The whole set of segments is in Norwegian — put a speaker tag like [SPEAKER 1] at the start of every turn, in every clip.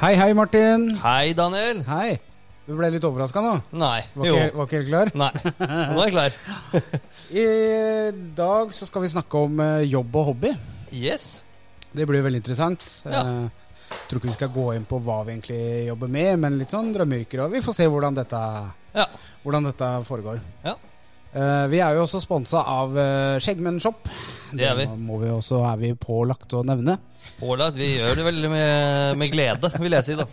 [SPEAKER 1] Hei, hei, Martin.
[SPEAKER 2] Hei, Daniel.
[SPEAKER 1] Hei. Du ble litt overraska nå?
[SPEAKER 2] Nei.
[SPEAKER 1] Var ikke, var ikke helt klar?
[SPEAKER 2] Nei. Nå er jeg klar.
[SPEAKER 1] I dag så skal vi snakke om eh, jobb og hobby.
[SPEAKER 2] Yes.
[SPEAKER 1] Det blir jo veldig interessant.
[SPEAKER 2] Ja.
[SPEAKER 1] Eh, tror ikke vi skal gå inn på hva vi egentlig jobber med, men litt sånn drømmeyrker. Og vi får se hvordan dette,
[SPEAKER 2] Ja.
[SPEAKER 1] hvordan dette foregår.
[SPEAKER 2] Ja.
[SPEAKER 1] Eh, vi er jo også sponsa av eh, Skjeggmenn Shop.
[SPEAKER 2] Det er vi.
[SPEAKER 1] må vi også, er vi pålagt å nevne.
[SPEAKER 2] Ålreit. Vi gjør det vel med, med glede, vil jeg si, da.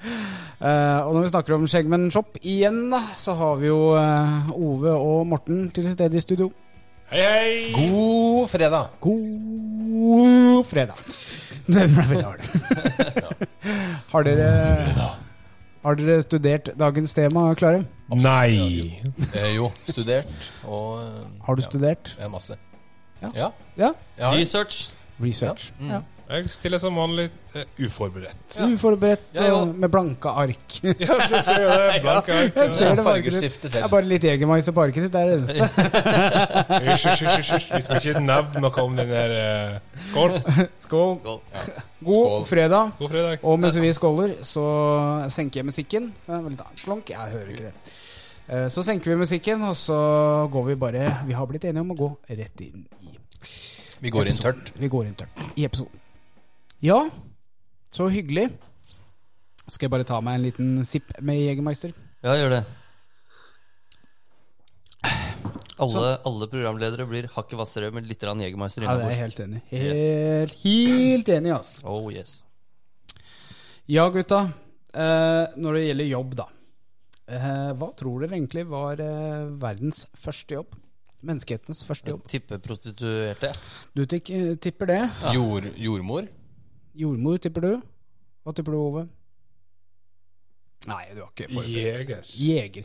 [SPEAKER 1] Eh, og når vi snakker om Skjeggmenn Shop igjen, da, så har vi jo eh, Ove og Morten til stede i studio.
[SPEAKER 3] Hei, hei! God fredag.
[SPEAKER 1] God fredag. Det ble veldig hardt. Har dere, har dere studert dagens tema, Klare?
[SPEAKER 3] Nei.
[SPEAKER 4] Eh, jo, studert og eh,
[SPEAKER 1] Har du
[SPEAKER 4] ja,
[SPEAKER 1] studert?
[SPEAKER 4] Ja, masse.
[SPEAKER 1] Ja.
[SPEAKER 4] Ja.
[SPEAKER 1] Ja.
[SPEAKER 4] Jeg har det.
[SPEAKER 2] Research.
[SPEAKER 1] Research.
[SPEAKER 4] Ja. Mm.
[SPEAKER 1] Ja.
[SPEAKER 3] Jeg stiller som vanlig eh, uforberedt.
[SPEAKER 1] Uforberedt
[SPEAKER 4] Ja, ja.
[SPEAKER 1] og eh, med blanke ark. Jeg
[SPEAKER 3] Ja, du ser jo det. Blank ark.
[SPEAKER 1] Jeg ser det bare ikke.
[SPEAKER 4] Fargeskifte til.
[SPEAKER 1] er bare litt Jegermais og parken ditt, det er det eneste.
[SPEAKER 3] Hysj, hysj, hysj, hysj. Vi skal ikke nevne noe om den her eh, Skål.
[SPEAKER 1] Skål.
[SPEAKER 2] Skål.
[SPEAKER 1] God
[SPEAKER 4] Skål.
[SPEAKER 1] fredag.
[SPEAKER 3] God fredag.
[SPEAKER 1] Og mens vi skåler, så senker jeg musikken. Det er vel litt Slonk, jeg hører ikke det. Eh, Så senker vi musikken, og så går vi bare Vi har blitt enige om å gå rett inn i
[SPEAKER 4] Vi går inn tørt.
[SPEAKER 1] Vi går inn tørt i episoden. Ja, så hyggelig. Skal jeg bare ta meg en liten sipp med Jegermeister?
[SPEAKER 2] Ja, gjør det. Alle, alle programledere blir hakket hvassere med litt grann Jegermeister
[SPEAKER 1] Ja, det er jeg
[SPEAKER 2] innabords.
[SPEAKER 1] helt enig. i. Helt, helt enig, altså.
[SPEAKER 2] Oh, yes.
[SPEAKER 1] Ja, gutta. Eh, når det gjelder jobb, da. Eh, hva tror dere egentlig var eh, verdens første jobb? Menneskehetens første jobb.
[SPEAKER 2] Tipper prostituerte.
[SPEAKER 1] Du tikk, eh, tipper det.
[SPEAKER 4] Jord, jordmor.
[SPEAKER 1] Jordmor tipper du. Hva tipper du, Ove? Nei, du har ikke forberedt
[SPEAKER 3] Jeger.
[SPEAKER 1] Jeger.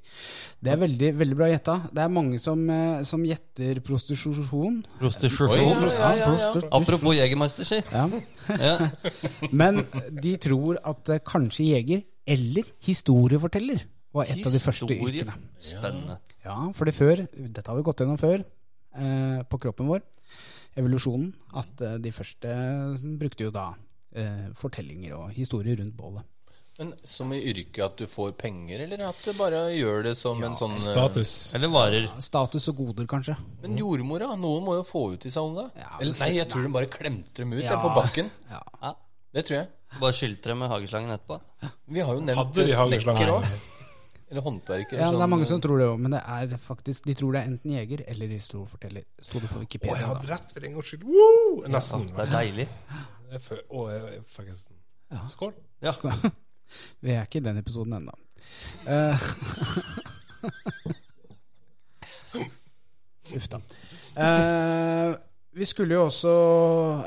[SPEAKER 1] Det er veldig, veldig bra gjetta. Det er mange som, eh, som gjetter prostitusjon.
[SPEAKER 2] Prostitusjon.
[SPEAKER 4] Oi, ja, ja, ja.
[SPEAKER 1] prostitus-
[SPEAKER 2] Apropos Jegermeister, si.
[SPEAKER 1] Ja.
[SPEAKER 2] Ja.
[SPEAKER 1] Men de tror at eh, kanskje jeger eller historieforteller var et av de første
[SPEAKER 2] Historie.
[SPEAKER 1] yrkene.
[SPEAKER 2] Spennende.
[SPEAKER 1] Ja, fordi før, dette har vi gått gjennom før eh, på kroppen vår, evolusjonen, at eh, de første brukte jo da eh, fortellinger og historier rundt bålet.
[SPEAKER 4] Men som i yrket at du får penger, eller at du bare gjør det som en sånn eh,
[SPEAKER 3] Status.
[SPEAKER 2] Eller varer.
[SPEAKER 1] Status og goder, kanskje.
[SPEAKER 4] Men jordmora, noe må jo få ut disse unga.
[SPEAKER 1] Ja,
[SPEAKER 4] eller,
[SPEAKER 1] men-
[SPEAKER 4] nei, jeg tror de bare klemte dem ut
[SPEAKER 1] Ja.
[SPEAKER 4] der på bakken.
[SPEAKER 1] Ja.
[SPEAKER 2] Ja.
[SPEAKER 4] Det tror jeg.
[SPEAKER 2] Bare skylte dem med hageslangen etterpå.
[SPEAKER 4] Vi har jo nevnt
[SPEAKER 3] Hadde de
[SPEAKER 4] eh, snekker
[SPEAKER 3] hageslangen?
[SPEAKER 4] òg. Eller håndverker.
[SPEAKER 1] Ja,
[SPEAKER 4] sånn-
[SPEAKER 1] det er eh, mange som tror det òg, men det er faktisk, de tror det er enten jeger eller historieforteller. Sto det på
[SPEAKER 3] Å, jeg
[SPEAKER 1] Wikipedia.
[SPEAKER 3] hadde rett for en gangs skyld. Woo!
[SPEAKER 2] Ja,
[SPEAKER 3] Nesten.
[SPEAKER 2] det er deilig.
[SPEAKER 3] Jeg fø- Å, jeg jeg fikk en Skål.
[SPEAKER 2] Ja.
[SPEAKER 1] da. Vi er ikke i den episoden ennå. Eh, Uff da. Eh, vi skulle jo også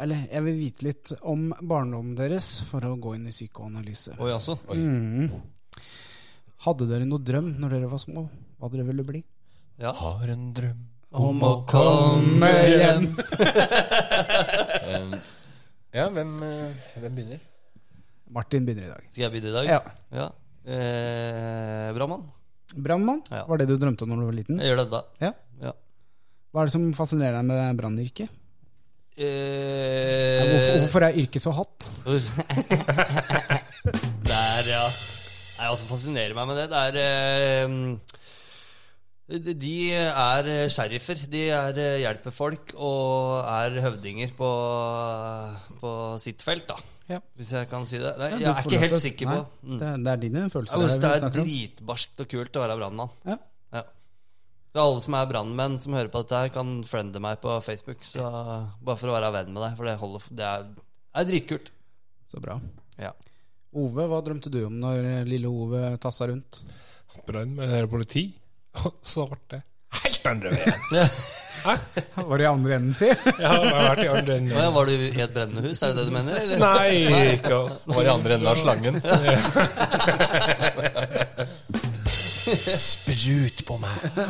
[SPEAKER 1] Eller jeg vil vite litt om barndommen deres for å gå inn i psykoanalyse.
[SPEAKER 2] Oi, altså.
[SPEAKER 1] Mm. Hadde dere noe drøm når dere var små? Hva dere ville bli?
[SPEAKER 2] Ja.
[SPEAKER 4] Har en drøm
[SPEAKER 1] Om å komme hjem.
[SPEAKER 4] Eh, Ja, hvem, eh, hvem begynner?
[SPEAKER 1] Martin begynner i dag.
[SPEAKER 2] Skal jeg begynne i dag?
[SPEAKER 1] Ja.
[SPEAKER 2] Ja. Eh, bra mann.
[SPEAKER 1] Brannmann
[SPEAKER 2] Ja.
[SPEAKER 1] var det du drømte om når du var liten.
[SPEAKER 2] Jeg gjør det da.
[SPEAKER 1] Ja.
[SPEAKER 2] Ja.
[SPEAKER 1] Hva er det som fascinerer deg med brannyrket? Hvorfor,
[SPEAKER 2] Eh,
[SPEAKER 1] hvorfor er yrket så hatt?
[SPEAKER 2] Der, ja. Nei, altså fascinerer meg med det. Det er eh, de- De er sheriffer. De er, eh, hjelper folk og er høvdinger på, på sitt felt, da.
[SPEAKER 1] Ja.
[SPEAKER 2] Hvis jeg kan si det. Nei,
[SPEAKER 1] Ja,
[SPEAKER 2] jeg er
[SPEAKER 1] du får
[SPEAKER 2] ikke
[SPEAKER 1] lov til
[SPEAKER 2] helt
[SPEAKER 1] å-
[SPEAKER 2] sikker
[SPEAKER 1] Nei,
[SPEAKER 2] på mm.
[SPEAKER 1] Det, er- det er dine følelser.
[SPEAKER 2] Jeg
[SPEAKER 1] det
[SPEAKER 2] synes
[SPEAKER 1] vi
[SPEAKER 2] det er
[SPEAKER 1] snakker om.
[SPEAKER 2] dritbarskt og kult å være brannmann.
[SPEAKER 1] Ja.
[SPEAKER 2] Ja. Så alle som er brannmenn som hører på dette, her kan friende meg på Facebook. Så bare for å være venn med deg, for det, holder, f- det, er, det er dritkult.
[SPEAKER 1] Så bra.
[SPEAKER 2] Ja.
[SPEAKER 1] Ove, hva drømte du om når eh, lille Ove tassa rundt?
[SPEAKER 3] Brannmenn eller politi? Og så ble det helt andre veien.
[SPEAKER 1] Var det i andre enden, si?
[SPEAKER 3] Ja, jeg har vært i andre
[SPEAKER 2] Å ja,
[SPEAKER 3] enden.
[SPEAKER 2] var du i et brennende hus? Er det det du mener? Eller?
[SPEAKER 3] Nei, ikke
[SPEAKER 4] Var i andre enden av slangen. Sprut på meg.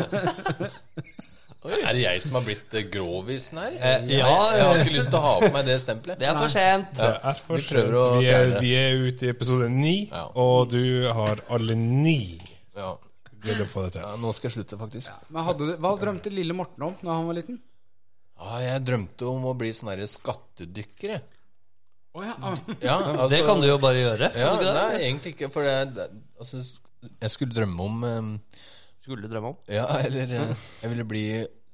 [SPEAKER 4] Er det jeg som har blitt eh, grovisen her?
[SPEAKER 2] Eh, ja.
[SPEAKER 4] Jeg har ikke lyst til å ha på meg det stempelet.
[SPEAKER 2] Det er for sent.
[SPEAKER 3] Det er for
[SPEAKER 4] Vi
[SPEAKER 3] sent.
[SPEAKER 4] prøver å
[SPEAKER 3] Vi er,
[SPEAKER 4] fjerne.
[SPEAKER 3] vi er ute i episode ni,
[SPEAKER 4] Ja.
[SPEAKER 3] og du har alle ni
[SPEAKER 4] Ja.
[SPEAKER 3] greid å få det til.
[SPEAKER 4] Ja, nå skal jeg slutte, faktisk.
[SPEAKER 1] Men hadde, du- hva drømte lille Morten om da han var liten?
[SPEAKER 4] Ja, jeg drømte om å bli sånn her skattedykker. jeg.
[SPEAKER 1] Å ah,
[SPEAKER 4] Ja, altså,
[SPEAKER 2] Det kan du jo bare gjøre.
[SPEAKER 4] Ja,
[SPEAKER 2] kan du ikke det?
[SPEAKER 4] nei, egentlig ikke. For det, det, altså, jeg skulle drømme om eh,
[SPEAKER 2] Skulle du drømme om.
[SPEAKER 4] Ja, eller eh, Jeg ville bli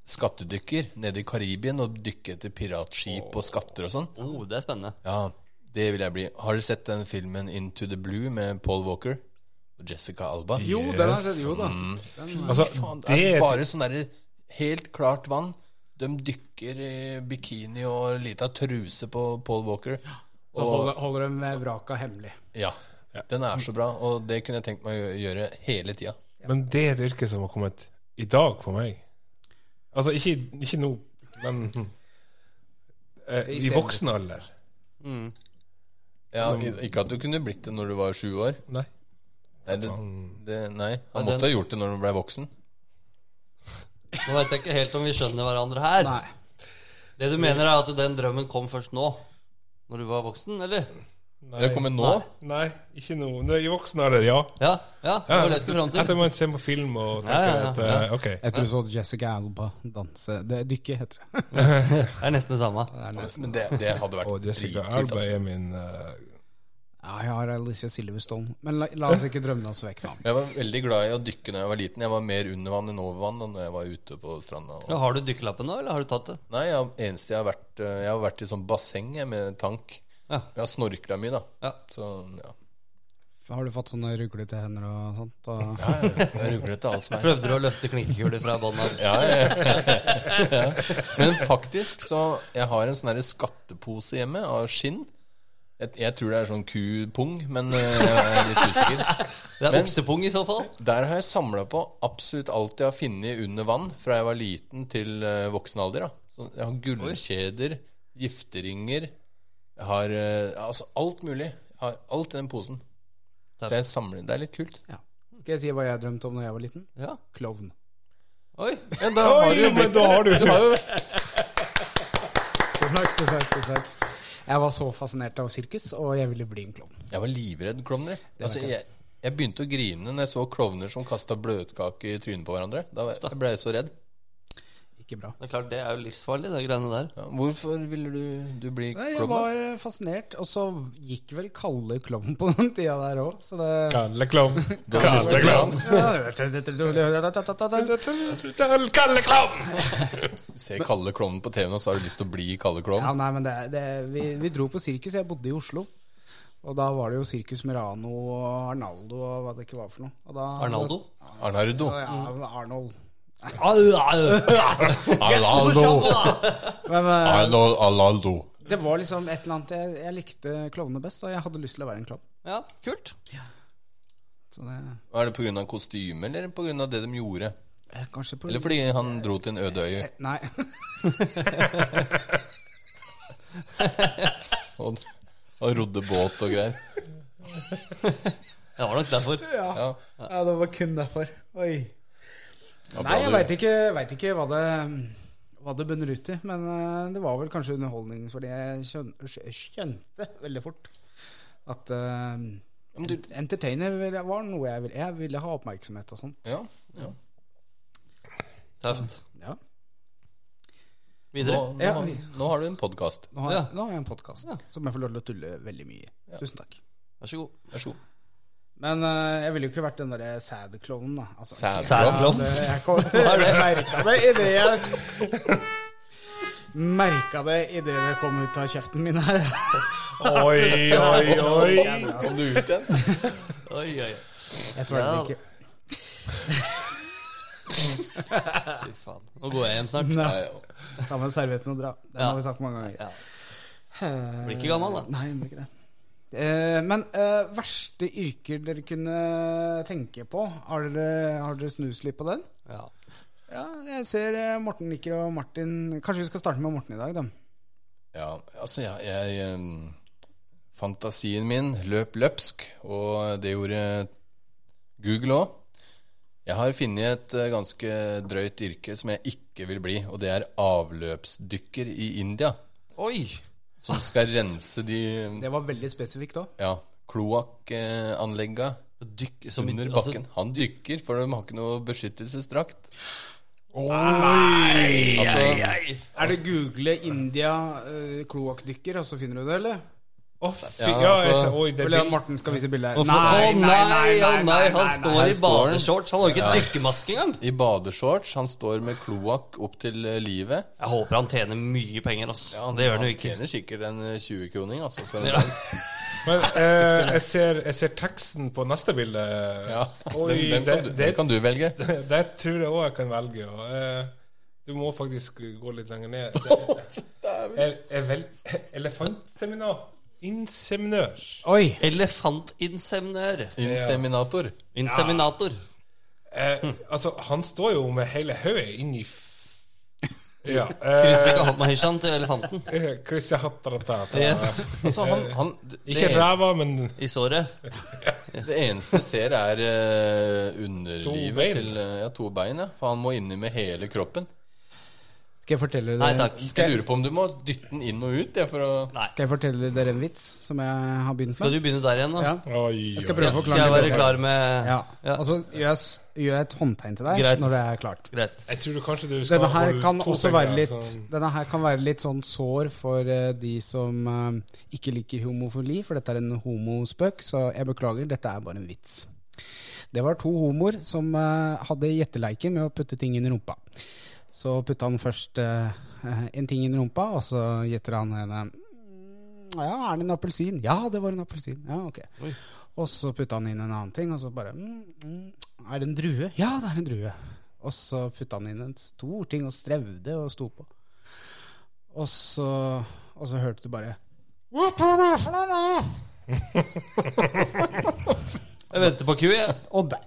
[SPEAKER 4] skattedykker nede i Karibien og dykke etter piratskip og skatter og sånn.
[SPEAKER 2] Oh, det er spennende.
[SPEAKER 4] Ja, det vil jeg bli. Har dere sett den filmen Into the Blue med Paul Walker og Jessica Alba?
[SPEAKER 3] Jo,
[SPEAKER 1] den
[SPEAKER 3] den
[SPEAKER 1] har
[SPEAKER 3] er-
[SPEAKER 1] jeg sett, jo da. Den,
[SPEAKER 3] Altså,
[SPEAKER 4] Faen, det
[SPEAKER 3] det
[SPEAKER 4] er
[SPEAKER 3] er
[SPEAKER 4] bare sånn derre helt klart vann. De dykker i bikini og lita truse på Paul Walker.
[SPEAKER 1] så holder, holder de vraka hemmelig.
[SPEAKER 4] Ja. Den er så bra, og det kunne jeg tenkt meg å gjø- gjøre hele tida.
[SPEAKER 3] Men det er et yrke som har kommet i dag for meg. Altså, ikke, ikke nå, men hm. eh,
[SPEAKER 1] I
[SPEAKER 3] i
[SPEAKER 1] senere
[SPEAKER 3] voksen alder.
[SPEAKER 4] Ja, Altså, ikke at du kunne blitt det når du var sju år.
[SPEAKER 3] Nei.
[SPEAKER 4] Nei, det, det, nei.
[SPEAKER 2] Nei,
[SPEAKER 4] han
[SPEAKER 2] den-
[SPEAKER 4] måtte ha gjort det når han ble voksen.
[SPEAKER 2] Nå vet jeg ikke helt om vi skjønner hverandre her.
[SPEAKER 1] Nei.
[SPEAKER 2] Det du mener, er at den drømmen kom først nå? Når du var voksen, eller?
[SPEAKER 4] Det kommer nå.
[SPEAKER 3] Nei, ikke nå. Det er I voksen alder, ja.
[SPEAKER 2] Ja, ja det var det jeg skulle fram til.
[SPEAKER 3] Etter man ser på film og tenker
[SPEAKER 2] Ja, ja, ja,
[SPEAKER 3] at eh, Ok.
[SPEAKER 1] Jeg tror så Jessica Alba danse det, er Dykke, heter det.
[SPEAKER 2] Det er nesten det samme.
[SPEAKER 1] det er nesten.
[SPEAKER 4] Men det, det hadde vært
[SPEAKER 3] Og Jessica
[SPEAKER 4] dritkult.
[SPEAKER 3] Alba
[SPEAKER 4] Altså.
[SPEAKER 3] er min eh,
[SPEAKER 1] Ja, jeg har Alicia Silverstone. Men la, la oss ikke drømme oss vekk nå.
[SPEAKER 4] Jeg var veldig glad i å dykke da jeg var liten. Jeg var mer under vann enn over vann da når jeg var ute på stranda. Og...
[SPEAKER 2] Ja, har du dykkerlappen nå, eller har du tatt det?
[SPEAKER 4] Nei, jeg, eneste jeg har vært eh, Jeg har vært i sånn basseng jeg, med tank.
[SPEAKER 2] Ja.
[SPEAKER 4] Jeg har snorkla mye, da.
[SPEAKER 2] Ja.
[SPEAKER 4] Så ja.
[SPEAKER 1] Har du fått sånne ruglete hender og sånt? Og...
[SPEAKER 4] Jeg rugler til alt som er.
[SPEAKER 2] Prøvde du å løfte klinkekuler fra bånn av?
[SPEAKER 4] Ja, ja, ja. Men faktisk så Jeg har en sånn her skattepose hjemme av skinn. Jeg, jeg tror det er sånn kupung, men eh, jeg er litt usikker.
[SPEAKER 2] Det er
[SPEAKER 4] Men-
[SPEAKER 2] oksepung i så fall.
[SPEAKER 4] Der har jeg samla på absolutt alt jeg har funnet under vann fra jeg var liten til eh, voksen alder. Da. Så jeg har gullkjeder, gifteringer Jeg har eh, altså alt mulig. Jeg har alt i den posen. Så jeg samler Det er litt kult.
[SPEAKER 1] Ja. Skal jeg si hva jeg drømte om da jeg var liten?
[SPEAKER 2] Ja.
[SPEAKER 1] Klovn.
[SPEAKER 2] Oi.
[SPEAKER 4] Ja, da
[SPEAKER 3] Oi,
[SPEAKER 4] har du jo
[SPEAKER 3] men
[SPEAKER 4] blitt
[SPEAKER 3] da har du-
[SPEAKER 4] du har jo
[SPEAKER 1] Tusen takk, tusen takk, tusen takk. Jeg var så fascinert av sirkus, og jeg ville bli en klovn.
[SPEAKER 4] Jeg var livredd klovner. Altså,
[SPEAKER 1] ikke-
[SPEAKER 4] jeg, jeg begynte å grine når jeg så klovner som kasta bløtkake i trynet på hverandre. Da var- jeg ble jeg så redd.
[SPEAKER 1] Ikke bra.
[SPEAKER 2] Det er klart, det er jo livsfarlig, de greiene der.
[SPEAKER 4] Ja, hvorfor ville du, du bli
[SPEAKER 1] Nei, jeg
[SPEAKER 4] klovn? da?
[SPEAKER 1] var eh, fascinert, og så gikk vel Kalle klovn på den tida der òg, så det
[SPEAKER 3] Kalle Klovn.
[SPEAKER 4] Du har lyst til å
[SPEAKER 3] Kalle
[SPEAKER 4] bli
[SPEAKER 3] Klovn. Kalle Klovn!
[SPEAKER 4] Du ser Kalle Klovnen på TV nå, så har du lyst til å bli Kalle
[SPEAKER 1] Ja,
[SPEAKER 4] Klovn.
[SPEAKER 1] nei, men det, det, vi, vi dro på sirkus. Jeg bodde i Oslo. Og da var det jo Sirkus Merano og Arnaldo og hva det ikke var for noe. Og da,
[SPEAKER 2] Arnaldo?
[SPEAKER 4] Arnardo.
[SPEAKER 1] Ja, Arnold.
[SPEAKER 4] Arnaldo.
[SPEAKER 1] Men, eh,
[SPEAKER 4] Arnaldo. Arnaldo.
[SPEAKER 1] det var liksom et eller annet Jeg, jeg likte klovnene best, og jeg hadde lyst til å være en klovn.
[SPEAKER 2] Ja, kult.
[SPEAKER 1] Så det
[SPEAKER 4] Er det pga. kostyme eller pga. det de gjorde?
[SPEAKER 1] eh, Kanskje på Eh,
[SPEAKER 4] Eller fordi han dro til en øde øy?
[SPEAKER 1] Nei.
[SPEAKER 4] Og, og rodde båt og greier.
[SPEAKER 2] Det var nok derfor.
[SPEAKER 4] Ja.
[SPEAKER 1] Ja, det var kun derfor. Oi.
[SPEAKER 4] Ja, bra
[SPEAKER 1] Nei, jeg
[SPEAKER 4] du-
[SPEAKER 1] veit ikke, vet ikke hva det hva det bunner ut i, men eh, det var vel kanskje underholdning, fordi jeg skjøn- skjønte veldig fort at eh,
[SPEAKER 4] Men du-
[SPEAKER 1] Entertainer ville- var noe jeg ville Jeg ville ha oppmerksomhet og sånn.
[SPEAKER 4] Ja, ja.
[SPEAKER 2] Tøft.
[SPEAKER 1] Ja.
[SPEAKER 4] Nå,
[SPEAKER 2] Videre.
[SPEAKER 4] nå, har- nå har du en podkast.
[SPEAKER 1] Nå, har jeg-
[SPEAKER 2] Ja.
[SPEAKER 1] nå har jeg en podkast
[SPEAKER 2] Ja.
[SPEAKER 1] som jeg får lov til å tulle veldig mye i. Tusen takk.
[SPEAKER 2] Vær så god.
[SPEAKER 4] Vær så god.
[SPEAKER 1] Men eh, jeg ville jo ikke vært den derre sad-klovnen, da. Altså,
[SPEAKER 4] Sad
[SPEAKER 2] Sad
[SPEAKER 1] Ja,
[SPEAKER 2] klovn.
[SPEAKER 1] det- Jeg, kom- jeg merka det idet jeg Merka det idet det kom ut av kjeften min her.
[SPEAKER 3] Oi, oi, oi.
[SPEAKER 4] Kom du ut igjen?
[SPEAKER 2] Oi, oi, oi.
[SPEAKER 1] Jeg svelger ikke.
[SPEAKER 2] Fy faen. Nå går jeg hjem snart.
[SPEAKER 1] Nei,
[SPEAKER 4] Nei, ja.
[SPEAKER 1] ta med servietten og dra. Det
[SPEAKER 2] Ja.
[SPEAKER 1] har vi sagt mange ganger. Eh,
[SPEAKER 2] Ja. Blir ikke gammel, da.
[SPEAKER 1] Nei, det blir ikke det. Eh, men eh, verste yrker dere kunne tenke på? Har dere, har dere snuslipp på den?
[SPEAKER 2] Ja.
[SPEAKER 1] Ja, jeg ser eh, Morten nikker og Martin Kanskje vi skal starte med Morten i dag, da.
[SPEAKER 4] Ja, altså jeg, jeg em, Fantasien min løp løpsk, og det gjorde Google òg. Jeg har funnet et eh, ganske drøyt yrke som jeg ikke vil bli, og det er avløpsdykker i India.
[SPEAKER 2] Oi.
[SPEAKER 4] Som skal rense de
[SPEAKER 1] Det var veldig spesifikt òg.
[SPEAKER 4] ja, kloakkanlegga
[SPEAKER 2] Dykk som
[SPEAKER 4] under
[SPEAKER 2] altså,
[SPEAKER 4] bakken. Han dykker, for de har ikke noe beskyttelsesdrakt.
[SPEAKER 2] ei,
[SPEAKER 4] Altså,
[SPEAKER 2] ei, ei.
[SPEAKER 1] Er det google India eh, kloakkdykker, og så finner du det, eller?
[SPEAKER 3] Å, fy
[SPEAKER 4] Ja,
[SPEAKER 3] Ja, jeg
[SPEAKER 4] altså,
[SPEAKER 3] ser Oi, det er
[SPEAKER 1] Leon
[SPEAKER 3] bil-
[SPEAKER 1] Morten skal vise bilde her.
[SPEAKER 2] Å nei, nei, å nei, han
[SPEAKER 1] nei,
[SPEAKER 2] står
[SPEAKER 1] nei.
[SPEAKER 2] i
[SPEAKER 4] står han.
[SPEAKER 2] badeshorts. Han har jo ikke dykkermaske engang.
[SPEAKER 4] I badeshorts. Han står med kloakk opp til eh, livet.
[SPEAKER 2] Jeg håper han tjener mye penger, ass. det gjør han jo ikke.
[SPEAKER 4] tjener sikkert en eh, 20-kroning, altså. For en
[SPEAKER 2] Ja.
[SPEAKER 4] dag.
[SPEAKER 3] Men eh, jeg, ser, jeg ser teksten på neste bilde.
[SPEAKER 4] Ja.
[SPEAKER 3] Oi,
[SPEAKER 4] den, den,
[SPEAKER 3] det,
[SPEAKER 4] kan du,
[SPEAKER 3] det,
[SPEAKER 4] den kan du velge.
[SPEAKER 3] det tror jeg òg jeg kan velge. Og, eh, du må faktisk gå litt lenger ned. Det er, er vel, elefantseminar. Inseminør.
[SPEAKER 1] Oi!
[SPEAKER 2] Elefantinseminør.
[SPEAKER 4] Inseminator.
[SPEAKER 2] Inseminator.
[SPEAKER 3] Eh, altså, han står jo med hele hodet inni f- Ja.
[SPEAKER 2] Kristian
[SPEAKER 3] Eh,
[SPEAKER 2] kan holde meg hysjan til elefanten.
[SPEAKER 3] eh, Christian Hatteratata.
[SPEAKER 2] Yes.
[SPEAKER 4] Altså, han, han, det,
[SPEAKER 3] Ikke
[SPEAKER 4] det-
[SPEAKER 3] ræva, men
[SPEAKER 2] I såret.
[SPEAKER 4] Det eneste du ser, er eh,
[SPEAKER 3] To
[SPEAKER 4] underlivet
[SPEAKER 3] bein.
[SPEAKER 4] til eh, ja, to bein. Ja. For han må inni med hele kroppen.
[SPEAKER 1] Skal jeg fortelle
[SPEAKER 2] Nei
[SPEAKER 1] dere,
[SPEAKER 2] takk.
[SPEAKER 4] Jeg lurer på om du må dytte den inn og ut. Ja, for å
[SPEAKER 2] Nei.
[SPEAKER 1] skal jeg fortelle dere en vits som jeg har begynt
[SPEAKER 2] Skal
[SPEAKER 1] med?
[SPEAKER 2] du begynne der igjen, da?
[SPEAKER 1] Ja.
[SPEAKER 3] Oi,
[SPEAKER 1] Jeg skal
[SPEAKER 3] oi.
[SPEAKER 1] prøve å
[SPEAKER 2] Skal jeg
[SPEAKER 1] forklare
[SPEAKER 2] være klar med
[SPEAKER 1] Ja.
[SPEAKER 2] Ja.
[SPEAKER 1] Og så gjør jeg, s- gjør jeg et håndtegn til deg
[SPEAKER 2] Greit.
[SPEAKER 1] når det er klart.
[SPEAKER 2] Greit.
[SPEAKER 3] Jeg tror du kanskje du skal
[SPEAKER 1] Denne her
[SPEAKER 3] holde
[SPEAKER 1] kan
[SPEAKER 3] to
[SPEAKER 1] også
[SPEAKER 3] fingre,
[SPEAKER 1] være litt
[SPEAKER 3] sånn.
[SPEAKER 1] Denne her kan være litt sånn sår for eh, de som eh, ikke liker homofili, for dette er en homospøk, så jeg beklager, dette er bare en vits. Det var to homoer som eh, hadde gjetteleike med å putte ting inn i rumpa. Så putta han først eh, en ting inn i rumpa, og så gjetter han henne «Mm, Ja, er det en appelsin? Ja, det var en appelsin. Ja, ok. Og så putta han inn en annen ting, og så bare mm, mm, Er det en drue? Ja, det er en drue. Og så putta han inn en stor ting og strevde og sto på. Og så, og så hørte du bare Hva faen er det for noe da?»
[SPEAKER 2] Jeg venter på ku, jeg.
[SPEAKER 1] Og der.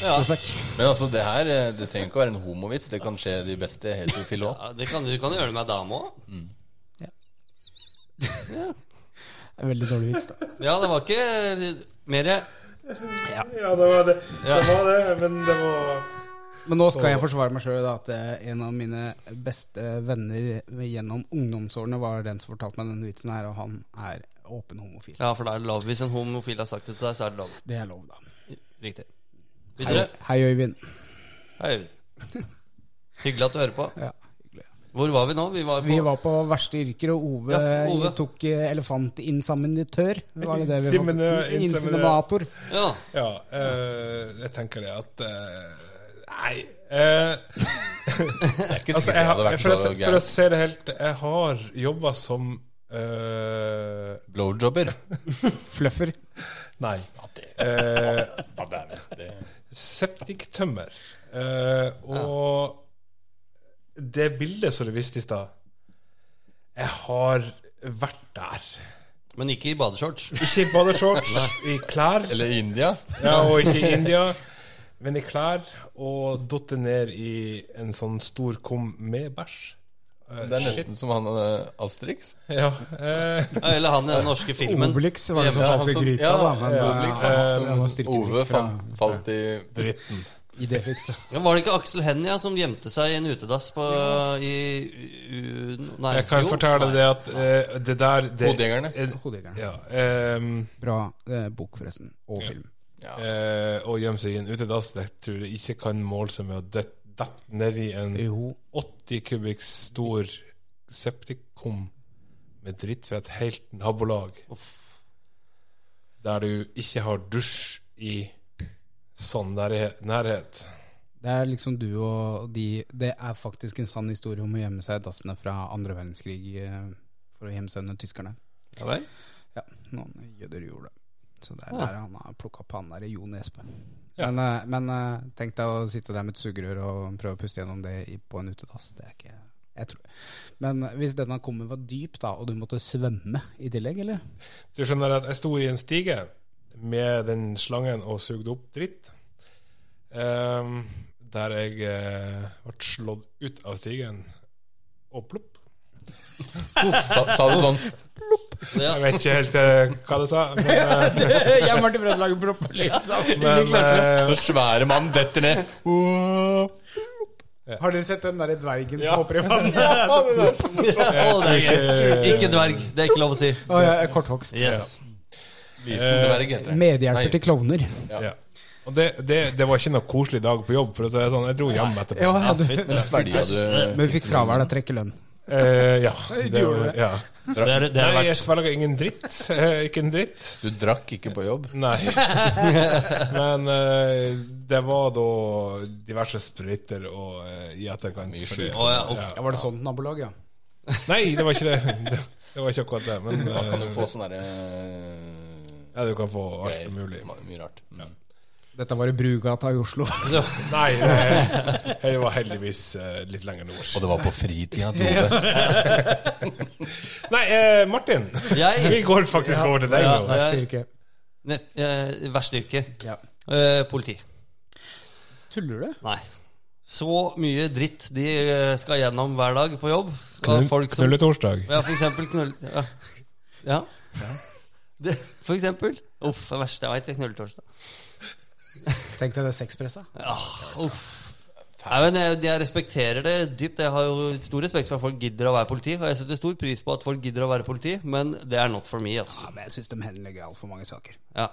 [SPEAKER 2] Ja.
[SPEAKER 1] Tusen takk.
[SPEAKER 4] Men altså, det her eh, Det trenger ikke å være en homovits. Det kan skje de beste heterofile òg.
[SPEAKER 2] Ja, det kan, du kan jo gjøre det med dame òg.
[SPEAKER 1] Det er Veldig dårlig vits, da.
[SPEAKER 2] Ja, det var ikke mer
[SPEAKER 3] Ja, det var det.
[SPEAKER 2] Ja.
[SPEAKER 3] Det var det, men det var
[SPEAKER 1] Men nå skal jeg forsvare meg sjøl. At eh, en av mine beste venner gjennom ungdomsårene var den som fortalte meg denne vitsen her, og han er åpen homofil.
[SPEAKER 2] Ja, for da er det lov. Hvis en homofil har sagt det til deg, så er det lov.
[SPEAKER 1] Det er lov, da.
[SPEAKER 2] Riktig.
[SPEAKER 1] Hei,
[SPEAKER 2] Videre.
[SPEAKER 1] hei Øyvind.
[SPEAKER 2] Hei, Øyvind. Hyggelig at du hører på.
[SPEAKER 1] Ja, hyggelig.
[SPEAKER 2] Hvor var vi nå? Vi var på
[SPEAKER 1] Vi var på verste yrker, og Ove,
[SPEAKER 2] Ja, Ove.
[SPEAKER 1] tok eh, elefantinsaminatør. Var det det vi var?
[SPEAKER 3] Inseminør-
[SPEAKER 1] Inseminator.
[SPEAKER 2] Ja.
[SPEAKER 3] Ja, eh, jeg tenker det at eh, Nei. eh,
[SPEAKER 4] Det er ikke
[SPEAKER 3] altså, jeg,
[SPEAKER 4] sikkert det
[SPEAKER 3] har-
[SPEAKER 4] hadde vært
[SPEAKER 3] for, å,
[SPEAKER 4] så
[SPEAKER 3] se- for å
[SPEAKER 4] gærent.
[SPEAKER 3] si det helt Jeg har jobba som eh,
[SPEAKER 4] Blowjobber.
[SPEAKER 1] Fluffer.
[SPEAKER 3] Nei. Eh, Septiktømmer. Eh, og det bildet som du viste i stad Jeg har vært der.
[SPEAKER 2] Men ikke i badeshorts.
[SPEAKER 3] Ikke i badeshorts, i klær,
[SPEAKER 4] Eller India.
[SPEAKER 3] ja, og ikke i India, men i klær. Og datt ned i en sånn stor kum med bæsj. Eh,
[SPEAKER 4] Det er
[SPEAKER 3] shit.
[SPEAKER 4] nesten som han eh, Asterix.
[SPEAKER 3] Ja. eh,
[SPEAKER 2] Eller han i den norske filmen.
[SPEAKER 1] Obelix var det som
[SPEAKER 4] Ja,
[SPEAKER 1] falt i
[SPEAKER 4] altså,
[SPEAKER 1] gryta,
[SPEAKER 4] ja,
[SPEAKER 1] da. Men,
[SPEAKER 4] Obelix,
[SPEAKER 1] eh,
[SPEAKER 3] ja.
[SPEAKER 1] det var styrkebruk
[SPEAKER 4] Ove
[SPEAKER 1] fra- eh,
[SPEAKER 4] fam, falt i
[SPEAKER 3] dritten.
[SPEAKER 1] i det fikset.
[SPEAKER 2] Ja, var det ikke Aksel Hennie som gjemte seg i en utedass på i, u, u, Nei.
[SPEAKER 3] Jeg kan
[SPEAKER 2] jo,
[SPEAKER 3] fortelle
[SPEAKER 2] nei.
[SPEAKER 3] det at eh, det der det,
[SPEAKER 4] Hodejegerne.
[SPEAKER 3] eh,
[SPEAKER 1] Hodejegerne.
[SPEAKER 3] Ja, ehm,
[SPEAKER 1] Bra eh, bok, forresten. Og film.
[SPEAKER 3] eh, å gjemme seg i en utedass det tror jeg ikke kan måle seg med å dø- dette nedi en
[SPEAKER 1] Jo.
[SPEAKER 3] 80 kubikk stor septikum med dritt fra et helt nabolag. Der du ikke har dusj i sånn nærhe- nærhet.
[SPEAKER 1] Det er liksom du og de Det er faktisk en sann historie om å gjemme seg i dassene fra andre verdenskrig eh, for å gjemme seg under tyskerne.
[SPEAKER 2] Ja, vel.
[SPEAKER 1] Ja, noen jøder gjorde det. Så det er der han har plukka opp han der Jo Nesbø. Men, eh, men eh, tenk deg å sitte der med et sugerør og prøve å puste gjennom det i- på en utedass. Det er ikke jeg tror. Men eh, hvis denne kummen var dyp, da, og du måtte svømme i tillegg, eller?
[SPEAKER 3] Du skjønner at jeg sto i en stige med den slangen og sugde opp dritt. Ehm, der jeg eh, ble slått ut av stigen og plopp.
[SPEAKER 4] Sa, sa du sånn
[SPEAKER 2] Ja.
[SPEAKER 3] Jeg vet ikke helt eh, hva du sa, men, eh,
[SPEAKER 1] jeg og Martin Brennelag plopper
[SPEAKER 3] men eh,
[SPEAKER 4] Den svære mannen detter ned.
[SPEAKER 1] Har dere sett den derre dvergen som hopper i vannet?
[SPEAKER 2] Å, det er greit. Ikke dverg. Det er ikke lov å si.
[SPEAKER 1] Å, ja, eh, korthogst.
[SPEAKER 2] Yes.
[SPEAKER 4] Liten dverg heter det. Nei.
[SPEAKER 1] Medhjelper til klovner.
[SPEAKER 3] ja. Og det, det, det var ikke noe koselig dag på jobb, for å si det sånn. Jeg dro hjem etterpå.
[SPEAKER 1] Ja,
[SPEAKER 2] Ja,
[SPEAKER 1] du,
[SPEAKER 2] fint,
[SPEAKER 1] men
[SPEAKER 2] det.
[SPEAKER 4] Svelga du
[SPEAKER 1] du fikk fravær, da. Trekke lønn.
[SPEAKER 3] Eh, ja.
[SPEAKER 1] Du gjorde
[SPEAKER 3] var-
[SPEAKER 1] det.
[SPEAKER 3] ja.
[SPEAKER 2] Det er, det er
[SPEAKER 3] Nei, jeg
[SPEAKER 2] verdt.
[SPEAKER 3] svelger ingen dritt. Eh, ikke en dritt.
[SPEAKER 4] Du drakk ikke på jobb?
[SPEAKER 3] Nei. Men eh, det var da diverse sprøyter og eh, i etterkant.
[SPEAKER 4] Mye
[SPEAKER 3] fordi-
[SPEAKER 4] sjukt.
[SPEAKER 2] Å, ja, uff.
[SPEAKER 1] Ja, var det sånt nabolag, ja?
[SPEAKER 3] Nei, det var ikke det. Det, det var ikke akkurat det. Men
[SPEAKER 4] Da kan du
[SPEAKER 3] eh,
[SPEAKER 4] få sånn derre uh,
[SPEAKER 3] ja, du kan få alt mulig.
[SPEAKER 4] Mye rart. Mm.
[SPEAKER 1] Dette var i Brugata i Oslo.
[SPEAKER 3] Nei, det, det var heldigvis eh, litt lenger
[SPEAKER 4] Og
[SPEAKER 3] nord.
[SPEAKER 4] det var på fritida, Tove.
[SPEAKER 3] Nei, eh, Martin.
[SPEAKER 2] Jeg-
[SPEAKER 3] Vi går faktisk over til deg
[SPEAKER 2] Ja,
[SPEAKER 3] nå.
[SPEAKER 2] nei.
[SPEAKER 1] Verste yrke.
[SPEAKER 2] Nett- eh, Verste yrke.
[SPEAKER 1] Ja.
[SPEAKER 2] Eh, politi.
[SPEAKER 1] Tuller du?
[SPEAKER 2] Nei. Så mye dritt de eh, skal gjennom hver dag på jobb. Av folk som-
[SPEAKER 3] Knulletorsdag.
[SPEAKER 2] Ja, for eksempel knull... Ja. ja. Det, for eksempel. Uff, det verste jeg veit er knulletorsdag.
[SPEAKER 1] Tenk deg det sexpressa.
[SPEAKER 2] Ja, uff. Nei, men jeg, jeg respekterer det dypt. Jeg har jo stor respekt for at folk gidder å være politi. Og jeg setter stor pris på at folk gidder å være politi, men det er not for me. ass.
[SPEAKER 1] Ja, men jeg syns de henlegger altfor mange saker.
[SPEAKER 2] Ja.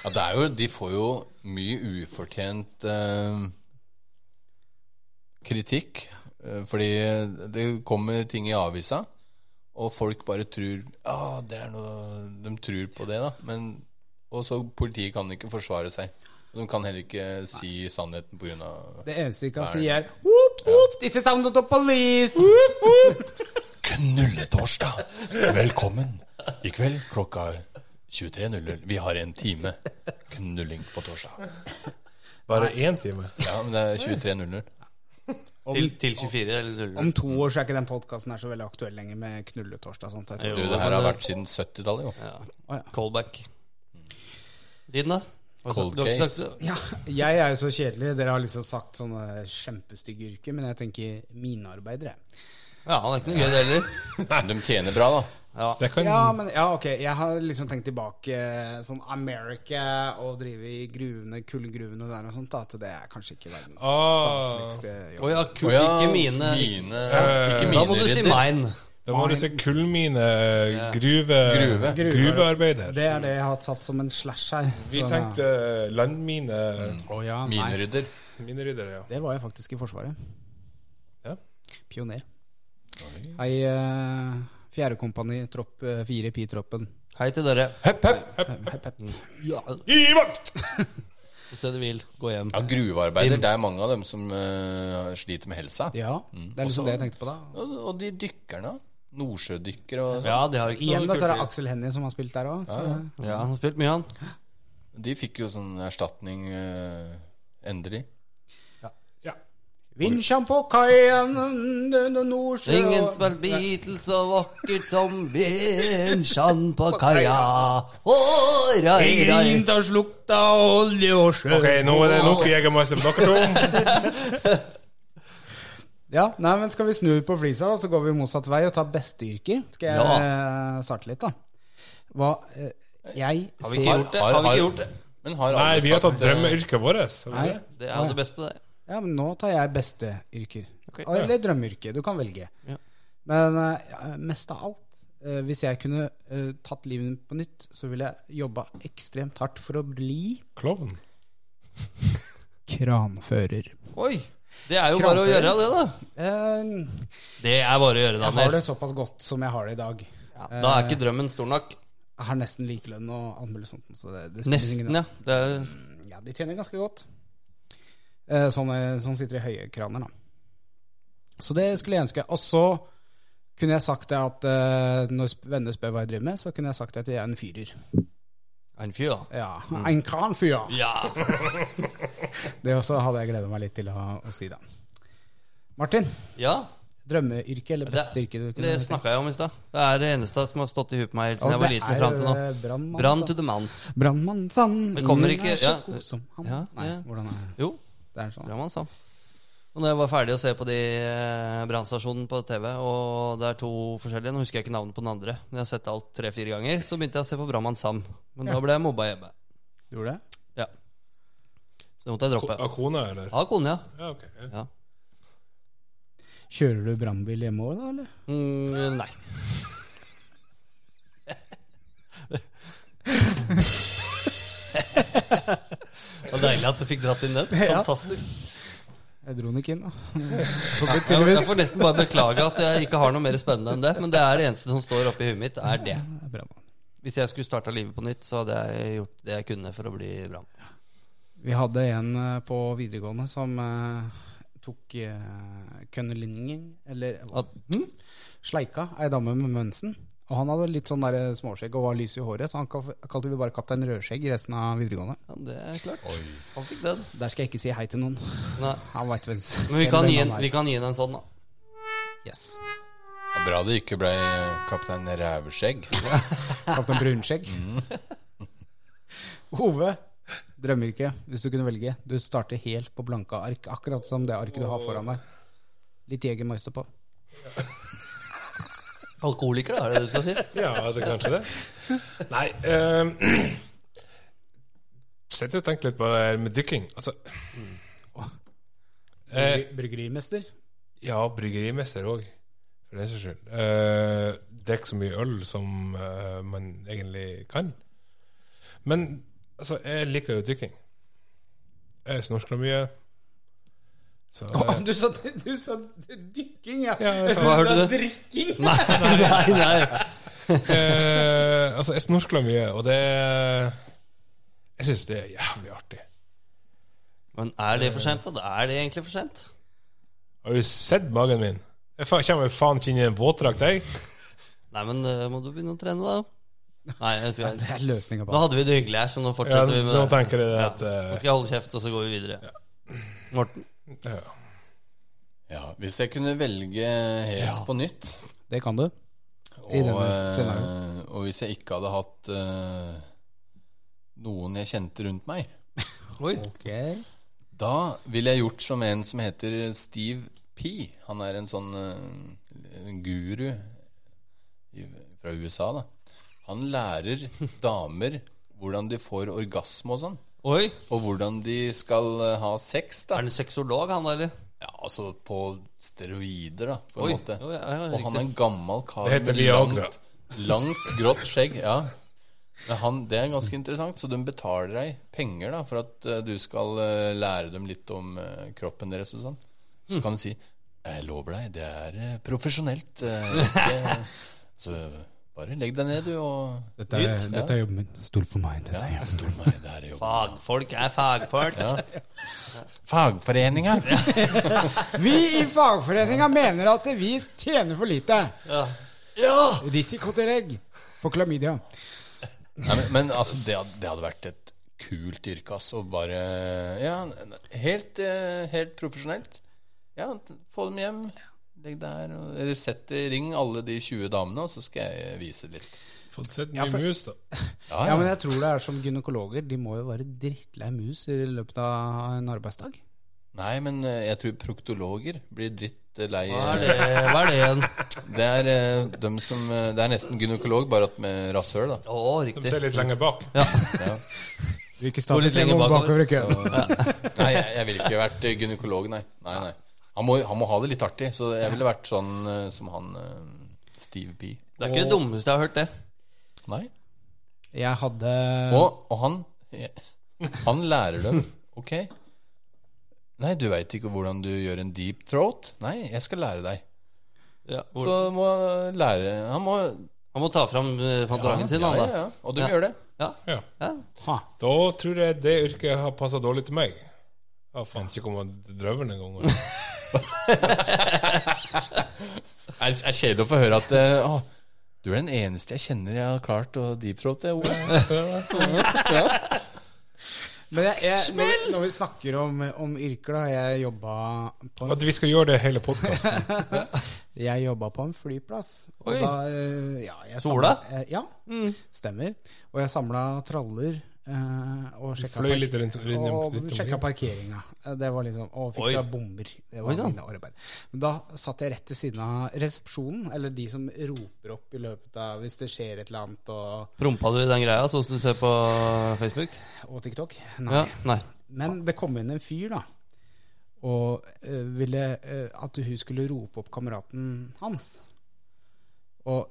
[SPEAKER 4] Ja, det er jo, de får jo mye ufortjent eh, kritikk. eh, fordi det kommer ting i avisa, og folk bare tror Ja, det er noe De tror på det, da. Men, og så politiet kan ikke forsvare seg. De kan heller ikke si sannheten på grunn av
[SPEAKER 1] Det eneste de kan si, er whoop, whoop, this is sound of the police.
[SPEAKER 4] Knulletorsdag! Velkommen! I kveld klokka 23.00. Vi har en time knulling på torsdag.
[SPEAKER 3] Bare én time.
[SPEAKER 4] Ja, men det er 23.00.
[SPEAKER 2] Til, til 24 eller
[SPEAKER 1] Om
[SPEAKER 2] 00.
[SPEAKER 1] to år så er ikke den podkasten så veldig aktuell lenger med knulletorsdag og sånt. Jeg
[SPEAKER 2] Jo,
[SPEAKER 4] Du,
[SPEAKER 1] tror.
[SPEAKER 4] det her
[SPEAKER 2] men- eh,
[SPEAKER 4] har vært siden 70-tallet, jo.
[SPEAKER 2] Ja.
[SPEAKER 1] Å, ja.
[SPEAKER 2] Callback. Din, da? Har du
[SPEAKER 4] Cold
[SPEAKER 2] sagt- du har ikke sagt-
[SPEAKER 1] Ja, jeg er jo så kjedelig. Dere har liksom sagt sånne kjempestygge yrker, men jeg tenker mine arbeidere.
[SPEAKER 2] Ja, det er ikke noe gøy, det heller.
[SPEAKER 4] De tjener bra, da.
[SPEAKER 2] Ja.
[SPEAKER 3] Det kan
[SPEAKER 1] Ja, men ja, ok. Jeg har liksom tenkt tilbake eh, sånn America og drive i gruvene, kullgruvene og der og sånt, da, at det er kanskje ikke verdens
[SPEAKER 3] Ah.
[SPEAKER 1] staseligste
[SPEAKER 2] Å
[SPEAKER 1] jobb.
[SPEAKER 2] ja,
[SPEAKER 4] Å
[SPEAKER 2] kult.
[SPEAKER 4] ja,
[SPEAKER 2] Ikke mine. Eh,
[SPEAKER 4] mine Ikke
[SPEAKER 2] Da må
[SPEAKER 4] mine
[SPEAKER 2] du si
[SPEAKER 4] ridder.
[SPEAKER 2] mine.
[SPEAKER 3] Da må du se kullmine, eh, gruve,
[SPEAKER 4] Gruve.
[SPEAKER 3] gruvearbeider.
[SPEAKER 1] Det er det jeg har satt som en slash her.
[SPEAKER 3] Vi
[SPEAKER 1] Så,
[SPEAKER 3] tenkte eh, landmine.
[SPEAKER 1] Å ja, nei.
[SPEAKER 4] Minerydder.
[SPEAKER 3] Mm. Mineryddere, ja.
[SPEAKER 1] Det var jeg faktisk i Forsvaret.
[SPEAKER 3] Ja.
[SPEAKER 1] Pioner. Hei, eh, fjerde kompani, tropp eh, fire, pi-troppen.
[SPEAKER 2] Hei til dere.
[SPEAKER 4] Hepp, hepp.
[SPEAKER 2] Ja,
[SPEAKER 3] I vakt!
[SPEAKER 2] Hvis dere vil, gå hjem.
[SPEAKER 4] Ja, gruvearbeider. Det er mange av dem som eh, sliter med helsa.
[SPEAKER 1] Ja,
[SPEAKER 2] Mm.
[SPEAKER 1] det er liksom
[SPEAKER 4] Også-
[SPEAKER 1] det jeg tenkte på da.
[SPEAKER 4] Og, og de dykkerne. Nordsjødykkere og sånn.
[SPEAKER 2] Ja, det har ikke
[SPEAKER 1] Igjen da,
[SPEAKER 2] noe
[SPEAKER 1] så er det
[SPEAKER 2] kult.
[SPEAKER 1] Aksel Hennie som har spilt der òg.
[SPEAKER 2] Ja, han har spilt mye, han.
[SPEAKER 4] De fikk jo sånn erstatning eh, endelig.
[SPEAKER 3] Ja.
[SPEAKER 1] Vinsjan på kaien, under Nordsjø
[SPEAKER 2] Ingen spilt Beatles så vakkert som Bensjan på kaia. Oi, rai, rai.
[SPEAKER 1] tar slukta olje og sjø
[SPEAKER 3] Ok, nå er det nok Jegermeister med dere to.
[SPEAKER 1] Ja, nei, men Skal vi snu på flisa, da, så går vi motsatt vei og tar beste yrke? Skal jeg eh, starte litt, da? Hva eh, Jeg
[SPEAKER 2] Har vi ikke
[SPEAKER 1] ser
[SPEAKER 2] gjort det? Har vi ikke gjort det?
[SPEAKER 4] Men har alle
[SPEAKER 3] Nei, vi har
[SPEAKER 4] sagt,
[SPEAKER 3] tatt
[SPEAKER 4] eh,
[SPEAKER 3] drømmeyrket vårt. har vi
[SPEAKER 1] Nei.
[SPEAKER 3] det?
[SPEAKER 2] Det er jo det beste, det.
[SPEAKER 1] Ja, men nå tar jeg beste yrker.
[SPEAKER 2] Ok.
[SPEAKER 1] Eller drømmeyrke. Du kan velge.
[SPEAKER 2] Ja.
[SPEAKER 1] Men eh, ja, mest av alt, eh, hvis jeg kunne eh, tatt livet mitt på nytt, så ville jeg jobba ekstremt hardt for å bli
[SPEAKER 3] Klovn.
[SPEAKER 1] kranfører.
[SPEAKER 2] Oi. Det er jo bare å gjøre det, da.
[SPEAKER 1] Eh,
[SPEAKER 2] Det er bare å
[SPEAKER 1] jeg
[SPEAKER 2] gjøre,
[SPEAKER 1] har det
[SPEAKER 2] Daniel.
[SPEAKER 1] såpass godt som jeg har det i dag.
[SPEAKER 2] Ja, Da er ikke drømmen stor nok.
[SPEAKER 1] Jeg har nesten likelønn og alt mulig sånt. Så det, det spiller
[SPEAKER 2] Nesten,
[SPEAKER 1] ingen
[SPEAKER 2] ja. Det er,
[SPEAKER 1] rolle. ja, de tjener ganske godt. Eh, Sånne som sitter i høye kraner, da. Så det skulle jeg ønske. Og så kunne jeg sagt det at eh, når sp- venner spør hva jeg driver med, så kunne jeg sagt at jeg er en fyrer.
[SPEAKER 2] en fyr, da.
[SPEAKER 1] Ja, en kranfyrer.
[SPEAKER 2] Ja.
[SPEAKER 1] Det også hadde jeg gleda meg litt til å, å si, da. Martin,
[SPEAKER 2] ja.
[SPEAKER 1] drømmeyrke eller
[SPEAKER 2] Det,
[SPEAKER 1] beste yrke du kunne
[SPEAKER 2] det snakka jeg om i stad. Det er det eneste som har stått i huet på meg helt
[SPEAKER 1] Og
[SPEAKER 2] siden jeg var
[SPEAKER 1] det
[SPEAKER 2] liten
[SPEAKER 1] er,
[SPEAKER 2] fram til nå.
[SPEAKER 1] eh, brandmann,
[SPEAKER 2] Brann
[SPEAKER 1] da.
[SPEAKER 2] to the man.
[SPEAKER 1] Brannmann Sand.
[SPEAKER 2] Men kommer
[SPEAKER 1] ingen
[SPEAKER 2] ikke-
[SPEAKER 1] er så
[SPEAKER 2] ja,
[SPEAKER 1] god som han.
[SPEAKER 2] ja,
[SPEAKER 1] Nei,
[SPEAKER 2] ja.
[SPEAKER 1] hvordan er
[SPEAKER 2] Jo,
[SPEAKER 1] det? Er sånn.
[SPEAKER 2] Bra mann, sa han. Og når jeg var ferdig å se på de eh, brannstasjonen på TV, og det er to forskjellige, nå husker jeg ikke navnet på den andre, men jeg har sett alt tre-fire ganger, så begynte jeg å se på Brannmann Sam. Men da ble jeg mobba hjemme.
[SPEAKER 1] Gjorde du det?
[SPEAKER 2] Ja. Så det måtte jeg droppe.
[SPEAKER 3] Av kona, eller?
[SPEAKER 2] Ja, kone, ja.
[SPEAKER 3] Ja, ok. Ja.
[SPEAKER 2] ja.
[SPEAKER 1] Kjører du brannbil hjemme òg, da? eller?
[SPEAKER 2] Mm, nei. Det var deilig at du fikk dratt inn den.
[SPEAKER 1] Ja.
[SPEAKER 2] Fantastisk.
[SPEAKER 1] Jeg Jeg dro den ikke inn, da.
[SPEAKER 2] Jeg, jeg får nesten bare beklage at jeg ikke har noe mer spennende enn det. Men det er det eneste som står oppi huet mitt, er det.
[SPEAKER 1] Det er bra, da.
[SPEAKER 2] Hvis jeg skulle starta livet på nytt, så hadde jeg gjort det jeg kunne for å bli Brann.
[SPEAKER 1] Vi hadde en eh, på videregående som eh, tok uh, kønnelinjen, eller hva?
[SPEAKER 2] At- Hm?
[SPEAKER 1] sleika ei dame med mensen. Og han hadde litt sånn der småskjegg og var lys i håret, så han kal- kalte vi bare Kaptein Rødskjegg i resten av videregående.
[SPEAKER 2] Ja, det er klart. Han fikk den.
[SPEAKER 1] Der skal jeg ikke si hei til noen.
[SPEAKER 2] Nei.
[SPEAKER 1] Han vet hvem s-
[SPEAKER 2] Men vi
[SPEAKER 1] selv
[SPEAKER 2] kan,
[SPEAKER 1] hvem
[SPEAKER 2] gi en,
[SPEAKER 1] han er.
[SPEAKER 2] vi kan gi den en sånn, da.
[SPEAKER 1] Yes.
[SPEAKER 4] Ja, Bra det ikke ble eh, kaptein Rævskjegg.
[SPEAKER 1] Kaptein Brunskjegg. Mm. Ove, drømmeyrke, hvis du kunne velge. Du starter helt på blanke ark, akkurat som det arket du har foran deg. Litt Jegermeister på.
[SPEAKER 2] Alkoholiker, da, er det det du skal si?
[SPEAKER 3] Ja, det er kanskje det. Nei uh, Sett og tenk litt på det her med dykking. Altså eh,
[SPEAKER 1] Bryg- Bryggerimester.
[SPEAKER 3] Ja, bryggerimester òg, for den saks skyld. Eh, Drikk så mye øl som eh, man egentlig kan. Men altså, jeg liker jo dykking. Jeg snorkler mye. Så eh,
[SPEAKER 1] Du sa, du sa dykking, ja.
[SPEAKER 3] Ja,
[SPEAKER 1] jeg
[SPEAKER 3] hva
[SPEAKER 1] synes
[SPEAKER 2] hørte
[SPEAKER 1] det er drikking.
[SPEAKER 2] Nei, nei, nei.
[SPEAKER 3] eh, altså, jeg snorkler mye, og det Jeg syns det er jævlig artig.
[SPEAKER 2] Men er det for sent, da? Er det egentlig for sent?
[SPEAKER 3] Har du sett magen min? Jeg fa- kommer jo faen ikke inn i en våtdrakt, jeg.
[SPEAKER 2] Nei, men eh, må du begynne å trene, da? Nei, jeg skal
[SPEAKER 1] Det er løsninga
[SPEAKER 2] Nå
[SPEAKER 1] på det.
[SPEAKER 2] hadde vi det hyggelig her, så nå
[SPEAKER 3] Ja,
[SPEAKER 2] fortsetter vi med
[SPEAKER 3] nå
[SPEAKER 2] det.
[SPEAKER 3] tenker jeg det at
[SPEAKER 2] Nå
[SPEAKER 3] eh,
[SPEAKER 2] skal jeg holde kjeft, og så går vi videre. Morten?
[SPEAKER 3] ja.
[SPEAKER 4] Ja, hvis jeg kunne velge helt på nytt
[SPEAKER 1] Det kan du.
[SPEAKER 4] og,
[SPEAKER 1] I denne
[SPEAKER 4] eh,
[SPEAKER 1] scenarioen.
[SPEAKER 4] og hvis jeg ikke hadde hatt eh, noen jeg kjente rundt meg,
[SPEAKER 2] Oi.
[SPEAKER 1] Ok
[SPEAKER 4] da ville jeg gjort som en som heter Steve P. Han er en sånn eh, en guru i, fra USA, da. Han lærer damer hvordan de får orgasme og sånn.
[SPEAKER 2] Oi.
[SPEAKER 4] Og hvordan de skal eh, ha sex, da.
[SPEAKER 2] Er han sexolog, han, eller?
[SPEAKER 4] Ja, altså på steroider, da, på
[SPEAKER 2] Oi.
[SPEAKER 4] en måte.
[SPEAKER 2] Jo, ja, ja,
[SPEAKER 4] og han er en gammel kar
[SPEAKER 3] Det heter
[SPEAKER 4] med
[SPEAKER 3] Viagra.
[SPEAKER 4] langt, langt, grått skjegg. Ja. Men han, det er ganske interessant, så de betaler deg penger da, for at eh, du skal eh, lære dem litt om eh, kroppen deres og sånn. Så kan du si Jeg lover deg, det er eh, profesjonelt. eh, ikke, så bare legg deg ned, du, og
[SPEAKER 1] Dette er,
[SPEAKER 4] Nytt, ja.
[SPEAKER 1] dette er jobben min. Stol på meg. Dette er
[SPEAKER 4] ja,
[SPEAKER 1] jobben.
[SPEAKER 4] stol meg, det her er jobben.
[SPEAKER 2] Fagfolk er fagfolk.
[SPEAKER 4] Ja. Fagforeninga!
[SPEAKER 1] Vi i fagforeninga mener at vi tjener for lite.
[SPEAKER 2] Ja.
[SPEAKER 1] Risikotillegg for klamydia.
[SPEAKER 4] Nei, men, men altså, det, had- det hadde vært et kult yrke, altså. Bare Ja, n- helt, eh, helt profesjonelt. Ja, t- få dem hjem. Legg der. og- Eller sett det- ring alle de 20 damene, og så skal jeg vise litt.
[SPEAKER 3] Fått sett
[SPEAKER 1] Ja,
[SPEAKER 3] mye
[SPEAKER 1] for-
[SPEAKER 3] mus, da.
[SPEAKER 4] Ja,
[SPEAKER 1] Ja,
[SPEAKER 4] ja.
[SPEAKER 1] men jeg tror det er som gynekologer. De må jo være drittlei mus i løpet av en arbeidsdag.
[SPEAKER 4] Nei, men eh, jeg tror proktologer blir drittlei.
[SPEAKER 2] Hva er det, hva er det igjen?
[SPEAKER 4] Det er eh, dem som eh, Det er nesten gynekolog, bare at med rasshøl, da.
[SPEAKER 2] Å,
[SPEAKER 3] De
[SPEAKER 2] riktig.
[SPEAKER 3] ser litt lenger bak.
[SPEAKER 4] Ja.
[SPEAKER 1] Ikke
[SPEAKER 2] Gå litt lenger bakover.
[SPEAKER 1] bakover i køen.
[SPEAKER 4] Så, nei, jeg, jeg ville ikke vært gynekolog, nei. nei, nei. Han, må, han må ha det litt artig, så jeg ville vært sånn eh, som han eh, Steve P.
[SPEAKER 2] Det er ikke det dummeste jeg har hørt, det.
[SPEAKER 4] Nei.
[SPEAKER 1] Jeg hadde
[SPEAKER 4] Og, og han eh, Han lærer dem Ok. Nei, du veit ikke hvordan du gjør en deep throat? Nei, jeg skal lære deg.
[SPEAKER 2] Ja, hvor-
[SPEAKER 4] Så må han lære Han må
[SPEAKER 2] Han må ta fram eh, fantorangen sin,
[SPEAKER 4] ja,
[SPEAKER 2] han,
[SPEAKER 4] ja,
[SPEAKER 2] da.
[SPEAKER 4] ja. Og de
[SPEAKER 2] Ja.
[SPEAKER 4] gjør det.
[SPEAKER 2] Ja.
[SPEAKER 3] Ja.
[SPEAKER 2] Ja.
[SPEAKER 1] ha,
[SPEAKER 3] Da tror jeg det yrket har passa dårlig til meg. Jeg fant ikke om jeg drømmer en gang.
[SPEAKER 4] Er, er kjedelig å få høre at eh, Å, du er den eneste jeg kjenner jeg har klart å deep throat. Jeg, Ole.
[SPEAKER 1] Men jeg, jeg, når, når vi snakker om, om yrker, da Jeg jobba på en
[SPEAKER 3] At vi skal gjøre det hele podkasten.
[SPEAKER 1] Jeg jobba på en flyplass. Og
[SPEAKER 2] Oi.
[SPEAKER 1] da, eh, ja, jeg
[SPEAKER 2] Sola?
[SPEAKER 1] samla- eh, Ja,
[SPEAKER 3] Mm.
[SPEAKER 1] stemmer. Og jeg samla traller eh, og sjekka,
[SPEAKER 3] Fløy litt rundt, rundt,
[SPEAKER 1] og
[SPEAKER 3] rundt
[SPEAKER 1] sjekka
[SPEAKER 3] omkring.
[SPEAKER 1] parkeringa. Eh, Det var liksom, og fiksa
[SPEAKER 2] Oi.
[SPEAKER 1] bomber. Det
[SPEAKER 2] Oi,
[SPEAKER 1] var
[SPEAKER 2] sann.
[SPEAKER 1] mine arbeid. Men da satt jeg rett ved siden av resepsjonen, eller de som roper opp i løpet av hvis det skjer et eller annet, og,
[SPEAKER 2] Prompa du i den greia, sånn som du ser på Facebook?
[SPEAKER 1] og TikTok. Nei.
[SPEAKER 2] Ja. Nei.
[SPEAKER 1] Men det kom inn en fyr, da. Og eh, ville eh, at hun skulle rope opp kameraten hans. Og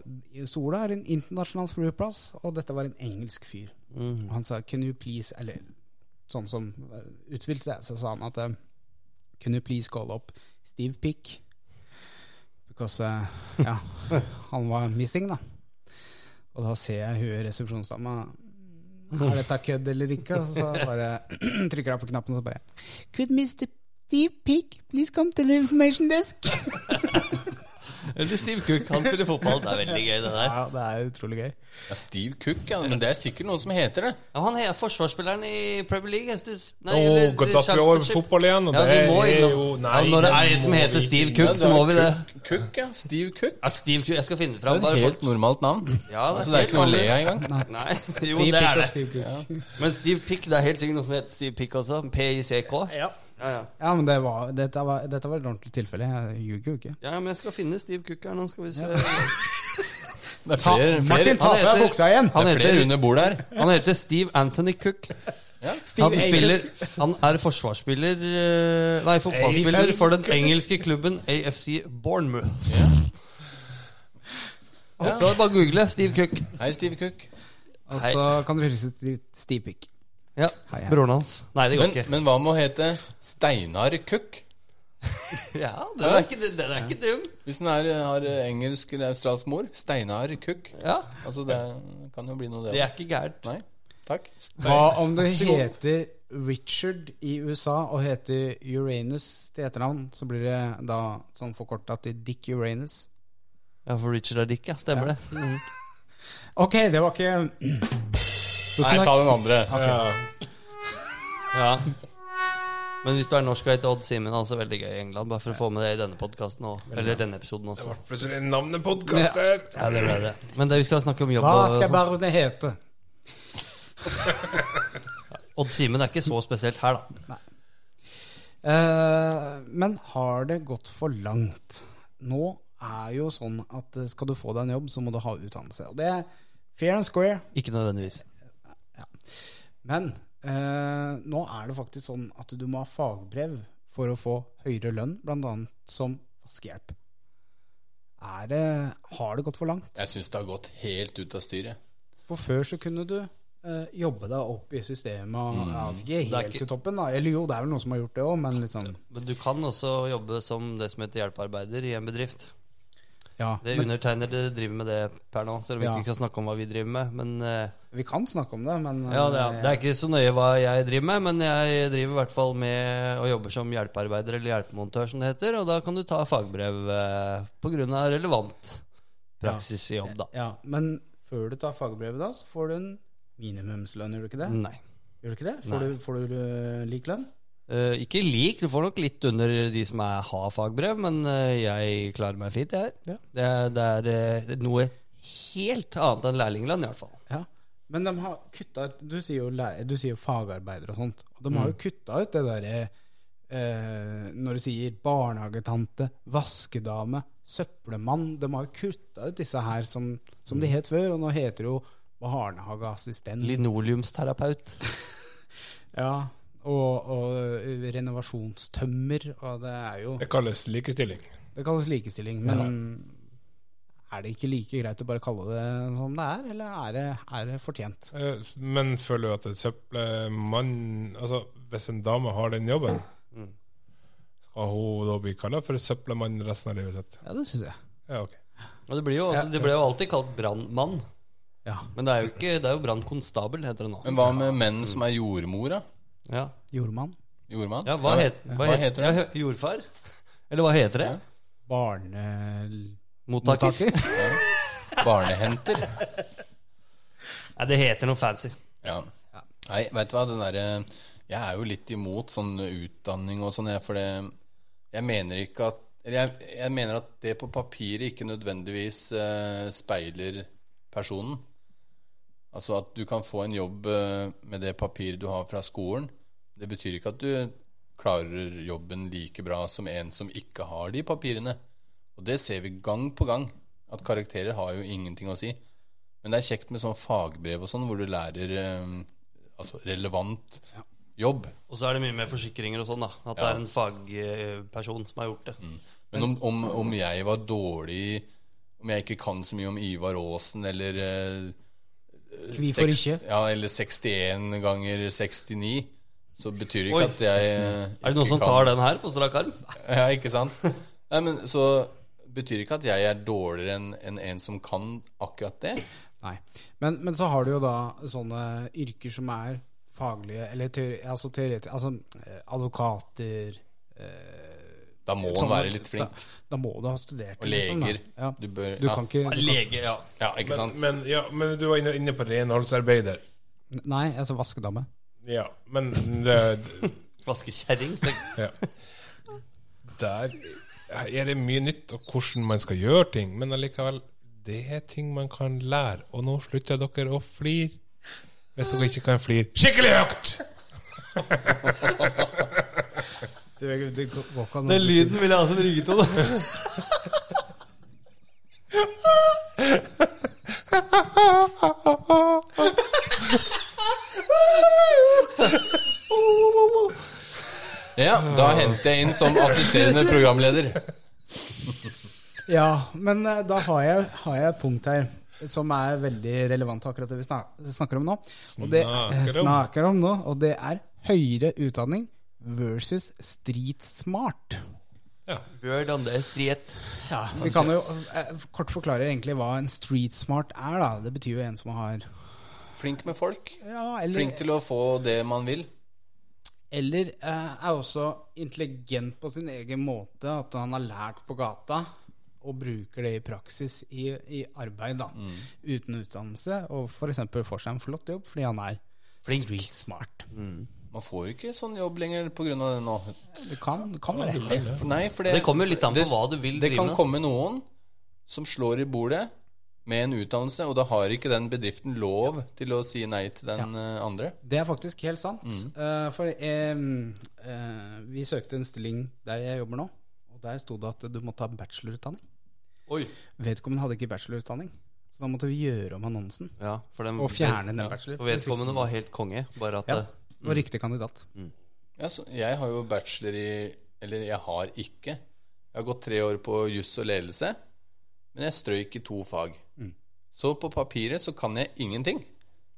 [SPEAKER 1] Sola er en internasjonal flyplass, og dette var en engelsk fyr.
[SPEAKER 2] Mm.
[SPEAKER 1] Og han sa 'can you please' Eller sånn som uh, utspilte det, så sa han at eh, Can you please call up Steve Pick? Because eh, Ja, han var missing, da. Og da ser jeg hun resepsjonsdama Er dette kødd eller ikke? Og så bare trykker jeg på knappen, og så bare Could Mr. Steve Pick please come to the information desk?
[SPEAKER 2] Eller Steve Cook, han spiller fotball. Det er veldig gøy, det der.
[SPEAKER 1] Ja, det er utrolig gøy.
[SPEAKER 4] Ja, Steve Cook, ja. Men det er sikkert noen som heter det.
[SPEAKER 2] Ja, han er forsvarsspilleren i Premier League. jeg synes- Nei,
[SPEAKER 3] Nå
[SPEAKER 2] eller-
[SPEAKER 3] går datt vi over på fotball igjen, og
[SPEAKER 2] Ja,
[SPEAKER 3] det
[SPEAKER 2] vi må
[SPEAKER 3] er
[SPEAKER 2] innom.
[SPEAKER 3] jo
[SPEAKER 2] ja, når det er
[SPEAKER 3] det
[SPEAKER 2] en som
[SPEAKER 3] må
[SPEAKER 2] heter
[SPEAKER 3] vi
[SPEAKER 2] Steve
[SPEAKER 3] ikke.
[SPEAKER 2] Cook,
[SPEAKER 4] Ja,
[SPEAKER 2] så må vi det.
[SPEAKER 4] Cook, Cook, ja. Steve Cook.
[SPEAKER 2] Ja, Steve Cook, jeg skal finne det
[SPEAKER 4] Det
[SPEAKER 2] fram.
[SPEAKER 4] er et
[SPEAKER 2] Bare
[SPEAKER 4] helt normalt navn.
[SPEAKER 2] Ja, det er
[SPEAKER 4] altså, det er
[SPEAKER 2] helt
[SPEAKER 4] ikke noe å le
[SPEAKER 2] vanlig.
[SPEAKER 4] av engang.
[SPEAKER 2] folk- Nei, jo,
[SPEAKER 1] Steve
[SPEAKER 2] det
[SPEAKER 1] Pick
[SPEAKER 2] er
[SPEAKER 1] og
[SPEAKER 2] det.
[SPEAKER 1] Steve Cook.
[SPEAKER 2] Men Steve Pick, det er helt sikkert noe som heter Steve Pick også. P-I-C-K.
[SPEAKER 1] Ja.
[SPEAKER 2] Ja, ja.
[SPEAKER 1] Ja, men det var, dette, var, dette var et ordentlig tilfelle. Jeg ljuger jo ikke.
[SPEAKER 2] ja, men jeg skal finne Steve Cook her. Nå skal vi se.
[SPEAKER 4] Det er flere, flere,
[SPEAKER 1] Martin, ta på deg
[SPEAKER 2] heter-
[SPEAKER 1] buksa igjen!
[SPEAKER 4] det
[SPEAKER 2] Han
[SPEAKER 4] er flere
[SPEAKER 2] heter,
[SPEAKER 4] under bordet her.
[SPEAKER 2] han heter Steve Anthony Cook. Han, spiller, han er forsvarsspiller eh, Nei, fotballspiller for den engelske klubben AFC Bournemouth.
[SPEAKER 4] Ja.
[SPEAKER 2] Så bare google Steve Cook.
[SPEAKER 4] Hei, Steve Cook.
[SPEAKER 1] Og så kan du hilse til Steve Pick.
[SPEAKER 2] Ja,
[SPEAKER 1] Hei, hei.
[SPEAKER 2] Broren hans. Nei, det går
[SPEAKER 4] Men,
[SPEAKER 2] ikke.
[SPEAKER 4] men hva med å hete Steinar Cook?
[SPEAKER 2] Ja, Den er ikke, den er ikke dum.
[SPEAKER 4] Hvis den er, har engelsk eller australsk mor. Steinar Cook.
[SPEAKER 2] Ja,
[SPEAKER 4] Altså, det kan jo bli noe,
[SPEAKER 2] Det
[SPEAKER 4] det.
[SPEAKER 2] er ikke gærent.
[SPEAKER 4] Nei? Takk.
[SPEAKER 1] Hva om du heter Richard i USA og heter Uranus til etternavn? Så blir det da sånn forkorta til Dick Uranus.
[SPEAKER 2] Ja, for Richard er dick, ja. Stemmer det. Mhm.
[SPEAKER 1] Ok, det var ikke
[SPEAKER 4] Nei, ta den andre.
[SPEAKER 3] Ja.
[SPEAKER 2] Ja. Men hvis du er norsk og heter Odd Simen, er også veldig gøy i England. Bare for å få med det i denne podcasten også. Eller denne episoden
[SPEAKER 3] Det
[SPEAKER 2] også.
[SPEAKER 3] ble plutselig en navnepodkast der.
[SPEAKER 2] Ja, det ble det. Men det, vi skal snakke om jobb
[SPEAKER 1] Hva
[SPEAKER 2] og
[SPEAKER 1] skal
[SPEAKER 2] sånn.
[SPEAKER 1] barnet hete?
[SPEAKER 2] Odd Simen er ikke så spesielt her, da.
[SPEAKER 1] Eh, men har det gått for langt? Nå er jo sånn at eh, skal du få deg en jobb, så må du ha utdannelse. Og det er fair and square.
[SPEAKER 2] Ikke nødvendigvis.
[SPEAKER 1] Men eh, nå er det faktisk sånn at du må ha fagbrev for å få høyere lønn, bl.a. som vaskehjelp. Er det, har det gått for langt?
[SPEAKER 4] Jeg syns det har gått helt ut av styret.
[SPEAKER 1] For før så kunne du eh, jobbe deg opp i systemet. og- ja, altså ikke
[SPEAKER 2] Mm. er
[SPEAKER 1] helt
[SPEAKER 2] ikke-
[SPEAKER 1] til toppen, da. Eller jo, det er vel noen som har gjort det òg, men litt sånn
[SPEAKER 2] Men du kan også jobbe som det som heter hjelpearbeider i en bedrift.
[SPEAKER 1] ja.
[SPEAKER 2] Det
[SPEAKER 1] Men,
[SPEAKER 2] undertegnede driver med det per nå, selv om vi
[SPEAKER 1] Ja.
[SPEAKER 2] ikke skal snakke om hva vi driver med. Men eh,
[SPEAKER 1] vi kan snakke om det, men
[SPEAKER 2] ja, det,
[SPEAKER 1] eh,
[SPEAKER 2] er, det er ikke så nøye hva jeg driver med, men jeg driver i hvert fall med og jobber som hjelpearbeider eller hjelpemontør, som det heter. Og da kan du ta fagbrev eh, på grunn av relevant praksis i jobb, da.
[SPEAKER 1] eh, Ja, men før du tar fagbrevet da, så får du en minimumslønn, gjør du ikke det?
[SPEAKER 2] Nei.
[SPEAKER 1] Gjør du ikke det? Får
[SPEAKER 2] Mm. Nei.
[SPEAKER 1] du, får du eh, lik lønn?
[SPEAKER 2] Eh, ikke lik, du får nok litt under de som er, har fagbrev, men eh, jeg klarer meg fint, jeg.
[SPEAKER 1] Ja.
[SPEAKER 2] Det, er- det er eh, noe helt annet enn lærlinglønn, i hvert fall.
[SPEAKER 1] Ja. Men de har kutta ut Du sier jo, læ- du sier jo fagarbeider og sånt. Og de har jo kutta ut det derre eh, Når du sier barnehagetante, vaskedame, søppelmann De har jo kutta ut disse her som, som de het før, og nå heter det jo barnehageassistent.
[SPEAKER 2] Linoleumsterapeut.
[SPEAKER 1] Ja. Og, og eh, renovasjonstømmer. Og det er jo
[SPEAKER 3] Det kalles likestilling.
[SPEAKER 1] Det kalles likestilling, men er det ikke like greit å bare kalle det som det er, eller er det, er det fortjent?
[SPEAKER 3] Eh, Men føler du at et søppelmann Altså, hvis en dame har den jobben, skal hun da bli kalla for søppelmann resten av livet sitt?
[SPEAKER 1] Ja, det syns jeg.
[SPEAKER 3] Ja, ok.
[SPEAKER 2] Og det, blir jo, altså, det ble jo alltid kalt brannmann,
[SPEAKER 1] Ja.
[SPEAKER 2] men det er jo, ikke- det er jo brannkonstabel, heter det nå.
[SPEAKER 4] Men hva med menn som er jordmora?
[SPEAKER 2] Ja,
[SPEAKER 1] Jordmann.
[SPEAKER 4] Jordmann?
[SPEAKER 2] ja hva, het, hva,
[SPEAKER 4] hva
[SPEAKER 2] heter
[SPEAKER 4] heter
[SPEAKER 2] det? Ja, jordfar? Eller hva heter det?
[SPEAKER 4] Ja.
[SPEAKER 1] Barnemottaker.
[SPEAKER 2] Mottaker?
[SPEAKER 4] Barnehenter.
[SPEAKER 2] Nei, det heter noe fancy.
[SPEAKER 4] Ja. Nei, vet du hva, den derre Jeg er jo litt imot sånn utdanning og sånn, jeg, for det Jeg mener ikke at eller jeg, jeg mener at det på papiret ikke nødvendigvis eh, speiler personen. Altså at du kan få en jobb eh, med det papiret du har fra skolen. Det betyr ikke at du klarer jobben like bra som en som ikke har de papirene. Og det ser vi gang på gang, at karakterer har jo ingenting å si. Men det er kjekt med sånn fagbrev og sånn, hvor du lærer eh, altså relevant jobb.
[SPEAKER 2] Og så er det mye med forsikringer og sånn, da. At det
[SPEAKER 4] Ja.
[SPEAKER 2] er en fagperson som har gjort det.
[SPEAKER 4] Men om, om, om jeg var dårlig Om jeg ikke kan så mye om Ivar Aasen eller eh,
[SPEAKER 1] Hvorfor
[SPEAKER 4] seks-
[SPEAKER 1] ikke?
[SPEAKER 4] Ja, eller 61 ganger 69, så betyr det
[SPEAKER 2] Oi.
[SPEAKER 4] ikke at jeg eh,
[SPEAKER 2] Er det noen som tar den her på strak arm?
[SPEAKER 4] Ja, ikke sant? Nei, men så betyr det ikke at jeg er dårligere enn enn en som kan akkurat det.
[SPEAKER 1] Nei. Men, men så har du jo da sånne yrker som er faglige, eller teori, altså teoretiske Altså eh, advokater eh,
[SPEAKER 4] Da må
[SPEAKER 2] Sånn,
[SPEAKER 1] sånne-
[SPEAKER 4] man være litt flink.
[SPEAKER 1] Da, da må du ha studert.
[SPEAKER 4] Og
[SPEAKER 1] liksom, da.
[SPEAKER 4] leger.
[SPEAKER 1] ja.
[SPEAKER 4] Du bør
[SPEAKER 1] Du
[SPEAKER 4] ja.
[SPEAKER 1] kan ikke du kan,
[SPEAKER 2] Lege, ja.
[SPEAKER 4] Ja, ikke sant?
[SPEAKER 3] Men, men, ja, men du var inne, inne på renholdsarbeider.
[SPEAKER 1] Nei, altså vaskedame.
[SPEAKER 3] Ja, men det,
[SPEAKER 2] Vaskekjerring. tenk-
[SPEAKER 3] ja. Der er det mye nytt og hvordan man skal gjøre ting, men allikevel, det er ting man kan lære. Og nå slutter dere å flire. Hvis dere ikke kan flire skikkelig høyt!
[SPEAKER 1] Det, det går går ikke an å-
[SPEAKER 2] Den lyden vil jeg ha som ringetone.
[SPEAKER 4] Ja, da henter jeg inn som assisterende programleder.
[SPEAKER 1] Ja, men eh, da har jeg, har jeg et punkt her som er veldig relevant til akkurat det vi snak snakker om nå. Og det,
[SPEAKER 3] Snakker om.
[SPEAKER 1] eh, snakker om nå. Og det er høyere utdanning versus street smart.
[SPEAKER 2] Hvordan det er striet.
[SPEAKER 1] Vi kan jo eh, kort forklare egentlig hva en street smart er. da Det betyr jo en som har
[SPEAKER 4] Flink med folk.
[SPEAKER 1] ja, eller,
[SPEAKER 4] Flink til å få det man vil.
[SPEAKER 1] eller eh, er også intelligent på sin egen måte. At han har lært på gata og bruker det i praksis i, i arbeid. da
[SPEAKER 2] Mm.
[SPEAKER 1] Uten utdannelse. Og f.eks. får seg en flott jobb fordi han er
[SPEAKER 2] Flink.
[SPEAKER 1] street smart.
[SPEAKER 4] Man får ikke sånn jobb lenger pga. det nå.
[SPEAKER 1] Det kan, det kan være heldig.
[SPEAKER 4] Nei, for det,
[SPEAKER 2] Det kommer jo litt an på
[SPEAKER 4] det-
[SPEAKER 2] hva du vil
[SPEAKER 4] Det
[SPEAKER 2] drive
[SPEAKER 4] kan
[SPEAKER 2] med.
[SPEAKER 4] komme noen som slår i bordet med en utdannelse, og da har ikke den bedriften lov til å si nei til den eh, andre.
[SPEAKER 1] Det er faktisk helt sant.
[SPEAKER 2] Mm.
[SPEAKER 1] Eh, for eh, eh, vi søkte en stilling der jeg jobber nå, og der sto det at du må ta bachelorutdanning.
[SPEAKER 2] Oi.
[SPEAKER 1] Vedkommende hadde ikke bachelorutdanning, så da måtte vi gjøre om annonsen.
[SPEAKER 2] Ja, for den,
[SPEAKER 1] Og fjerne den
[SPEAKER 2] ja,
[SPEAKER 1] bachelor.
[SPEAKER 2] For vedkommende var helt konge, bare at
[SPEAKER 1] Ja,
[SPEAKER 2] eh,
[SPEAKER 1] det var riktig kandidat.
[SPEAKER 4] Ja, så jeg har jo bachelor i Eller jeg har ikke. Jeg har gått tre år på juss og ledelse, men jeg strøyk i to fag. Så på papiret så kan jeg ingenting.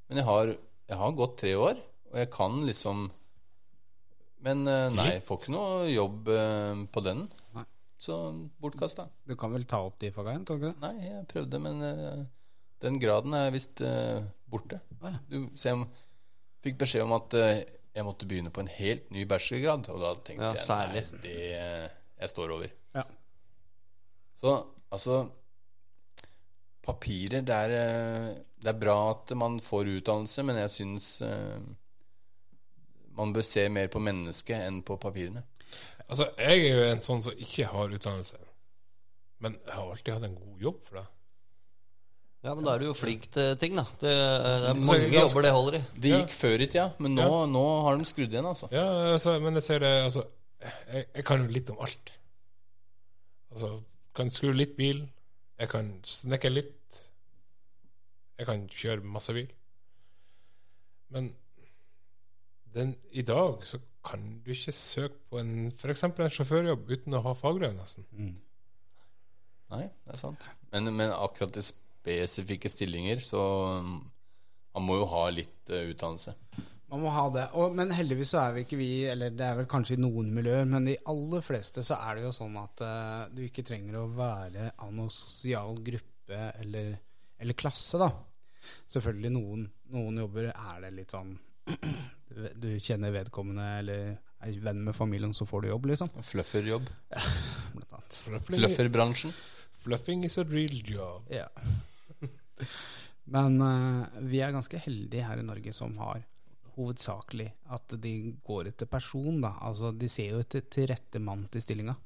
[SPEAKER 4] Men jeg har, jeg har gått tre år, og jeg kan liksom Men eh, nei, jeg får ikke noe jobb eh, på den.
[SPEAKER 1] Nei.
[SPEAKER 4] Så bortkasta.
[SPEAKER 1] Du kan vel ta opp de faga igjen? kan du ikke det?
[SPEAKER 4] Nei, jeg prøvde, men eh, den graden er visst eh, borte.
[SPEAKER 1] Å, ja.
[SPEAKER 4] Du se, om- fikk beskjed om at eh, jeg måtte begynne på en helt ny bachelorgrad, og da tenkte
[SPEAKER 2] Ja,
[SPEAKER 4] jeg
[SPEAKER 2] særlig.
[SPEAKER 4] nei, det eh, jeg står over.
[SPEAKER 1] Ja.
[SPEAKER 4] Så altså Papirer, det er, eh, det er bra at man får utdannelse, men jeg syns eh, man bør se mer på mennesket enn på papirene.
[SPEAKER 3] Altså, jeg er jo en sånn som ikke har utdannelse. Men jeg har alltid hatt en god jobb for det.
[SPEAKER 2] Ja, men da er du jo flink til ting, da. Det, eh, det er mange
[SPEAKER 3] ganske-
[SPEAKER 2] jobber det holder i.
[SPEAKER 4] Det gikk før i tida, men nå, nå har de skrudd igjen, altså.
[SPEAKER 3] Ja, altså, men jeg ser det altså, jeg, jeg kan jo litt om alt. Altså, kan skru litt bil. Jeg kan snekre litt. Jeg kan kjøre masse bil. Men den, i dag så kan du ikke søke på en f.eks. en sjåførjobb uten å ha fagbrev, nesten.
[SPEAKER 4] Nei, det er sant. Men, men akkurat i spesifikke stillinger, så um, man må jo ha litt eh, utdannelse.
[SPEAKER 1] Man må ha det. Og, men heldigvis så er vi ikke vi, eller det er vel kanskje i noen miljøer, men i aller fleste så er det jo sånn at eh, du ikke trenger å være av noen sosial gruppe eller, eller klasse, da. Selvfølgelig noen, noen jobber er det litt sånn du, du kjenner vedkommende eller er venn med familien, så får du jobb, liksom.
[SPEAKER 4] Flufferjobb.
[SPEAKER 1] Blant annet.
[SPEAKER 3] Fluffing,
[SPEAKER 4] Flufferbransjen.
[SPEAKER 3] fluffing is a real job.
[SPEAKER 1] Ja. Men eh, vi er ganske heldige her i Norge som har hovedsakelig at de går etter person, da. Altså de ser jo etter til rette mann til stillinga.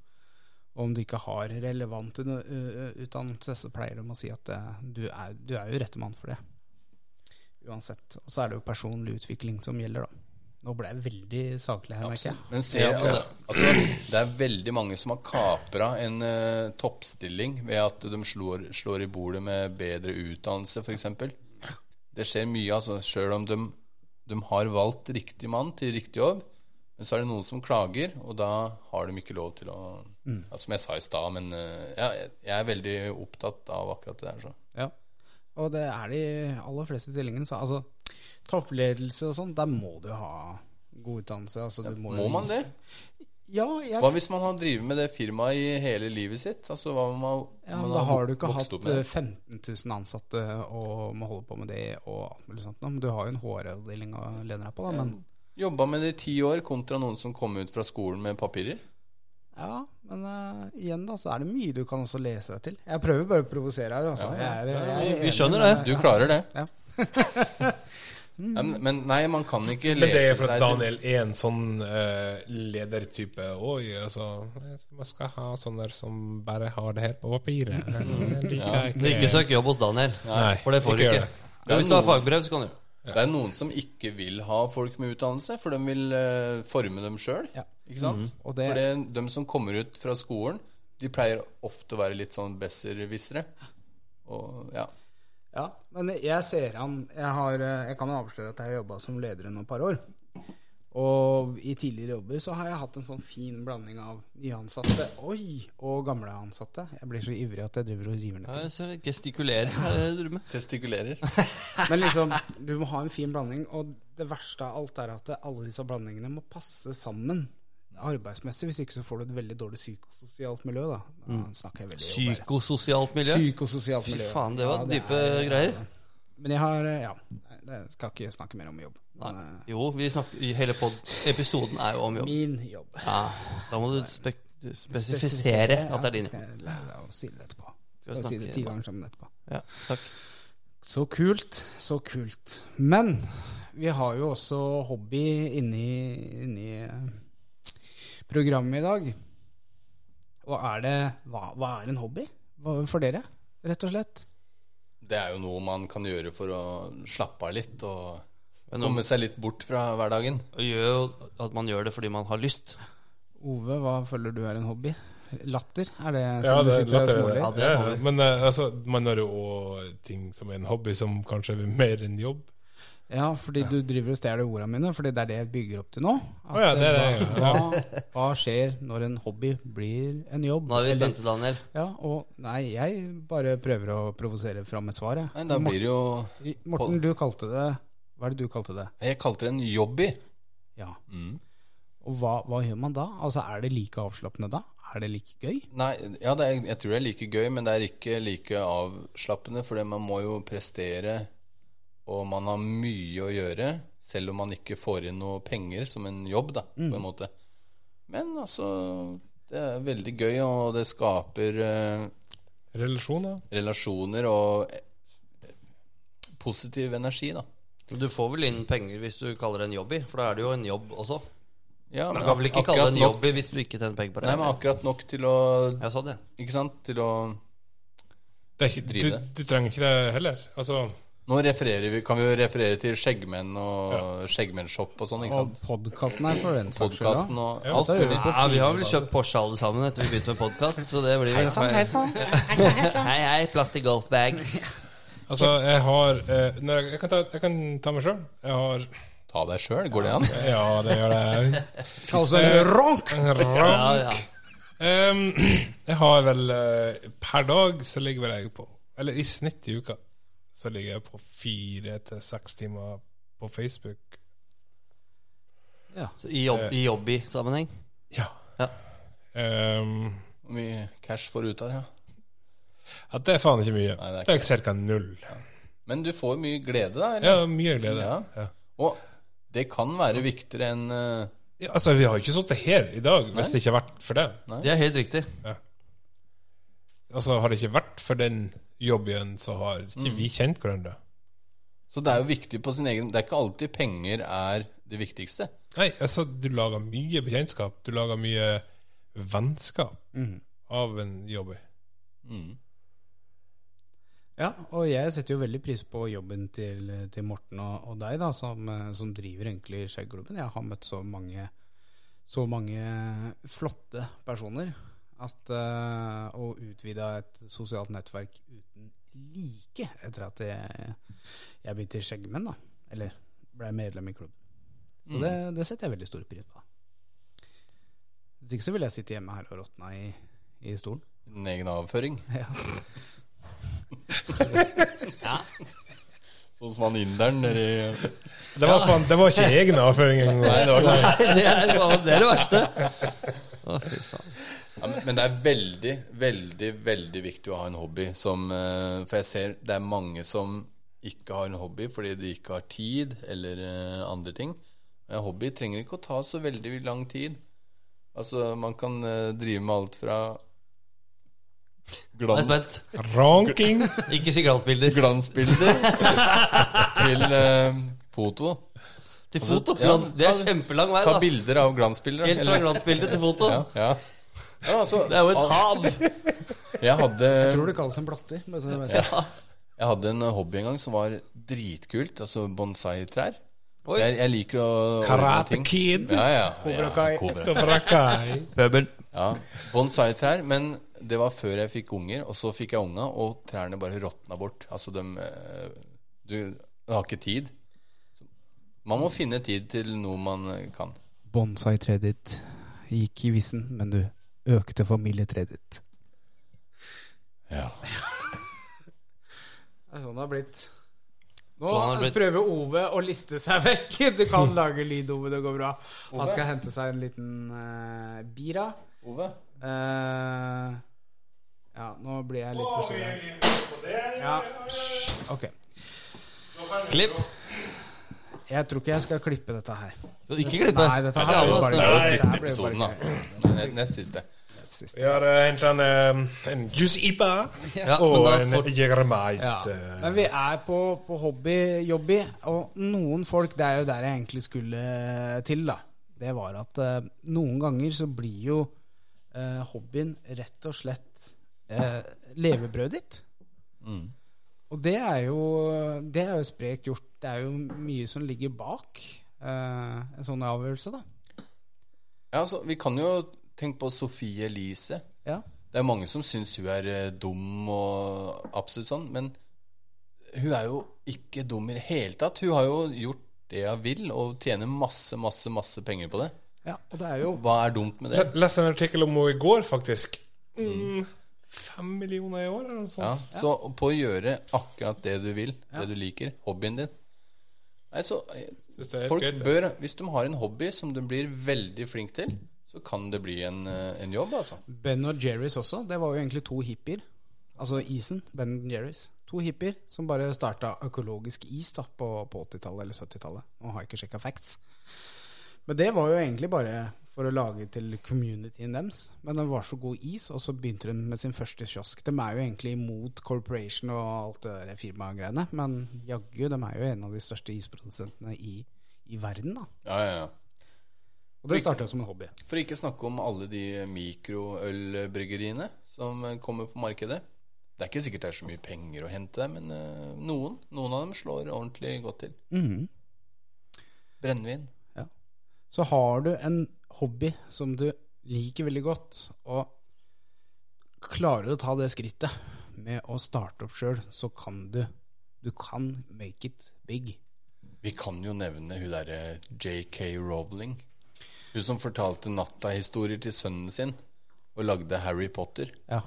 [SPEAKER 1] Og om du ikke har relevant under- ø- ø- utdannelse, så pleier de å si at eh, du er, du er jo rette mann for det. Uansett. Og så er det jo personlig utvikling som gjelder, da. Nå ble jeg veldig saklig her, merker jeg.
[SPEAKER 4] Men se,
[SPEAKER 2] Ja, altså-
[SPEAKER 4] altså, det er veldig mange som har kapra en eh, toppstilling ved at de slår, slår i bordet med bedre utdannelse, f.eks. Det skjer mye, altså, sjøl om de, de har valgt riktig mann til riktig jobb. Men så er det noen som klager, og da har de ikke lov til å
[SPEAKER 1] Mm.
[SPEAKER 4] ja, Som jeg sa i stad, men eh, ja, jeg- jeg er veldig opptatt av akkurat det der. Så.
[SPEAKER 1] Ja. Og det er de aller fleste stillingene. Så altså, toppledelse og sånn, der må du ha god utdannelse. Altså, du må,
[SPEAKER 4] Må
[SPEAKER 1] jo
[SPEAKER 4] man
[SPEAKER 1] vise-
[SPEAKER 4] det?
[SPEAKER 1] Ja, jeg,
[SPEAKER 4] Hva hvis man har drevet med det firmaet i hele livet sitt? Altså, hva om man,
[SPEAKER 1] ja,
[SPEAKER 4] man
[SPEAKER 1] men da har du ikke
[SPEAKER 4] vokst
[SPEAKER 1] hatt
[SPEAKER 4] opp med
[SPEAKER 1] eh,
[SPEAKER 4] det?
[SPEAKER 1] 15 000 ansatte og må holde på med det og alt mulig sånt. nå, Men du har jo en HR-avdeling å lene deg på, da. Men
[SPEAKER 4] Jobba med det i ti år kontra noen som kom ut fra skolen med papirer?
[SPEAKER 1] ja, men eh, igjen, da, så er det mye du kan også lese deg til. Jeg prøver bare å provosere her, altså.
[SPEAKER 4] Ja,
[SPEAKER 1] Jeg er, jeg
[SPEAKER 2] vi-
[SPEAKER 1] er
[SPEAKER 2] vi
[SPEAKER 1] enig,
[SPEAKER 2] skjønner
[SPEAKER 1] men,
[SPEAKER 2] det.
[SPEAKER 4] Du klarer det.
[SPEAKER 1] Ja.
[SPEAKER 4] Ja, men, men nei, man kan ikke
[SPEAKER 3] Men det
[SPEAKER 4] lese
[SPEAKER 3] er for at
[SPEAKER 4] seg til-
[SPEAKER 3] Daniel er en sånn eh, ledertype òg. Altså, man skal ha sånne som bare har det her på papiret. Det liker jeg
[SPEAKER 2] Men Ikke søk jobb hos Daniel,
[SPEAKER 3] Nei,
[SPEAKER 2] for det får du
[SPEAKER 3] ikke gjør
[SPEAKER 2] ikke.
[SPEAKER 3] det.
[SPEAKER 2] Men hvis du har fagbrev, så kan du.
[SPEAKER 4] Det er noen som ikke vil ha folk med utdannelse, for de vil eh, forme dem sjøl.
[SPEAKER 1] Ja. Mhm.
[SPEAKER 4] Ikke sant?
[SPEAKER 1] Og det-
[SPEAKER 4] For det, de som kommer ut fra skolen, de pleier ofte å være litt sånn besserwissere. Og ja.
[SPEAKER 1] Ja, men jeg ser han Jeg, har, eh, jeg kan jo avsløre at jeg har jobba som leder i noen par år. Og i tidligere jobber så har jeg hatt en sånn fin blanding av nyansatte Oi, og gamle ansatte. Jeg blir så ivrig at jeg driver og river ned ting.
[SPEAKER 2] Jeg ser Gestikulerer. jeg drømmer.
[SPEAKER 4] Testikulerer.
[SPEAKER 1] Men liksom, du må ha en fin blanding. Og det verste av alt er at alle disse blandingene må passe sammen arbeidsmessig. Hvis ikke så får du et veldig dårlig psykososialt miljø, da. da snakker jeg veldig jobb her.
[SPEAKER 2] Psykososialt Mm. miljø.
[SPEAKER 1] Psykososialt
[SPEAKER 2] Fy
[SPEAKER 1] miljø.
[SPEAKER 2] faen, det var
[SPEAKER 1] Ja,
[SPEAKER 2] dype
[SPEAKER 1] er-
[SPEAKER 2] greier.
[SPEAKER 1] Men jeg har eh, Ja, nei, det skal ikke snakke mer om jobb. Men,
[SPEAKER 2] Nei.
[SPEAKER 1] eh,
[SPEAKER 2] Jo, vi snakker, i hele pod episoden er jo om jobb.
[SPEAKER 1] Min jobb.
[SPEAKER 2] Ja, da må du spek spesifisere at det er din.
[SPEAKER 1] Ja, skal jeg lære deg å si det etterpå.
[SPEAKER 2] Skal
[SPEAKER 1] Skal jeg si det
[SPEAKER 2] snakke-
[SPEAKER 1] ti ganger sammen etterpå.
[SPEAKER 2] Ja, takk.
[SPEAKER 1] Så kult, så kult. Men vi har jo også hobby inni, inni eh, programmet i dag. Og er det Hva, hva er en hobby Hva- for dere, rett og slett?
[SPEAKER 4] Det er jo noe man kan gjøre for å slappe av litt og
[SPEAKER 2] Men nå-
[SPEAKER 4] komme seg litt bort fra hverdagen.
[SPEAKER 2] Det gjør jo at man gjør det fordi man har lyst.
[SPEAKER 1] Ove, hva føler du er en hobby? Latter? Er det
[SPEAKER 3] Ja,
[SPEAKER 1] som du
[SPEAKER 3] det er
[SPEAKER 1] sitter og
[SPEAKER 3] latter.
[SPEAKER 1] småler?
[SPEAKER 2] Ja,
[SPEAKER 3] Ja,
[SPEAKER 2] det er hobby.
[SPEAKER 3] Men eh, altså, man har jo òg ting som er en hobby, som kanskje er mer enn jobb.
[SPEAKER 1] Ja, fordi du driver og stjeler ordene mine, fordi det er det jeg bygger opp til nå. At,
[SPEAKER 3] Å ja, det er
[SPEAKER 1] eh,
[SPEAKER 3] det,
[SPEAKER 1] hva,
[SPEAKER 3] ja.
[SPEAKER 1] hva, hva skjer når en hobby blir en jobb?
[SPEAKER 2] Nå er vi
[SPEAKER 1] Eller-
[SPEAKER 2] spente, Daniel.
[SPEAKER 1] ja, og Nei, jeg bare prøver å provosere fram et svar, jeg.
[SPEAKER 4] Nei, da blir det jo
[SPEAKER 1] Morten, du kalte det Hva er det du kalte det?
[SPEAKER 4] Jeg kalte det en jobby.
[SPEAKER 1] Ja.
[SPEAKER 2] Mm.
[SPEAKER 1] Og hva, hva gjør man da? Altså, Er det like avslappende da? Er det like gøy?
[SPEAKER 4] Nei, ja, det er, jeg tror det er like gøy, men det er ikke like avslappende, for man må jo prestere, og man har mye å gjøre, selv om man ikke får inn noe penger som en jobb, da,
[SPEAKER 2] Mm.
[SPEAKER 4] på en måte. Men altså, det er veldig gøy, og det skaper eh,
[SPEAKER 3] Relasjoner.
[SPEAKER 4] relasjoner og eh, positiv energi, da.
[SPEAKER 2] Men Du får vel inn penger hvis du kaller det en jobby, for da er det jo en jobb også.
[SPEAKER 4] Ja,
[SPEAKER 2] Du kan vel ikke kalle
[SPEAKER 4] akkurat
[SPEAKER 2] det en
[SPEAKER 4] nok-
[SPEAKER 2] jobby hvis du ikke tjener penger på
[SPEAKER 4] Nei, men
[SPEAKER 2] det?
[SPEAKER 4] akkurat nok til å
[SPEAKER 2] Jeg sa det.
[SPEAKER 4] Ikke sant? Til å
[SPEAKER 3] Det er ikke,
[SPEAKER 4] Drive
[SPEAKER 3] du, du trenger ikke det heller. Altså,
[SPEAKER 4] Nå refererer vi, kan vi jo referere til Skjeggmenn og Skjeggmennshop og sånn, ikke
[SPEAKER 1] Og
[SPEAKER 4] sant?
[SPEAKER 1] podkasten her, for den saks skyld.
[SPEAKER 4] Podkasten
[SPEAKER 1] også.
[SPEAKER 4] og
[SPEAKER 3] Ja,
[SPEAKER 4] alt
[SPEAKER 1] dette er jo
[SPEAKER 4] mulig.
[SPEAKER 1] på
[SPEAKER 2] Ja, vi har vel kjøpt Porsche alle sammen etter vi begynte med podkast, så det blir Hei sann, Sånn, hei sann. Hei, hei, plastikk golfbag.
[SPEAKER 3] altså jeg har eh, når jeg, jeg, kan ta, jeg kan ta meg sjøl. Jeg har
[SPEAKER 4] Ta deg sjøl, går det an?
[SPEAKER 3] Ja, det gjør jeg.
[SPEAKER 1] Altså, en ronk!
[SPEAKER 2] Ja,
[SPEAKER 3] Rank.
[SPEAKER 2] ja.
[SPEAKER 3] Ehm, jeg har vel eh, Per dag så ligger vel jeg på Eller i snitt i uka så ligger jeg på fire til seks timer på Facebook.
[SPEAKER 1] Ja.
[SPEAKER 2] Så I, jobb, i jobby-sammenheng.
[SPEAKER 3] Ja.
[SPEAKER 2] Ja.
[SPEAKER 3] Ehm,
[SPEAKER 4] Hvor mye cash får du ut av det? Ja.
[SPEAKER 3] ja, det er faen ikke mye.
[SPEAKER 4] Nei, det er
[SPEAKER 3] det er ca. null.
[SPEAKER 4] Men du får mye glede, da. Eller?
[SPEAKER 3] Ja, mye glede.
[SPEAKER 4] Ja.
[SPEAKER 3] Ja. Ja.
[SPEAKER 4] Og det kan være viktigere enn eh,
[SPEAKER 3] altså, vi har jo ikke sittet her i dag hvis det ikke har vært for det.
[SPEAKER 2] Det er helt riktig.
[SPEAKER 3] Altså, har det ikke vært for den jobben, så har ikke vi kjent hverandre.
[SPEAKER 4] Så det er jo viktig på sin egen Det er ikke alltid penger er det viktigste.
[SPEAKER 3] Nei, altså, du lager mye bekjentskap. Du lager mye vennskap av en jobb.
[SPEAKER 4] Mm.
[SPEAKER 1] Ja, og jeg setter jo veldig pris på jobben til, til Morten og, og deg, da, som, eh, som driver egentlig Skjeggklubben. Jeg har møtt så mange, så mange flotte personer at, eh, og utvida et sosialt nettverk uten like etter at jeg, jeg begynte i Skjeggmenn, da. Eller ble medlem i klubben. Så det, det setter jeg veldig stor pris på. Hvis ikke så ville jeg sitte hjemme her og råtna i, i stolen.
[SPEAKER 4] Din egen avføring. Sånn som han inderen nede i
[SPEAKER 3] Det var, faen, det var ikke egen avføring
[SPEAKER 4] Nei,
[SPEAKER 3] engang.
[SPEAKER 4] det var ikke det.
[SPEAKER 2] Nei, det er, det er det verste. Å, fy faen.
[SPEAKER 4] Ja, men- men det er veldig, veldig, veldig viktig å ha en hobby som eh, For jeg ser det er mange som ikke har en hobby fordi de ikke har tid eller eh, andre ting. En hobby trenger ikke å ta så veldig lang tid. Altså, man kan eh, drive med alt fra
[SPEAKER 2] Jeg er
[SPEAKER 4] glans,
[SPEAKER 2] spent.
[SPEAKER 3] Ranking.
[SPEAKER 2] Ikke si glansbilder.
[SPEAKER 4] glansbilder til eh, foto.
[SPEAKER 2] Til foto.
[SPEAKER 4] Ja,
[SPEAKER 2] Glans, det er kjempelang vei,
[SPEAKER 4] Ta
[SPEAKER 2] da.
[SPEAKER 4] bilder av glansbilder. da.
[SPEAKER 2] Helt fra
[SPEAKER 4] Eller-
[SPEAKER 2] glansbilde til foto.
[SPEAKER 4] ja, ja. Ja, altså,
[SPEAKER 2] Det er jo et hav.
[SPEAKER 4] jeg hadde
[SPEAKER 1] Tror det kalles en blotter. Bare så du vet det.
[SPEAKER 4] Jeg hadde en hobby en gang som var dritkult. Altså bonsai-trær.
[SPEAKER 2] Oi.
[SPEAKER 4] Jeg, jeg liker å ordne
[SPEAKER 3] Karate
[SPEAKER 4] ting.
[SPEAKER 3] Kid.
[SPEAKER 4] Ja, ja.
[SPEAKER 1] Cobra
[SPEAKER 4] Ja,
[SPEAKER 1] Kai.
[SPEAKER 4] Cobra.
[SPEAKER 3] Cobra Kai.
[SPEAKER 2] Pøbel.
[SPEAKER 4] Ja, Bonsai-trær. Men det var før jeg fikk unger. Og så fikk jeg unga, og trærne bare råtna bort. Altså, de eh, Du du har ikke tid. Man må finne tid til noe man eh, kan.
[SPEAKER 1] Bonsai-treet ditt gikk i vissen, men du økte familietreet ditt.
[SPEAKER 4] Ja.
[SPEAKER 1] Det er sånn det har blitt. Nå
[SPEAKER 2] Sånn har det blitt.
[SPEAKER 1] prøver Ove å liste seg vekk. Du kan lage lyd, Ove. Det går bra. Han skal hente seg en liten eh, bira.
[SPEAKER 4] Ove?
[SPEAKER 1] Eh, ja, nå blir jeg litt forstyrra. Ja. hysj, Ok.
[SPEAKER 2] Klipp.
[SPEAKER 1] Jeg tror ikke jeg skal klippe dette her.
[SPEAKER 2] Så ikke klippe.
[SPEAKER 1] Nei, dette
[SPEAKER 2] Jeg
[SPEAKER 1] her blir
[SPEAKER 2] skal ha
[SPEAKER 1] jo bare
[SPEAKER 4] Det er jo
[SPEAKER 1] Nei,
[SPEAKER 4] siste
[SPEAKER 1] det her blir jo bare
[SPEAKER 4] episoden, da. Ne- Nest siste.
[SPEAKER 1] Siste.
[SPEAKER 3] Vi har eh, en, sånn, eh, en Juice Ipa
[SPEAKER 2] Ja,
[SPEAKER 3] og
[SPEAKER 2] men
[SPEAKER 3] en
[SPEAKER 2] da får-
[SPEAKER 3] Jegermeister.
[SPEAKER 1] Ja. Men vi er på, på hobby-jobby, og noen folk Det er jo der jeg egentlig skulle eh, til, da. Det var at eh, noen ganger så blir jo eh, hobbyen rett og slett eh, levebrødet ditt. Og det er, jo, det er jo sprekt gjort. Det er jo mye som ligger bak eh, en sånn avgjørelse, da.
[SPEAKER 4] Ja, altså, vi kan jo tenke på Sofie Elise.
[SPEAKER 1] Ja.
[SPEAKER 4] Det er mange som syns hun er eh, dum og absolutt sånn, men hun er jo ikke dum i det hele tatt. Hun har jo gjort det hun vil, og tjener masse, masse, masse penger på det.
[SPEAKER 1] ja. Og det er jo
[SPEAKER 4] Hva er dumt med det?
[SPEAKER 3] Jeg leste en artikkel om henne i går, faktisk. Mm, fem millioner i år, eller noe
[SPEAKER 4] Ja,
[SPEAKER 3] sånt.
[SPEAKER 4] så på å gjøre akkurat det du vil, det du liker, hobbyen din Nei, så eh,
[SPEAKER 3] Synes det er helt
[SPEAKER 4] folk
[SPEAKER 3] greit, det.
[SPEAKER 4] bør, Hvis de har en hobby som de blir veldig flink til, så kan det bli en, eh, en jobb, altså.
[SPEAKER 1] Ben og Jerrys også. Det var jo egentlig to hippier. Altså isen. Ben og Jerrys. To hippier som bare starta økologisk is da på, på 80-tallet eller 70-tallet. Nå har jeg ikke sjekka facts. Men det var jo egentlig bare for å lage til communityen deres. Men den var så god is, og så begynte de med sin første kiosk. De er jo egentlig imot Corporation og alt det der firmagreiene, men jaggu, de er jo en av de største isprodusentene i, i verden, da.
[SPEAKER 4] Ja, ja, ja.
[SPEAKER 1] Og det starta som en hobby.
[SPEAKER 4] For ikke snakke om alle de mikroølbryggeriene som kommer på markedet. Det er ikke sikkert det er så mye penger å hente, men eh, noen, noen av dem slår ordentlig godt til. Brennevin.
[SPEAKER 1] så har du en hobby som du liker veldig godt, og klarer du å ta det skrittet med å starte opp sjøl, så kan du Du kan make it big.
[SPEAKER 4] Vi kan jo nevne hun derre JK Rowling. Hun som fortalte nattahistorier til sønnen sin og lagde Harry Potter.
[SPEAKER 1] Ja.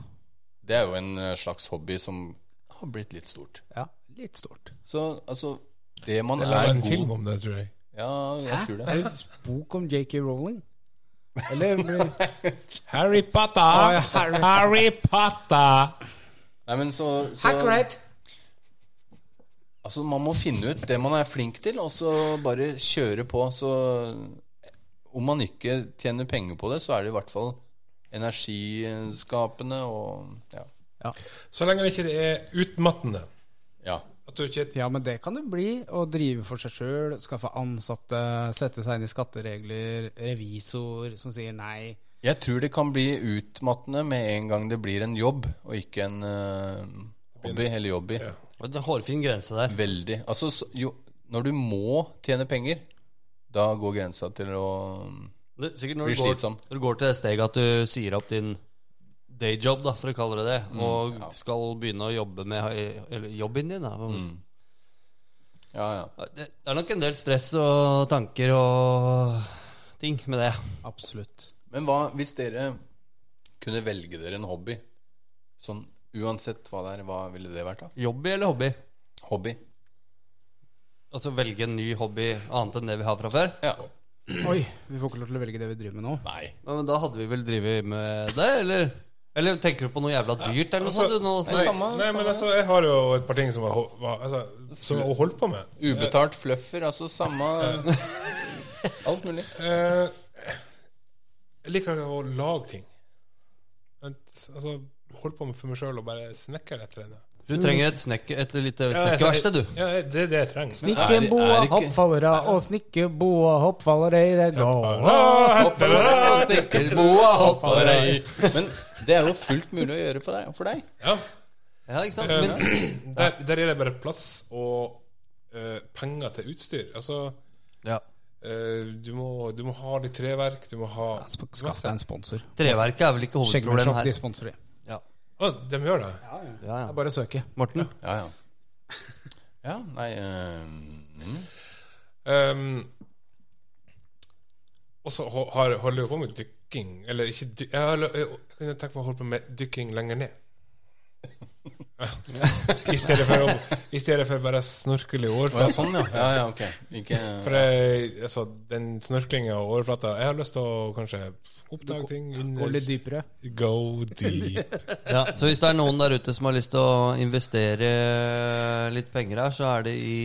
[SPEAKER 4] Det er jo en eh, slags hobby som har blitt litt stort.
[SPEAKER 1] ja litt stort.
[SPEAKER 4] Så altså Det man
[SPEAKER 3] Det
[SPEAKER 4] er,
[SPEAKER 3] lager en
[SPEAKER 4] god
[SPEAKER 3] film om det, tror jeg.
[SPEAKER 4] Ja, jeg tror det.
[SPEAKER 1] Er det bok om JK Rowling? Eller Å
[SPEAKER 3] Harry Potter!
[SPEAKER 1] ja, Harry.
[SPEAKER 3] Harry Potter!
[SPEAKER 4] Nei, men så, så Altså, Man må finne ut det man er flink til, og så bare kjøre på. Så om man ikke tjener penger på det, så er det i hvert fall energiskapende og Ja.
[SPEAKER 1] Ja.
[SPEAKER 3] Så lenge det ikke er utmattende.
[SPEAKER 4] ja.
[SPEAKER 3] At du ikke
[SPEAKER 1] ja, men det kan det bli. Å drive for seg sjøl, skaffe ansatte, sette seg inn i skatteregler, revisor som sier nei.
[SPEAKER 4] Jeg tror det kan bli utmattende med en gang det blir en jobb, og ikke en eh, hobby eller jobby.
[SPEAKER 3] Ja.
[SPEAKER 2] Det er en hårfin grense der.
[SPEAKER 4] Veldig. Altså, så- jo, når du må tjene penger, da går grensa til å
[SPEAKER 2] Det, sikkert når
[SPEAKER 4] Blir
[SPEAKER 2] du, går,
[SPEAKER 4] slitsom.
[SPEAKER 2] når du går til det steget at du sier opp din dayjob, da, for å kalle det det,
[SPEAKER 4] Mm.
[SPEAKER 2] og skal begynne å jobbe med eller, jobben din. Da.
[SPEAKER 4] Mm. Ja, ja.
[SPEAKER 2] Det det er nok en del stress og tanker og ting med det.
[SPEAKER 1] Absolutt.
[SPEAKER 4] Men hva hvis dere kunne velge dere en hobby? Sånn uansett hva det er, hva ville det vært da?
[SPEAKER 2] Jobby eller hobby?
[SPEAKER 4] Hobby.
[SPEAKER 2] Altså velge en ny hobby annet enn det vi har fra før?
[SPEAKER 4] Ja.
[SPEAKER 1] Oi, vi får ikke lov til å velge det vi driver med nå.
[SPEAKER 4] Nei.
[SPEAKER 2] Ja, Men da hadde vi vel drevet med det, eller? Eller tenker du på noe jævla dyrt, eller noe
[SPEAKER 3] Altså,
[SPEAKER 2] sånt? du, nå?
[SPEAKER 4] nei,
[SPEAKER 2] Så-
[SPEAKER 4] samme-
[SPEAKER 3] Nei, men altså, jeg har jo et par ting som jeg, ho- var- altså, som jeg holdt på med.
[SPEAKER 4] Ubetalt fluffer, altså samme Alt mulig.
[SPEAKER 3] Eh, jeg liker å lage ting. Men, altså, holde på med for meg sjøl og bare snekre etter henne.
[SPEAKER 2] Du trenger et, snekke, et lite snekkerverksted, du.
[SPEAKER 3] Ja, jeg- det er det jeg trenger.
[SPEAKER 4] Er- er
[SPEAKER 1] Snikkeboa,
[SPEAKER 4] ikke-
[SPEAKER 1] hoppfallere og snikkeboa, hoppfallere i det går.
[SPEAKER 4] Snekkerboa hopper deg. Men det er jo fullt mulig å gjøre for deg. For deg.
[SPEAKER 3] Ja.
[SPEAKER 2] Ja, ikke sant?
[SPEAKER 3] Eh,
[SPEAKER 2] Men
[SPEAKER 3] der, der er det bare plass og eh, penger til utstyr. Altså,
[SPEAKER 2] ja.
[SPEAKER 3] eh, du, må, du må ha litt treverk, du må ha
[SPEAKER 1] Skaff deg en sponsor.
[SPEAKER 2] treverket er vel ikke hovedproblemet
[SPEAKER 1] Skjeggershop, de
[SPEAKER 2] her.
[SPEAKER 1] sponsorer.
[SPEAKER 2] Ja.
[SPEAKER 3] Å, de gjør det?
[SPEAKER 2] Ja,
[SPEAKER 1] Det
[SPEAKER 2] ja.
[SPEAKER 1] er bare å søke.
[SPEAKER 2] Morten?
[SPEAKER 4] Ja, ja. Ja, nei eh, mm.
[SPEAKER 3] Ehm, og så ho- har- holder jeg på med dykking. Eller ikke dy- jeg, har, jeg, kunne tenkt meg å holde på med dykking lenger ned. I stedet for, å, i stedet for bare å snorkle i
[SPEAKER 4] Å ja,
[SPEAKER 3] overflata.
[SPEAKER 4] sånn, ja. Ja, ja, ok. Ikke
[SPEAKER 3] For jeg, altså, den snorklinga og overflata Jeg har lyst til å kanskje oppdage ting
[SPEAKER 1] Gå
[SPEAKER 3] under
[SPEAKER 1] litt dypere.
[SPEAKER 3] Go deep.
[SPEAKER 2] Ja, så hvis det er noen der ute som har lyst til å investere litt penger her, så er det i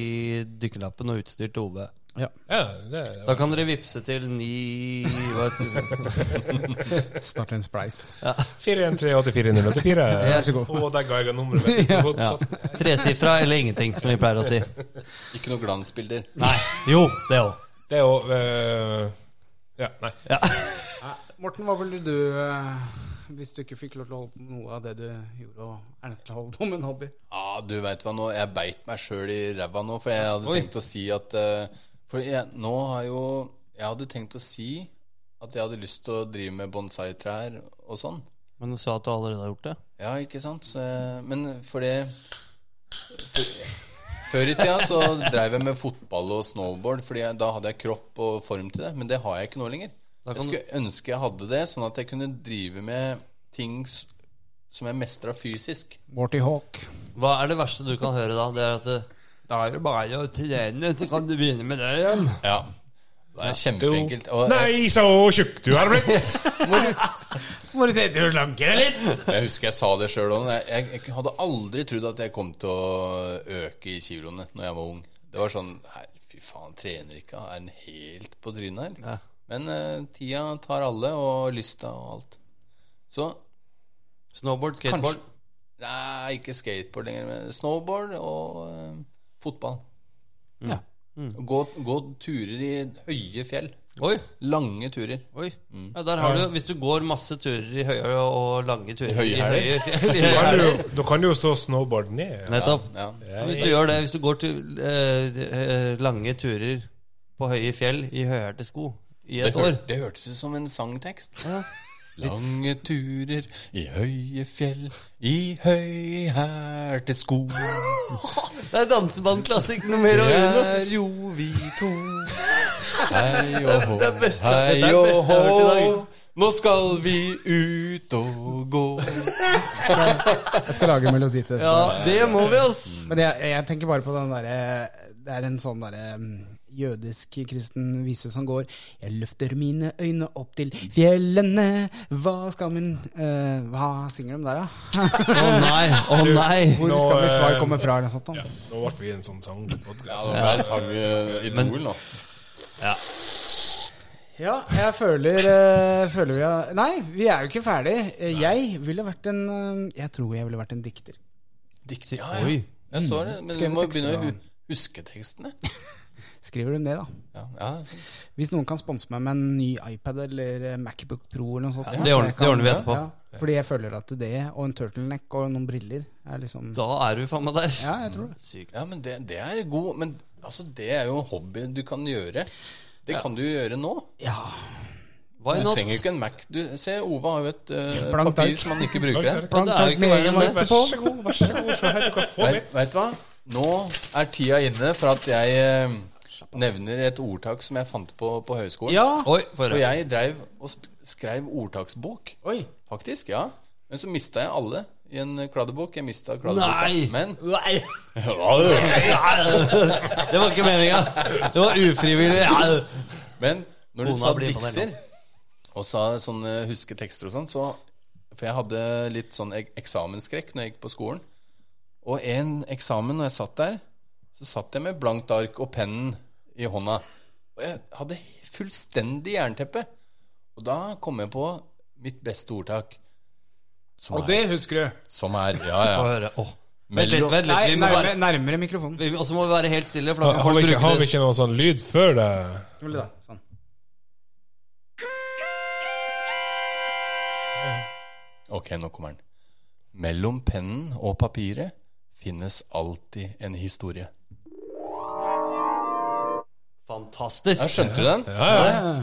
[SPEAKER 2] dykkerlappen og utstyr til OB.
[SPEAKER 1] Ja.
[SPEAKER 3] Ja, det,
[SPEAKER 2] Da kan dere vippse til ni hva skal jeg si? sånn.
[SPEAKER 1] Start en spleis.
[SPEAKER 3] 413-8484.
[SPEAKER 2] Yes.
[SPEAKER 3] Og der ga jeg deg nummeret mitt. på podcasten.
[SPEAKER 2] Tresifra eller ingenting, som vi pleier å si.
[SPEAKER 4] Ikke noe glansbilder.
[SPEAKER 2] Nei. Jo, det òg.
[SPEAKER 3] Det er jo eh, Ja, nei.
[SPEAKER 2] Ja.
[SPEAKER 1] Morten, hva ville du eh, hvis du ikke fikk lov til å holde på med noe av det du gjorde, og er nødt til å holde på med en hobby?
[SPEAKER 4] Ja, du vet hva nå, jeg beit meg sjøl i ræva nå, for jeg hadde
[SPEAKER 2] Oi.
[SPEAKER 4] tenkt å si at eh, For jeg, nå har jo Jeg hadde tenkt å si at jeg hadde lyst til å drive med bonsai-trær og sånn.
[SPEAKER 2] Men du sa at du allerede har gjort det?
[SPEAKER 4] Ja, ikke sant? Så, jeg- men for det for- Før i tida så drev jeg med fotball og snowboard, Fordi jeg, da hadde jeg kropp og form til det. Men det har jeg ikke nå lenger.
[SPEAKER 2] Da kan
[SPEAKER 4] Jeg
[SPEAKER 2] du-
[SPEAKER 4] skulle ønske jeg hadde det, sånn at jeg kunne drive med ting s- som jeg mestra fysisk.
[SPEAKER 1] Morty Hawk.
[SPEAKER 2] Hva er det verste du kan høre da? Det er at eh, det, det er jo bare å trene, så kan du begynne med det igjen.
[SPEAKER 4] Ja. Det er kjempeenkelt. Og jeg,
[SPEAKER 3] Nei, så tjukk du er blitt!
[SPEAKER 1] Må du se til å slanke deg litt?
[SPEAKER 4] Jeg husker jeg sa det sjøl òg. Jeg, jeg, jeg hadde aldri trodd at jeg kom til å øke i kiloene når jeg var ung. Det var sånn her, Fy faen, trener ikke. Er den helt på trynet
[SPEAKER 2] Ja.
[SPEAKER 4] her? Men eh, tida tar alle, og lysta og alt. Så
[SPEAKER 2] Snowboard, skateboard.
[SPEAKER 4] kanskje Nei, ikke skateboard lenger, men snowboard og eh, fotball.
[SPEAKER 1] Ja.
[SPEAKER 4] Gå, gå turer i høye fjell.
[SPEAKER 2] Oi,
[SPEAKER 4] Lange turer.
[SPEAKER 2] oi.
[SPEAKER 4] Mm.
[SPEAKER 2] Ja, der har du, hvis du går masse turer i høye og lange turer
[SPEAKER 4] I høye
[SPEAKER 2] i
[SPEAKER 4] hæler.
[SPEAKER 2] høye- i
[SPEAKER 3] Da
[SPEAKER 2] høye
[SPEAKER 3] kan du
[SPEAKER 2] hæler.
[SPEAKER 3] jo- Da kan du jo stå snowboard ned.
[SPEAKER 2] Nettopp.
[SPEAKER 4] Ja.
[SPEAKER 2] Hvis du gjør det, hvis du går til eh, eh, lange turer på høye fjell i høyhælte sko i
[SPEAKER 4] Det,
[SPEAKER 2] et
[SPEAKER 4] hør,
[SPEAKER 2] år
[SPEAKER 4] det hørtes ut som en sangtekst. Lange turer i høye fjell, i høyhælte sko.
[SPEAKER 2] Det er dansebandklassikk noe mer å
[SPEAKER 4] Det
[SPEAKER 2] gjøre.
[SPEAKER 4] er jo vi to. Hei og hå,
[SPEAKER 2] Det er beste-
[SPEAKER 4] hei
[SPEAKER 2] dette er beste
[SPEAKER 4] og
[SPEAKER 2] jeg
[SPEAKER 4] hå.
[SPEAKER 2] har hørt i dag.
[SPEAKER 4] Nå skal vi ut og gå.
[SPEAKER 1] Jeg skal lage en melodi til det.
[SPEAKER 2] Ja, det må vi, ass.
[SPEAKER 1] Men jeg, jeg tenker bare på den derre Det er en sånn derre mm, jødisk kristen vise som går Jeg løfter mine øyne opp til fjellene, hva skal min eh, Hva synger de der, da?
[SPEAKER 2] Å nei, å nei.
[SPEAKER 1] Hvor
[SPEAKER 3] Nå,
[SPEAKER 1] skal mitt svar
[SPEAKER 3] eh,
[SPEAKER 1] komme fra? Eller noe sånt, da?
[SPEAKER 3] Ja, nå ble vi en sånn sangpodkast.
[SPEAKER 4] Jeg sang eh, Idol nå.
[SPEAKER 1] Ja, jeg føler, eh, føler vi har Nei, vi er jo ikke ferdig. Eh, Jeg ville vært en eh, Jeg tror jeg ville vært en dikter.
[SPEAKER 4] Diktig. Ja,
[SPEAKER 2] Oi.
[SPEAKER 4] ja. Jeg så det, men vi
[SPEAKER 1] Skrevet
[SPEAKER 4] må
[SPEAKER 1] tekster,
[SPEAKER 4] begynne å
[SPEAKER 1] da.
[SPEAKER 4] hu- huske tekstene.
[SPEAKER 1] Skriver du ned, da?
[SPEAKER 4] Ja, ja, sånn.
[SPEAKER 1] Hvis noen kan sponse meg med en ny iPad eller eh, Macbook Pro eller noe sånt.
[SPEAKER 2] Ja,
[SPEAKER 1] da,
[SPEAKER 2] det
[SPEAKER 1] så
[SPEAKER 2] ordner-
[SPEAKER 1] jeg kan-
[SPEAKER 2] det ordner vi etterpå.
[SPEAKER 1] Ja, fordi jeg føler at det, og en turtleneck og noen briller, er liksom
[SPEAKER 2] Da er du faen meg der.
[SPEAKER 1] Ja, jeg tror det.
[SPEAKER 2] Sykt.
[SPEAKER 4] Ja, men det, det er god Men altså, det er jo en hobby du kan gjøre. Det kan du jo gjøre nå.
[SPEAKER 1] Ja.
[SPEAKER 2] Why
[SPEAKER 4] Du
[SPEAKER 2] not?
[SPEAKER 4] trenger jo ikke en Mac. Du, se, Ove har jo et eh,
[SPEAKER 1] Blankt
[SPEAKER 4] papir
[SPEAKER 1] ark.
[SPEAKER 4] som han ikke bruker.
[SPEAKER 1] Blankt
[SPEAKER 2] det er jo
[SPEAKER 1] ark
[SPEAKER 2] ikke
[SPEAKER 1] med
[SPEAKER 2] verre
[SPEAKER 1] egen
[SPEAKER 2] enn
[SPEAKER 1] mester
[SPEAKER 2] det.
[SPEAKER 1] på.
[SPEAKER 3] Vær så god, vær så god. Se her, du kan få
[SPEAKER 4] Vet,
[SPEAKER 3] litt.
[SPEAKER 4] vet du hva? Nå er tida inne for at jeg eh, nevner et ordtak som jeg fant på på høyskolen.
[SPEAKER 1] Ja.
[SPEAKER 2] Oi, får
[SPEAKER 4] For
[SPEAKER 2] jeg.
[SPEAKER 4] jeg dreiv og sp- skrev ordtaksbok,
[SPEAKER 1] Oi.
[SPEAKER 4] faktisk. ja Men så mista jeg alle i en kladdebok. Jeg mista kladdeboka.
[SPEAKER 2] Nei!
[SPEAKER 4] Men
[SPEAKER 2] Nei! Det var ikke meninga. Det var ufrivillig.
[SPEAKER 4] Men når du
[SPEAKER 2] Kona
[SPEAKER 4] sa
[SPEAKER 2] blir imponert
[SPEAKER 4] dikter og sa sånne husketekster og sånn, så For jeg hadde litt sånn ek- eksamensskrekk når jeg gikk på skolen. Og en eksamen når jeg satt der, så satt jeg med blankt ark og pennen i hånda. Og jeg hadde fullstendig jernteppe. Og da kom jeg på mitt beste ordtak. Som
[SPEAKER 1] Og det husker du.
[SPEAKER 4] er, som er Ja,
[SPEAKER 2] Få
[SPEAKER 4] ja.
[SPEAKER 2] høre. Åh. Vent litt, vent
[SPEAKER 1] Nei,
[SPEAKER 2] litt. Vi må
[SPEAKER 1] nærmere,
[SPEAKER 2] bare
[SPEAKER 1] nærmere mikrofonen.
[SPEAKER 2] vi- Og så må vi være helt stille. For da kan
[SPEAKER 3] Har vi
[SPEAKER 2] folk
[SPEAKER 3] ikke, har
[SPEAKER 2] bruke det.
[SPEAKER 3] vi ikke noe sånn lyd før det?
[SPEAKER 1] Rolig da, Sånn.
[SPEAKER 4] Ok, nå kommer den. Mellom pennen og papiret finnes alltid en historie. Ja,
[SPEAKER 2] Fantastisk.
[SPEAKER 4] skjønte du den?
[SPEAKER 1] Ja.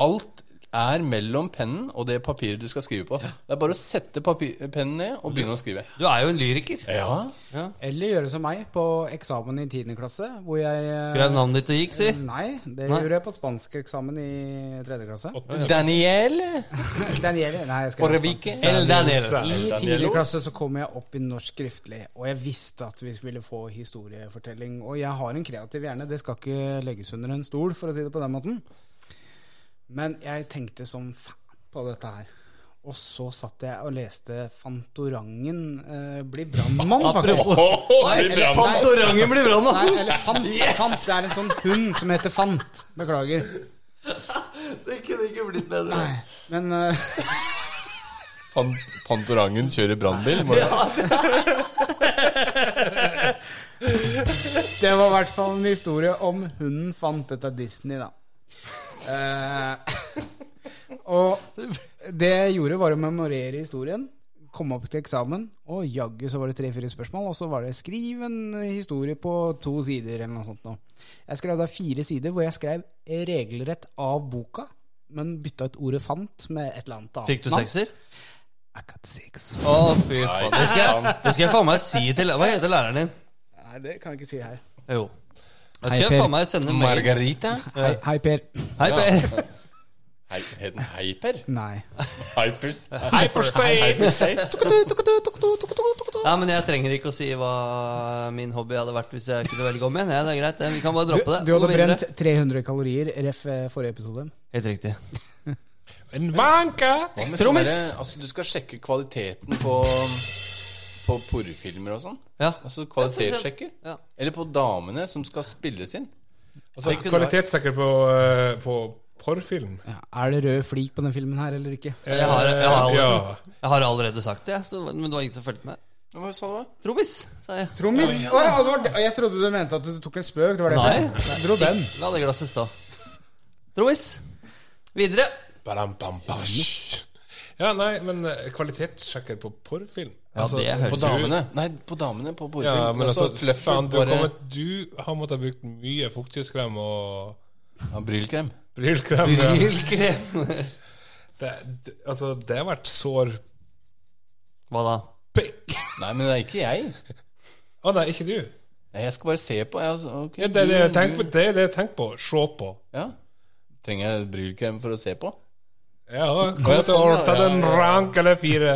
[SPEAKER 4] Alt er mellom pennen og det papiret du skal skrive på. Det er bare å sette papir, pennen ned og begynne å skrive.
[SPEAKER 2] Du er jo en lyriker.
[SPEAKER 4] Ja,
[SPEAKER 1] Eller gjøre som meg på eksamen i 10. klasse, hvor jeg eh,
[SPEAKER 2] Skrev navnet ditt og gikk, si.
[SPEAKER 1] Nei, det
[SPEAKER 2] Nei.
[SPEAKER 1] gjorde jeg på spanskeksamen i 3. klasse.
[SPEAKER 4] Daniel
[SPEAKER 1] Daniel, nei, jeg skrev på
[SPEAKER 4] Orvike.
[SPEAKER 2] El Daniel.
[SPEAKER 1] spansk. I
[SPEAKER 4] Daniel
[SPEAKER 1] 10.
[SPEAKER 4] Os.
[SPEAKER 1] klasse så kom jeg opp i norsk skriftlig, og jeg visste at vi ville få historiefortelling. Og jeg har en kreativ hjerne, det skal ikke legges under en stol, for å si det på den måten. Men jeg tenkte som faen på dette her. Og så satt jeg og leste Fantorangen eh, blir brannmann, faktisk.
[SPEAKER 2] Apropos
[SPEAKER 1] Nei,
[SPEAKER 2] Nei,
[SPEAKER 1] eller-
[SPEAKER 2] Fantorangen blir bra nå!
[SPEAKER 1] Nei, eller Fant. Fant. Det er en sånn hund som heter Fant. Beklager.
[SPEAKER 2] Det kunne ikke blitt bedre.
[SPEAKER 1] Nei, men eh,
[SPEAKER 4] Pan Pantorangen kjører brannbil. må jeg-
[SPEAKER 1] det var i hvert fall en historie om hunden Fant. Dette er Disney, da. Eh, og det jeg gjorde, var å memorere historien. Kom opp til eksamen, og jaggu så var det tre-fire spørsmål. Og så var det 'skriv en historie på to sider', eller noe sånt. Nå. Jeg skrev da fire sider, hvor jeg skrev regelrett av boka, men bytta ut ordet 'fant' med et eller annet annet.
[SPEAKER 2] Fikk du
[SPEAKER 1] navn.
[SPEAKER 2] sekser?
[SPEAKER 1] I got six.
[SPEAKER 2] Å, fy faen. Det skal, jeg, det skal jeg faen meg si til Hva heter læreren din?
[SPEAKER 1] Nei, det kan jeg ikke si her.
[SPEAKER 2] Jo. Det
[SPEAKER 1] Hei,
[SPEAKER 2] skal jeg
[SPEAKER 1] Per.
[SPEAKER 2] faen meg sende mail.
[SPEAKER 4] Margarita.
[SPEAKER 1] Hei, hei Per.
[SPEAKER 2] Hei, Per.
[SPEAKER 4] Hei, het den Hyper?
[SPEAKER 1] Nei.
[SPEAKER 4] Hypers. Hyperstate.
[SPEAKER 2] Nei, men jeg trenger ikke å si hva min hobby hadde vært hvis jeg kunne velge om igjen. Ja, det er greit, det. Vi kan bare
[SPEAKER 1] Du,
[SPEAKER 2] droppe det.
[SPEAKER 1] du hadde
[SPEAKER 2] Gå videre.
[SPEAKER 1] brent 300 kalorier ref eh, forrige episode.
[SPEAKER 2] Helt riktig.
[SPEAKER 3] En vanka!
[SPEAKER 2] Trommis!
[SPEAKER 4] Altså, du skal sjekke kvaliteten på, på porrefilmer og sånn.
[SPEAKER 2] Ja.
[SPEAKER 4] Altså kvalitetssjekker.
[SPEAKER 2] Ja.
[SPEAKER 4] Eller på damene som skal spilles inn.
[SPEAKER 3] Altså,
[SPEAKER 2] Det kunne vært-
[SPEAKER 3] Kvalitetssikker på, eh, på porrfilm.
[SPEAKER 1] Ja, er det rød flik på den filmen her eller ikke?
[SPEAKER 2] Jeg har, jeg har,
[SPEAKER 3] Eh,
[SPEAKER 2] allerede,
[SPEAKER 3] ja.
[SPEAKER 2] jeg har allerede sagt det, jeg, så, men det var ingen som fulgte med.
[SPEAKER 4] Hva sa du?
[SPEAKER 2] Trommis, sa jeg.
[SPEAKER 1] Trommis! Å, ja, det var det- jeg trodde du mente at du tok en spøk. Det var
[SPEAKER 2] Nei.
[SPEAKER 1] derfor. Jeg Dro den.
[SPEAKER 2] La det glasset stå. Trommis. Videre.
[SPEAKER 3] Badam, bam, bam. Ja, nei, men eh, kvalitetssjekker på porrfilm Altså,
[SPEAKER 2] Ja, det høres
[SPEAKER 4] På
[SPEAKER 3] du-
[SPEAKER 4] damene. Nei, på damene på porrefilm.
[SPEAKER 3] Ja, men altså, faen, du,
[SPEAKER 4] bare-
[SPEAKER 3] kommer, du har måttet brukt mye fuktighetskrem og
[SPEAKER 4] Ja, Brylkrem.
[SPEAKER 3] brylkrem. ja.
[SPEAKER 2] Brylkrem.
[SPEAKER 3] Det, det, altså, det har vært sår
[SPEAKER 2] Hva da?
[SPEAKER 3] pikk!
[SPEAKER 4] Nei, men det er ikke jeg.
[SPEAKER 3] Å nei, ikke du.
[SPEAKER 4] Nei, jeg skal bare se på. Jeg, altså, ok,
[SPEAKER 3] Ja, det er det jeg
[SPEAKER 4] du-
[SPEAKER 3] tenker på. Det er det jeg tenker på. Se på.
[SPEAKER 4] Ja. Trenger jeg brylkrem for å se på?
[SPEAKER 3] Ja, kom til å
[SPEAKER 4] sånn, ja,
[SPEAKER 3] ta den
[SPEAKER 4] ja, ja.
[SPEAKER 3] rank eller fire.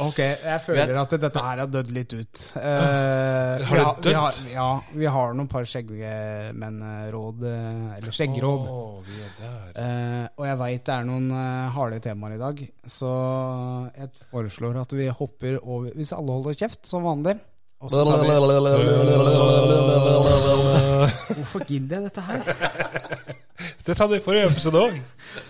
[SPEAKER 1] Ok, jeg føler at dette her har dødd litt ut. Eh,
[SPEAKER 3] Har
[SPEAKER 1] vi
[SPEAKER 3] det
[SPEAKER 1] Vi
[SPEAKER 3] dødd?
[SPEAKER 1] har, ja, vi har noen par skjeggmennråd, eh, eller skjeggråd.
[SPEAKER 3] Å, vi er der.
[SPEAKER 1] Eh, og jeg veit det er noen eh, harde temaer i dag, så jeg foreslår at vi hopper over Hvis alle holder kjeft, som vanlig. Og så tar vi, hvorfor gidder jeg dette her?
[SPEAKER 3] Det tar det i forrige episode òg.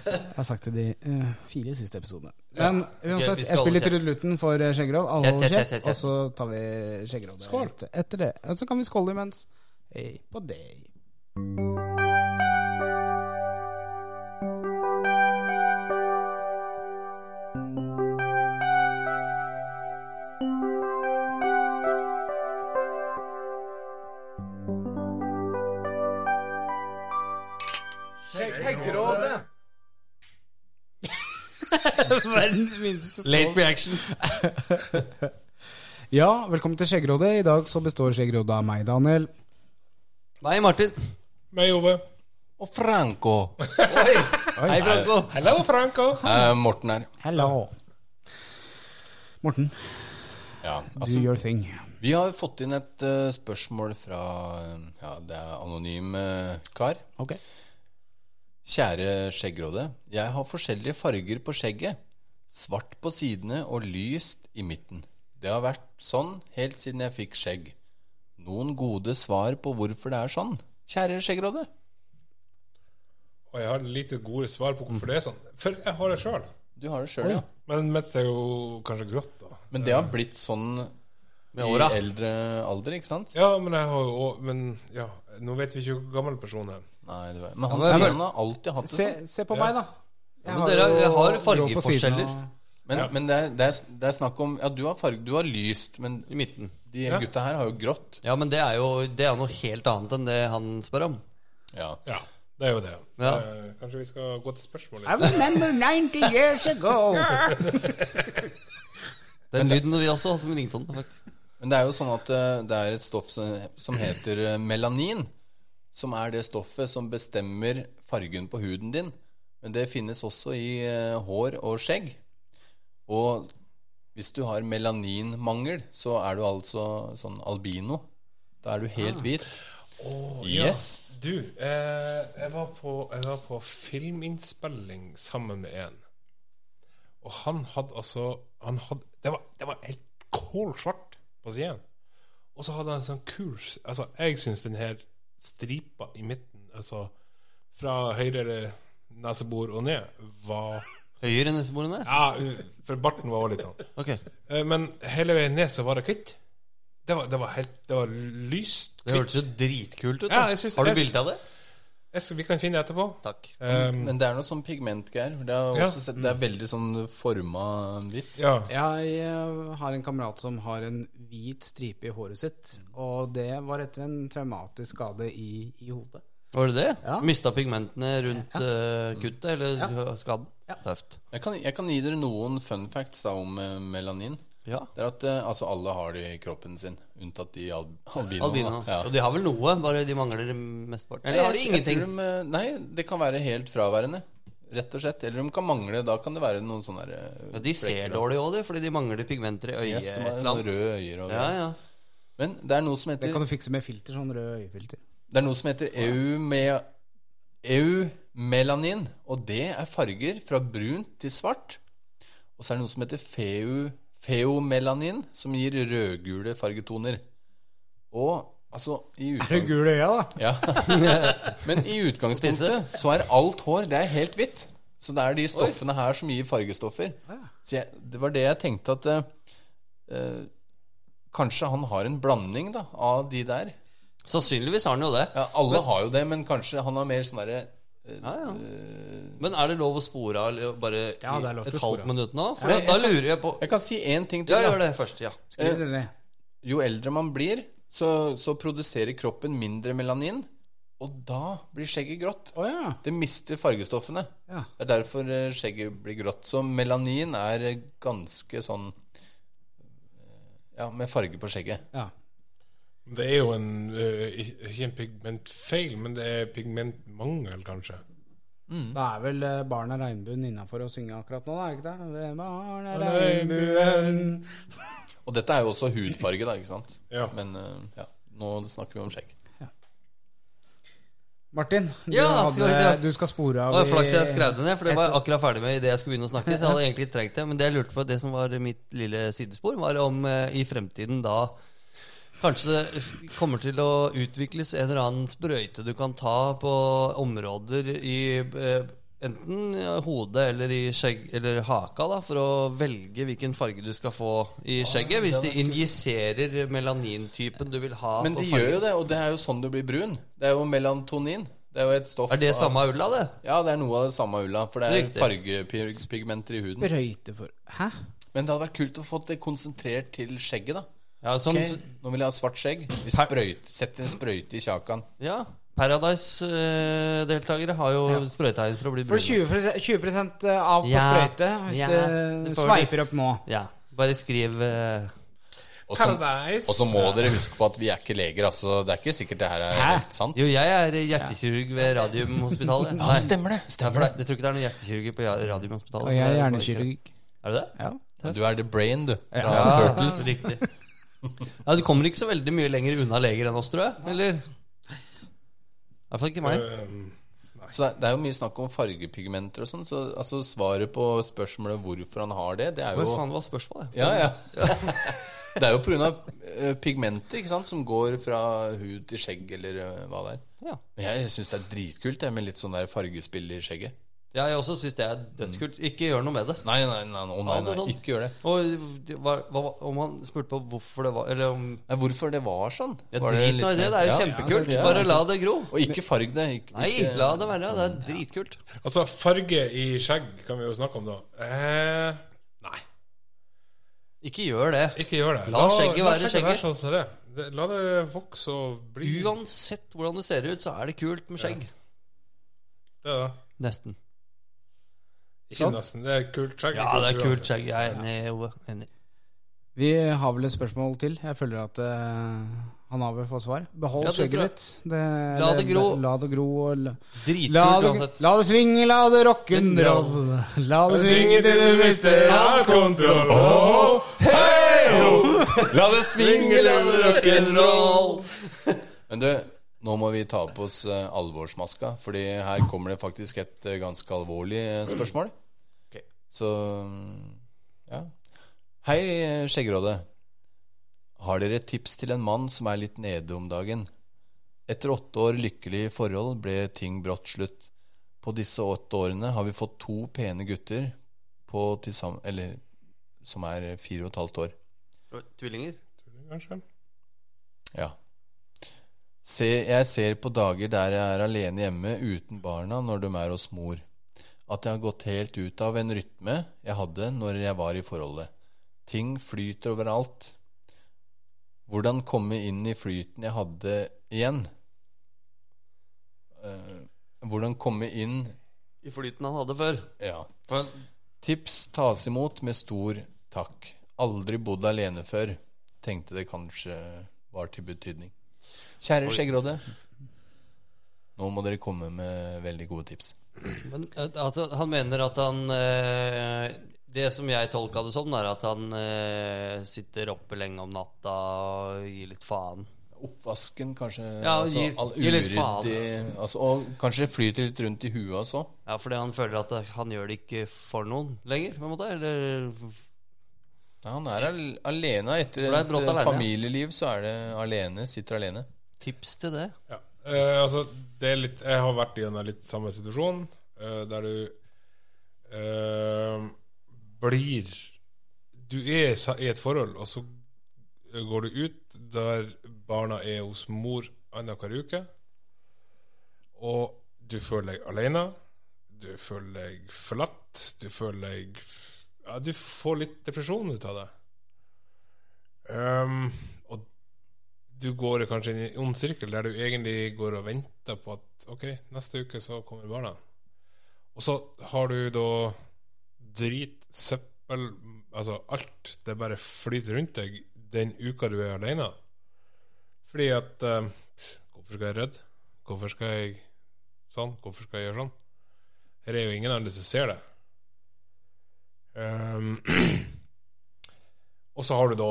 [SPEAKER 1] Jeg har sagt det de eh, fire siste episodene. Men
[SPEAKER 2] vi
[SPEAKER 1] uansett,
[SPEAKER 2] skal
[SPEAKER 1] jeg
[SPEAKER 2] holde
[SPEAKER 1] spiller
[SPEAKER 2] kjeft.
[SPEAKER 1] trudelutten for eh, Skjeggerov. Alle
[SPEAKER 2] Kjeft,
[SPEAKER 1] holder
[SPEAKER 2] kjeft,
[SPEAKER 1] kjeft,
[SPEAKER 2] kjeft,
[SPEAKER 1] og så tar vi Skjeggerovet
[SPEAKER 3] Skål.
[SPEAKER 1] et- etter det. Og så kan vi skåle imens. Hei på deg.
[SPEAKER 4] Skjeggrådet!
[SPEAKER 1] Verdens minste skål.
[SPEAKER 2] Late reaction.
[SPEAKER 1] Ja, velkommen til Skjeggerådet. I dag så består Skjeggerådet av meg, Daniel.
[SPEAKER 2] Nei, Martin.
[SPEAKER 3] Meg, Ove.
[SPEAKER 4] Og Franco.
[SPEAKER 2] Hei, Franco.
[SPEAKER 3] Hello, Franco.
[SPEAKER 4] Eh, Morten her.
[SPEAKER 1] Hello. Morten.
[SPEAKER 4] Ja,
[SPEAKER 1] Do
[SPEAKER 4] altså,
[SPEAKER 1] your thing.
[SPEAKER 4] vi har fått inn et eh, spørsmål fra eh, ja, det er anonym eh, kar.
[SPEAKER 1] Ok.
[SPEAKER 4] Kjære skjeggråde, jeg har forskjellige farger på skjegget. Svart på sidene og lyst i midten. Det har vært sånn helt siden jeg fikk skjegg. Noen gode svar på hvorfor det er sånn? Kjære skjeggråde?
[SPEAKER 3] Og jeg har lite gode svar på hvorfor det er sånn. For jeg har det sjøl.
[SPEAKER 4] Du har det sjøl, ja.
[SPEAKER 3] Men mitt er jo kanskje grått, da.
[SPEAKER 4] Men det har blitt sånn i
[SPEAKER 2] Med åra.
[SPEAKER 4] eldre alder, ikke sant?
[SPEAKER 3] Ja, men jeg har jo òg Men ja, nå vet vi ikke hvor gammel personen er.
[SPEAKER 4] Nei, det var, Men han,
[SPEAKER 2] men-
[SPEAKER 4] han har alltid hatt det
[SPEAKER 1] Se,
[SPEAKER 4] sånn.
[SPEAKER 1] se på meg, da.
[SPEAKER 2] men dere
[SPEAKER 1] jo
[SPEAKER 2] har
[SPEAKER 1] grå på
[SPEAKER 2] fargeforskjeller.
[SPEAKER 1] siden og-
[SPEAKER 4] Men, men det, er, det, er, det er snakk om Ja, du har farge, du har lyst, men
[SPEAKER 2] I midten.
[SPEAKER 4] de gutta her har jo grått.
[SPEAKER 2] Ja, men det er jo det er jo noe helt annet enn det han spør om.
[SPEAKER 4] Ja.
[SPEAKER 3] Ja, det er jo det.
[SPEAKER 2] Ja.
[SPEAKER 3] Eh, Kanskje vi skal gå til spørsmålet?
[SPEAKER 1] I remember 90 years ago.
[SPEAKER 2] Den lyden vi også har som ringtone, faktisk.
[SPEAKER 4] Men det er jo sånn at eh, det er et stoff som, som heter eh, melanin, som er det stoffet som bestemmer fargen på huden din. Men det finnes også i eh, hår og skjegg. Og hvis du har melaninmangel, så er du altså sånn albino. Da er du helt hvit. yes.
[SPEAKER 3] Ja. Du, eh, jeg, var på, jeg var på filminnspilling sammen med en. Og han hadde altså han hadde, det, var, det var helt kålsvart på siden. Og så hadde han en sånn kurs Altså, jeg syns den her stripa i midten, altså fra høyre nesebor og ned, var
[SPEAKER 2] Høyere enn nesebordene?
[SPEAKER 3] Ja, for barten var også litt sånn.
[SPEAKER 2] Ok.
[SPEAKER 3] Eh, Men hele veien ned så var det hvitt. Det var, det var helt Det var lyst
[SPEAKER 2] Det
[SPEAKER 3] hvitt.
[SPEAKER 2] hørtes jo dritkult ut.
[SPEAKER 3] Ja,
[SPEAKER 2] da.
[SPEAKER 3] jeg synes-
[SPEAKER 2] har du
[SPEAKER 3] jeg-
[SPEAKER 2] bilde av det?
[SPEAKER 3] Jeg skal- Vi kan finne det etterpå.
[SPEAKER 2] Takk.
[SPEAKER 3] Um,
[SPEAKER 4] Men det er noe sånn pigmentgreier. Det, har jeg
[SPEAKER 3] Ja.
[SPEAKER 4] også sett, det er veldig sånn forma hvitt.
[SPEAKER 3] ja.
[SPEAKER 1] Jeg eh, har en kamerat som har en hvit stripe i håret sitt, og det var etter en traumatisk skade i, i hodet.
[SPEAKER 2] Var det det?
[SPEAKER 1] Ja.
[SPEAKER 2] Mista pigmentene rundt eh, kuttet eller skaden? Tøft.
[SPEAKER 4] Jeg kan, jeg kan gi dere noen fun facts da om eh, melanin.
[SPEAKER 2] Ja.
[SPEAKER 4] Det er at eh, altså, alle har det i kroppen sin, unntatt de al albinoene.
[SPEAKER 2] Albina.
[SPEAKER 4] da.
[SPEAKER 2] Og
[SPEAKER 4] Ja.
[SPEAKER 2] de har vel noe, bare de mangler mesteparten. Eller har de
[SPEAKER 4] Jeg- jeg
[SPEAKER 2] ingenting?
[SPEAKER 4] tror De, eh, nei, det kan være helt fraværende, rett og slett. Eller de kan mangle. Da kan det være noen sånne der, eh,
[SPEAKER 2] Ja, de
[SPEAKER 4] flekker,
[SPEAKER 2] ser
[SPEAKER 4] da.
[SPEAKER 2] dårlig òg, de, fordi de mangler pigmenter i øyet.
[SPEAKER 4] Yes, de
[SPEAKER 2] et
[SPEAKER 4] har
[SPEAKER 2] eller
[SPEAKER 4] noen
[SPEAKER 2] annet.
[SPEAKER 4] røde øyer og
[SPEAKER 2] Ja, ja.
[SPEAKER 4] Men det er noe som
[SPEAKER 1] Det
[SPEAKER 4] heter,
[SPEAKER 1] kan du fikse med filter, sånn rød øyefilter.
[SPEAKER 4] det er noe som heter eume- eumelanin. Og det er farger fra brunt til svart. Og så er det noe som heter feu, feomelanin, som gir rødgule fargetoner. Og altså i
[SPEAKER 1] Er det
[SPEAKER 4] utgangs-
[SPEAKER 1] gule øya, da?
[SPEAKER 4] Ja. Men i utgangspunktet så er alt hår det er helt hvitt. Så det er de stoffene her som gir fargestoffer. Så jeg, det var det jeg tenkte at eh, eh, Kanskje han har en blanding da av de der.
[SPEAKER 2] Sannsynligvis har den jo det.
[SPEAKER 4] Ja, alle har jo det, men kanskje han har mer sånn derre
[SPEAKER 2] Ja, ja. Men er det lov å spore av eller bare
[SPEAKER 1] Ja, det er lov til
[SPEAKER 2] et
[SPEAKER 1] å spore
[SPEAKER 2] halvt
[SPEAKER 1] av.
[SPEAKER 2] minutt nå? For
[SPEAKER 4] Ja,
[SPEAKER 2] da,
[SPEAKER 4] jeg
[SPEAKER 2] da lurer jeg på
[SPEAKER 4] Jeg kan si én ting til.
[SPEAKER 2] Ja,
[SPEAKER 4] da.
[SPEAKER 2] gjør det først. Ja.
[SPEAKER 1] Skriv det ned.
[SPEAKER 4] Jo eldre man blir, så, så produserer kroppen mindre melanin, og da blir skjegget grått.
[SPEAKER 1] Å ja.
[SPEAKER 4] Det mister fargestoffene.
[SPEAKER 1] Ja.
[SPEAKER 4] Det er derfor eh, skjegget blir grått. Så melanin er eh, ganske sånn eh, Ja, med farge på skjegget.
[SPEAKER 1] ja.
[SPEAKER 3] Det er jo en eh, Ikke en pigmentfeil, men det er pigmentmangel, kanskje.
[SPEAKER 1] Da er vel eh, Barna Regnbuen innafor å synge akkurat nå, da, er det ikke det? Barna Regnbuen
[SPEAKER 3] Regnbuen.
[SPEAKER 4] Og dette er jo også hudfarge, da, ikke sant?
[SPEAKER 3] Ja.
[SPEAKER 4] Men eh, ja, nå snakker vi om skjegg.
[SPEAKER 1] Martin, du,
[SPEAKER 2] Ja,
[SPEAKER 1] hadde,
[SPEAKER 2] ja.
[SPEAKER 1] du skal spore
[SPEAKER 2] Det
[SPEAKER 1] av
[SPEAKER 2] var flaks jeg skrev det ned, for det
[SPEAKER 1] Et-
[SPEAKER 2] var jeg akkurat ferdig med idet jeg skulle begynne å snakke. Så jeg hadde egentlig ikke trengt det Men det jeg lurte på, det som var mitt lille sidespor, var om eh, i fremtiden da kanskje det kommer til å utvikles en eller annen sprøyte du kan ta på områder i eh, enten hodet eller i skjegg eller haka, da, for å velge hvilken farge du skal få i skjegget. Hvis de injiserer melanintypen du vil ha
[SPEAKER 4] Men
[SPEAKER 2] på
[SPEAKER 4] de gjør
[SPEAKER 2] fargen.
[SPEAKER 4] jo det, og det er jo sånn du blir brun. Det er jo melantonin. Det er jo et stoff
[SPEAKER 2] Er det
[SPEAKER 4] av-
[SPEAKER 2] samme ulla, det?
[SPEAKER 4] Ja, det er noe av det samme ulla. For det er
[SPEAKER 2] Riktig.
[SPEAKER 4] fargepigmenter i huden.
[SPEAKER 1] Brøyte for Hæ?
[SPEAKER 4] Men det hadde vært kult å få det konsentrert til skjegget, da.
[SPEAKER 2] Ja, sånn,
[SPEAKER 4] Ok, nå vil jeg ha svart skjegg. Vi sprøyt, setter en sprøyte i kjakan.
[SPEAKER 2] Ja. Paradise-deltakere har jo sprøyta inn for å bli
[SPEAKER 1] For
[SPEAKER 2] brune.
[SPEAKER 1] 20,
[SPEAKER 2] eh,
[SPEAKER 1] 20 av på
[SPEAKER 2] Ja.
[SPEAKER 1] sprøyte, hvis
[SPEAKER 2] Ja.
[SPEAKER 1] det
[SPEAKER 2] Det får vi.
[SPEAKER 1] sveiper opp nå.
[SPEAKER 2] Ja. Bare skriv eh,
[SPEAKER 4] Og så,
[SPEAKER 3] Paradise.
[SPEAKER 4] og så må dere huske på at vi er ikke leger. Altså, det er ikke sikkert det her er
[SPEAKER 1] Hæ?
[SPEAKER 4] helt sant.
[SPEAKER 2] Jo, jeg er hjertekirurg ved Radiumhospitalet. Nei,
[SPEAKER 4] stemmer det.
[SPEAKER 2] Ja, for det- Jeg tror ikke det er noen hjertekirurger på ja- Radiumhospitalet.
[SPEAKER 1] Og jeg
[SPEAKER 2] Det
[SPEAKER 1] er
[SPEAKER 2] er bare-
[SPEAKER 1] hjernekirurg.
[SPEAKER 2] Er du det?
[SPEAKER 1] Ja.
[SPEAKER 2] Tøft.
[SPEAKER 4] Du er the brain, du. Fra Turtles.
[SPEAKER 2] Riktig. Ja, Du kommer ikke så veldig mye lenger unna leger enn oss, tror jeg. Eller? I hvert fall ikke meg.
[SPEAKER 3] Um,
[SPEAKER 4] Så det er- det er jo mye snakk om fargepigmenter og sånn. Så altså, svaret på spørsmålet hvorfor han har det, det er
[SPEAKER 2] Hva
[SPEAKER 4] jo
[SPEAKER 2] faen var spørsmålet?
[SPEAKER 4] Ja, ja. Det er jo pga. pigmenter eh, ikke sant, som går fra hud til skjegg, eller eh, hva det er.
[SPEAKER 2] Ja.
[SPEAKER 4] Men jeg syns det er dritkult det med litt sånn der fargespill i skjegget.
[SPEAKER 2] Ja, jeg også syns det er dødskult. Ikke gjør noe med det.
[SPEAKER 4] Nei, nei, nei, nei, nei,
[SPEAKER 2] Ja, det er
[SPEAKER 4] nei
[SPEAKER 2] sant.
[SPEAKER 4] ikke gjør det.
[SPEAKER 2] Og det var, hva- om han spurte på hvorfor det var Eller om
[SPEAKER 4] Nei, hvorfor det var sånn?
[SPEAKER 2] ja,
[SPEAKER 4] Var det
[SPEAKER 2] Drit
[SPEAKER 4] litt
[SPEAKER 2] nå i det,
[SPEAKER 4] mer-
[SPEAKER 2] det er jo
[SPEAKER 4] Ja,
[SPEAKER 2] kjempekult.
[SPEAKER 4] ja,
[SPEAKER 2] Bare la det gro.
[SPEAKER 4] Og ikke farg det. Ikke,
[SPEAKER 2] Nei,
[SPEAKER 4] ikke-
[SPEAKER 2] la det være. Det er dritkult.
[SPEAKER 3] altså, farge i skjegg kan vi jo snakke om, da. Eh, nei,
[SPEAKER 2] Ikke gjør det.
[SPEAKER 3] ikke gjør det.
[SPEAKER 2] La skjegget være skjegget.
[SPEAKER 3] sånn som det er. Det- La det vokse og bli det.
[SPEAKER 2] Uansett hvordan det ser ut, så er det kult med skjegg.
[SPEAKER 3] da.
[SPEAKER 2] Nesten.
[SPEAKER 3] Ikke nesten. Det er kult
[SPEAKER 2] Sånn.
[SPEAKER 3] skjegg.
[SPEAKER 2] Ja, det er kult
[SPEAKER 3] uansett.
[SPEAKER 2] skjegg. Jeg er enig, Ove. Enig.
[SPEAKER 1] Vi har vel et spørsmål til. Jeg føler at eh, han har vel fått svar. Behold
[SPEAKER 2] Ja, det tror
[SPEAKER 1] skjegget
[SPEAKER 2] jeg.
[SPEAKER 1] ditt. Det-
[SPEAKER 2] La det gro.
[SPEAKER 1] La det gro og la, la,
[SPEAKER 2] Dritkult
[SPEAKER 1] det,
[SPEAKER 2] uansett.
[SPEAKER 1] la det svinge, la det rock'n'roll. La det svinge til du mister all kontroll.
[SPEAKER 4] La det svinge, la det
[SPEAKER 2] rock'n'roll.
[SPEAKER 4] Men du, nå må vi ta på oss eh, alvorsmaska, Fordi her kommer det faktisk et eh, ganske alvorlig eh, spørsmål.
[SPEAKER 2] Ok.
[SPEAKER 4] Så mm, ja. Hei, eh, Skjeggerådet. Har dere et tips til en mann som er litt nede om dagen? Etter åtte år lykkelig forhold ble ting brått slutt. På disse åtte årene har vi fått to pene gutter på til sammen, eller, som er fire og et halvt år.
[SPEAKER 2] Tvillinger?
[SPEAKER 3] Kanskje.
[SPEAKER 4] Ja. Se, jeg ser på dager der jeg er alene hjemme uten barna når de er hos mor, at jeg har gått helt ut av en rytme jeg hadde når jeg var i forholdet. Ting flyter overalt. Hvordan komme inn i flyten jeg hadde igjen? Eh, hvordan komme inn
[SPEAKER 2] I flyten han hadde før.
[SPEAKER 4] Ja.
[SPEAKER 2] Men
[SPEAKER 4] Tips tas imot med stor takk. Aldri bodd alene før. Tenkte det kanskje var til betydning. Kjære Skjeggeråde. Nå må dere komme med veldig gode tips.
[SPEAKER 2] Men eh, altså, han mener at han eh, Det som jeg tolka det som, er at han eh, sitter oppe lenge om natta og gir litt faen.
[SPEAKER 4] Oppvasken, kanskje.
[SPEAKER 2] Ja,
[SPEAKER 4] altså,
[SPEAKER 2] gi-
[SPEAKER 4] all
[SPEAKER 2] gi litt
[SPEAKER 4] uryddig-
[SPEAKER 2] faen.
[SPEAKER 4] Altså, og kanskje flyter litt rundt i huet også.
[SPEAKER 2] Ja, Fordi han føler at han gjør det ikke for noen lenger. på en måte Eller
[SPEAKER 4] Nei, han er al- alene. Etter
[SPEAKER 2] Ble
[SPEAKER 4] et
[SPEAKER 2] brått
[SPEAKER 4] eh,
[SPEAKER 2] alene, ja.
[SPEAKER 4] familieliv så er det alene. Sitter alene.
[SPEAKER 2] tips til det.
[SPEAKER 3] Ja. Eh, altså, det er litt Jeg har vært gjennom litt samme situasjon, eh, der du eh, blir Du er sa- i et forhold, og så går du ut der barna er hos mor annenhver uke, og du føler deg alene, du føler deg forlatt, du føler deg Ja, du får litt depresjon ut av det. Um, og du går kanskje inn i en ond sirkel der du egentlig går og venter på at ok, neste uke så kommer barna. Og så har du da drit, søppel, altså alt. Det bare flyter rundt deg den uka du er alene. Fordi at eh, Hvorfor skal jeg rydde? Hvorfor skal jeg sånn? Hvorfor skal jeg gjøre sånn? Her er jo ingen andre som ser det. Um, og så har du da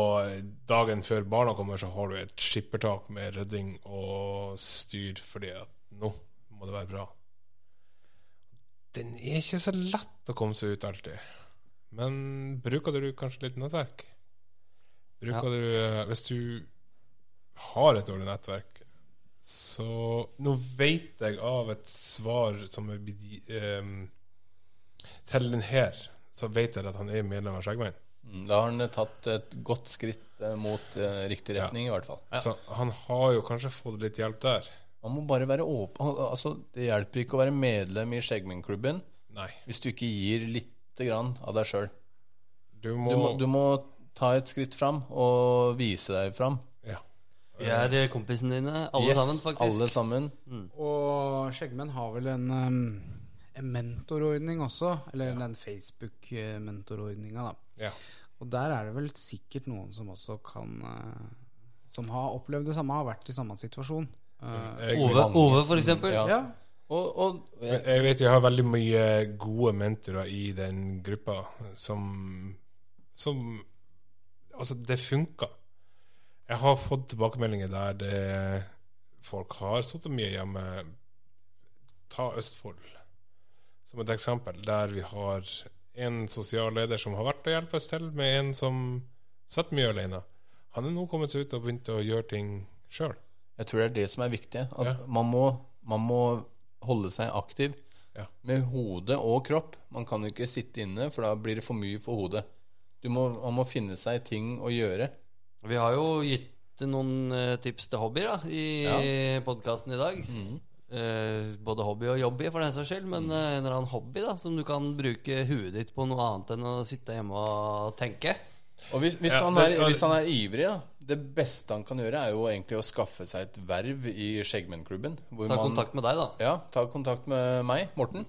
[SPEAKER 3] dagen før barna kommer, så har du et skippertak med rydding og styr, fordi at nå må det være bra. Den er ikke så lett å komme seg ut alltid. Men bruker du kanskje litt nettverk? Bruker du eh, Hvis du har et dårlig nettverk, så Nå vet jeg av et svar som er blitt gi- ehm, Til den her, så vet jeg at han er medlem av Skjeggmenn.
[SPEAKER 4] Mm, Da har han eh, tatt et godt skritt eh, mot eh, riktig retning, i hvert fall.
[SPEAKER 3] Så han har jo kanskje fått litt hjelp der.
[SPEAKER 4] Man må bare være åpen al- Altså, Det hjelper ikke å være medlem i Skjeggmennklubben
[SPEAKER 3] Nei.
[SPEAKER 4] hvis du ikke gir lite grann av deg sjøl.
[SPEAKER 3] Du må,
[SPEAKER 4] Du, må- du må ta et skritt fram og vise deg fram.
[SPEAKER 3] Ja.
[SPEAKER 2] Vi er eh, kompisene dine, alle
[SPEAKER 4] Yes,
[SPEAKER 2] sammen, faktisk.
[SPEAKER 4] Alle sammen.
[SPEAKER 1] Og Skjeggmenn har vel en, em, en mentorordning også, eller den Facebook-mentorordninga, da.
[SPEAKER 3] ja.
[SPEAKER 1] Og der er det vel sikkert noen som også kan eh, Som har opplevd det samme, har vært i samme situasjon. Eh,
[SPEAKER 3] Jeg,
[SPEAKER 2] Ove, Ove, for eksempel.
[SPEAKER 4] Ja.
[SPEAKER 1] ja.
[SPEAKER 4] Og, og jeg,
[SPEAKER 3] jeg vet jeg har veldig mye gode mentorer i den gruppa som som Altså, det funka. Jeg har fått tilbakemeldinger der det, folk har sittet mye hjemme. Ta Østfold som et eksempel, der vi har en sosial leder som har vært og hjulpet oss til, med en som satt mye alene. Han er nå kommet seg ut og begynt å gjøre ting sjøl.
[SPEAKER 4] Jeg tror det er det som er viktig. At
[SPEAKER 3] Ja.
[SPEAKER 4] man, må, man må holde seg aktiv
[SPEAKER 3] Ja.
[SPEAKER 4] med hode og kropp. Man kan ikke sitte inne, for da blir det for mye for hodet. Du må, man må finne seg ting å gjøre.
[SPEAKER 2] Vi har jo gitt noen eh, tips til hobbyer da, i podcasten podkasten i dag. Eh, både hobby og jobby, for den saks skyld. Men eh, en eller annen hobby da, som du kan bruke huet ditt på noe annet enn å sitte hjemme og tenke.
[SPEAKER 4] Og hvis, hvis,
[SPEAKER 3] Ja,
[SPEAKER 4] han
[SPEAKER 3] det-
[SPEAKER 4] er, hvis han er ivrig, da Det beste han kan gjøre, er jo egentlig å skaffe seg et verv i Skjeggmennklubben. hvor
[SPEAKER 2] Ta
[SPEAKER 4] man-
[SPEAKER 2] kontakt med deg, da.
[SPEAKER 4] Ja, ta kontakt med meg, Morten.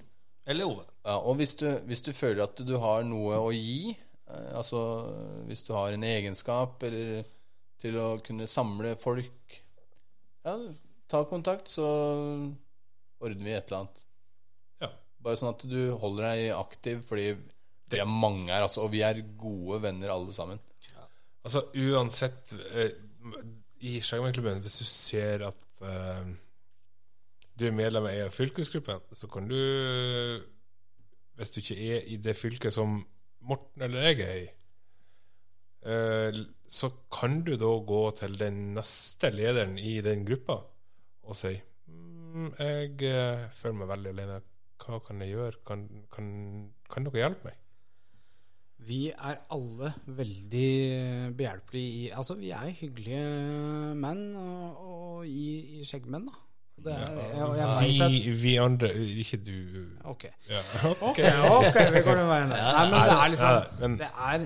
[SPEAKER 2] Eller Ove.
[SPEAKER 4] Ja, og hvis du, hvis du føler at du har noe å gi, eh, altså hvis du har en egenskap eller til å kunne samle folk, ja, ta kontakt, så ordner vi et eller annet.
[SPEAKER 3] Ja.
[SPEAKER 4] Bare sånn at du holder deg aktiv, fordi vi er mange her, altså, og vi er gode venner alle sammen.
[SPEAKER 3] Altså uansett eh, I Skjeggmennklubben, hvis du ser at eh, du er medlem av fylkesgruppen, så kan du Hvis du ikke er i det fylket som Morten eller jeg er i, eh, så kan du da gå til den neste lederen i den gruppa og si mm, Jeg eh, føler meg veldig alene. Hva kan jeg gjøre? Kan, kan, kan dere hjelpe meg?
[SPEAKER 1] Vi er alle veldig behjelpelige i Altså, vi er hyggelige menn og, og i, i skjeggmenn, da. Det er, jeg, jeg vet at,
[SPEAKER 3] Vi, vi andre Ikke du.
[SPEAKER 1] ok.
[SPEAKER 3] Ja.
[SPEAKER 1] Ok, ok, vi går den veien. Nei, men det er
[SPEAKER 3] Ja,
[SPEAKER 1] liksom
[SPEAKER 3] men
[SPEAKER 1] Det er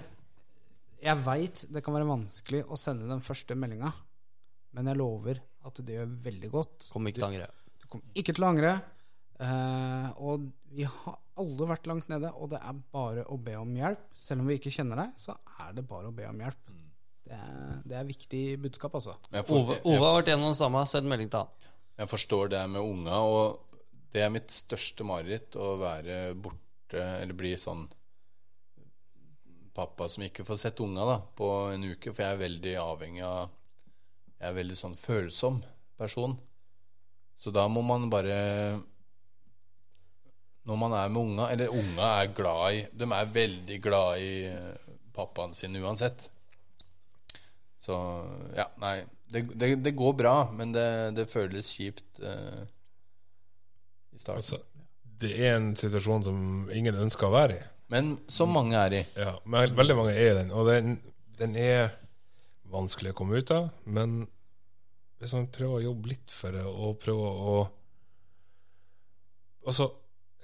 [SPEAKER 1] Jeg veit det kan være vanskelig å sende den første meldinga, men jeg lover at det gjør veldig godt.
[SPEAKER 2] Kom ikke til å angre.
[SPEAKER 1] Du kommer ikke til å angre. Eh, og vi har alle vært langt nede, og det er bare å be om hjelp. Selv om vi ikke kjenner deg, så er det bare å be om hjelp.
[SPEAKER 3] Mm.
[SPEAKER 1] Det er, det er viktig budskap, altså.
[SPEAKER 4] Men jeg forstår-
[SPEAKER 2] Ove, Ove har vært gjennom det samme. Send melding til han.
[SPEAKER 4] Jeg forstår det med unga, og det er mitt største mareritt å være borte eller bli sånn pappa som ikke får sett unga da, på en uke, for jeg er veldig avhengig av Jeg er veldig sånn følsom person. Så da må man bare Når man er med unga Eller unga er glad i De er veldig glad i eh, pappaen sin uansett. Så ja, nei Det, det, det går bra, men det, det føles kjipt eh, i starten.
[SPEAKER 3] altså, det er en situasjon som ingen ønsker å være i.
[SPEAKER 4] men
[SPEAKER 3] mm.
[SPEAKER 4] som mange er i.
[SPEAKER 3] Ja, men veldig mange er i den, og den, den er vanskelig å komme ut av. Men hvis man prøver å jobbe litt for det, og prøver å Altså,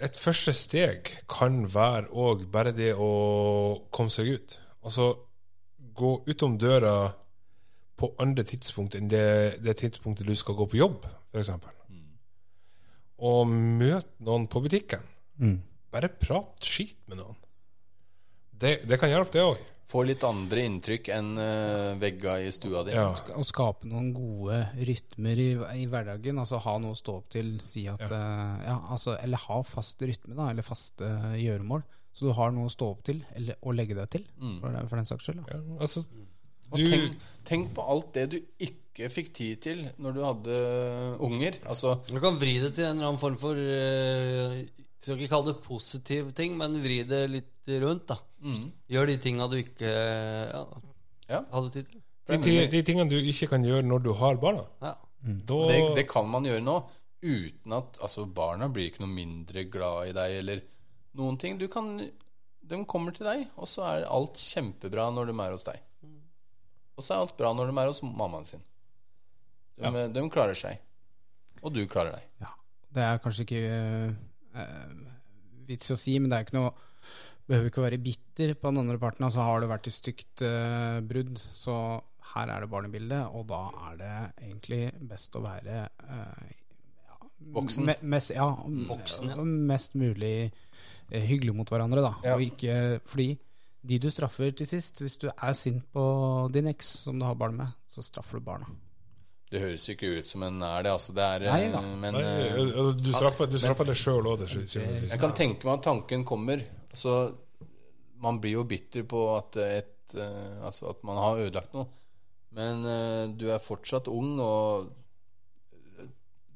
[SPEAKER 3] et første steg kan være òg bare det å komme seg ut. Altså gå utom døra på andre tidspunkt enn det, det tidspunktet du skal gå på jobb, f.eks. Og møte noen på butikken. Bare prat skit med noen. Det, det kan hjelpe, det òg.
[SPEAKER 4] Får litt andre inntrykk enn uh, vegga i stua di.
[SPEAKER 3] Ja.
[SPEAKER 1] Å skape noen gode rytmer i, i hverdagen. Altså ha noe å stå opp til. Si at, ja. ja, altså, eller ha fast rytme, da. Eller faste eh, gjøremål. Så du har noe å stå opp til, eller å legge deg til, for, den- for den saks skyld. Da.
[SPEAKER 3] Ja, altså,
[SPEAKER 4] Og
[SPEAKER 3] du,
[SPEAKER 4] tenk, tenk på alt det du ikke fikk tid til når du hadde unger. Altså,
[SPEAKER 2] Du kan vri det til en eller annen form for eh, Skal ikke kalle det positiv ting, men vri det litt rundt, da.
[SPEAKER 4] mm,
[SPEAKER 2] Gjør de tinga du ikke eh, ja,
[SPEAKER 4] Ja.
[SPEAKER 2] hadde tid til.
[SPEAKER 3] de, ti- de tingene du ikke kan gjøre når du har barna
[SPEAKER 2] Ja.
[SPEAKER 3] da,
[SPEAKER 4] det, det kan man gjøre nå uten at altså, barna blir ikke noe mindre glad i deg eller noen ting. Du kan, de kommer til deg, og så er alt kjempebra når de er hos deg. Og så er alt bra når de er hos mammaen sin. De, de klarer seg. Og du klarer deg.
[SPEAKER 1] Ja, det er kanskje ikke eh, eh, vits å si, men det er ikke noe Behøver ikke å være bitter på den andre parten. Altså Har det vært et stygt eh, brudd, så her er det barnebildet, og da er det egentlig best å være eh, ja,
[SPEAKER 4] Voksen.
[SPEAKER 1] me- mest, ja, og mest mulig eh, hyggelig mot hverandre, da.
[SPEAKER 4] Ja.
[SPEAKER 1] Og ikke, fordi de du straffer til sist, hvis du er sint på din eks som du har barn med, så straffer du barna.
[SPEAKER 4] Det høres jo ikke ut som en er det, altså. Det er eh,
[SPEAKER 1] Nei da.
[SPEAKER 4] Men
[SPEAKER 3] Nei,
[SPEAKER 4] eh,
[SPEAKER 3] altså, Du straffer, du straffer deg sjøl òg, til syvende og sist.
[SPEAKER 4] jeg kan tenke meg at tanken kommer. Så man blir jo bitter på at, et, eh, altså at man har ødelagt noe. Men eh, du er fortsatt ung, og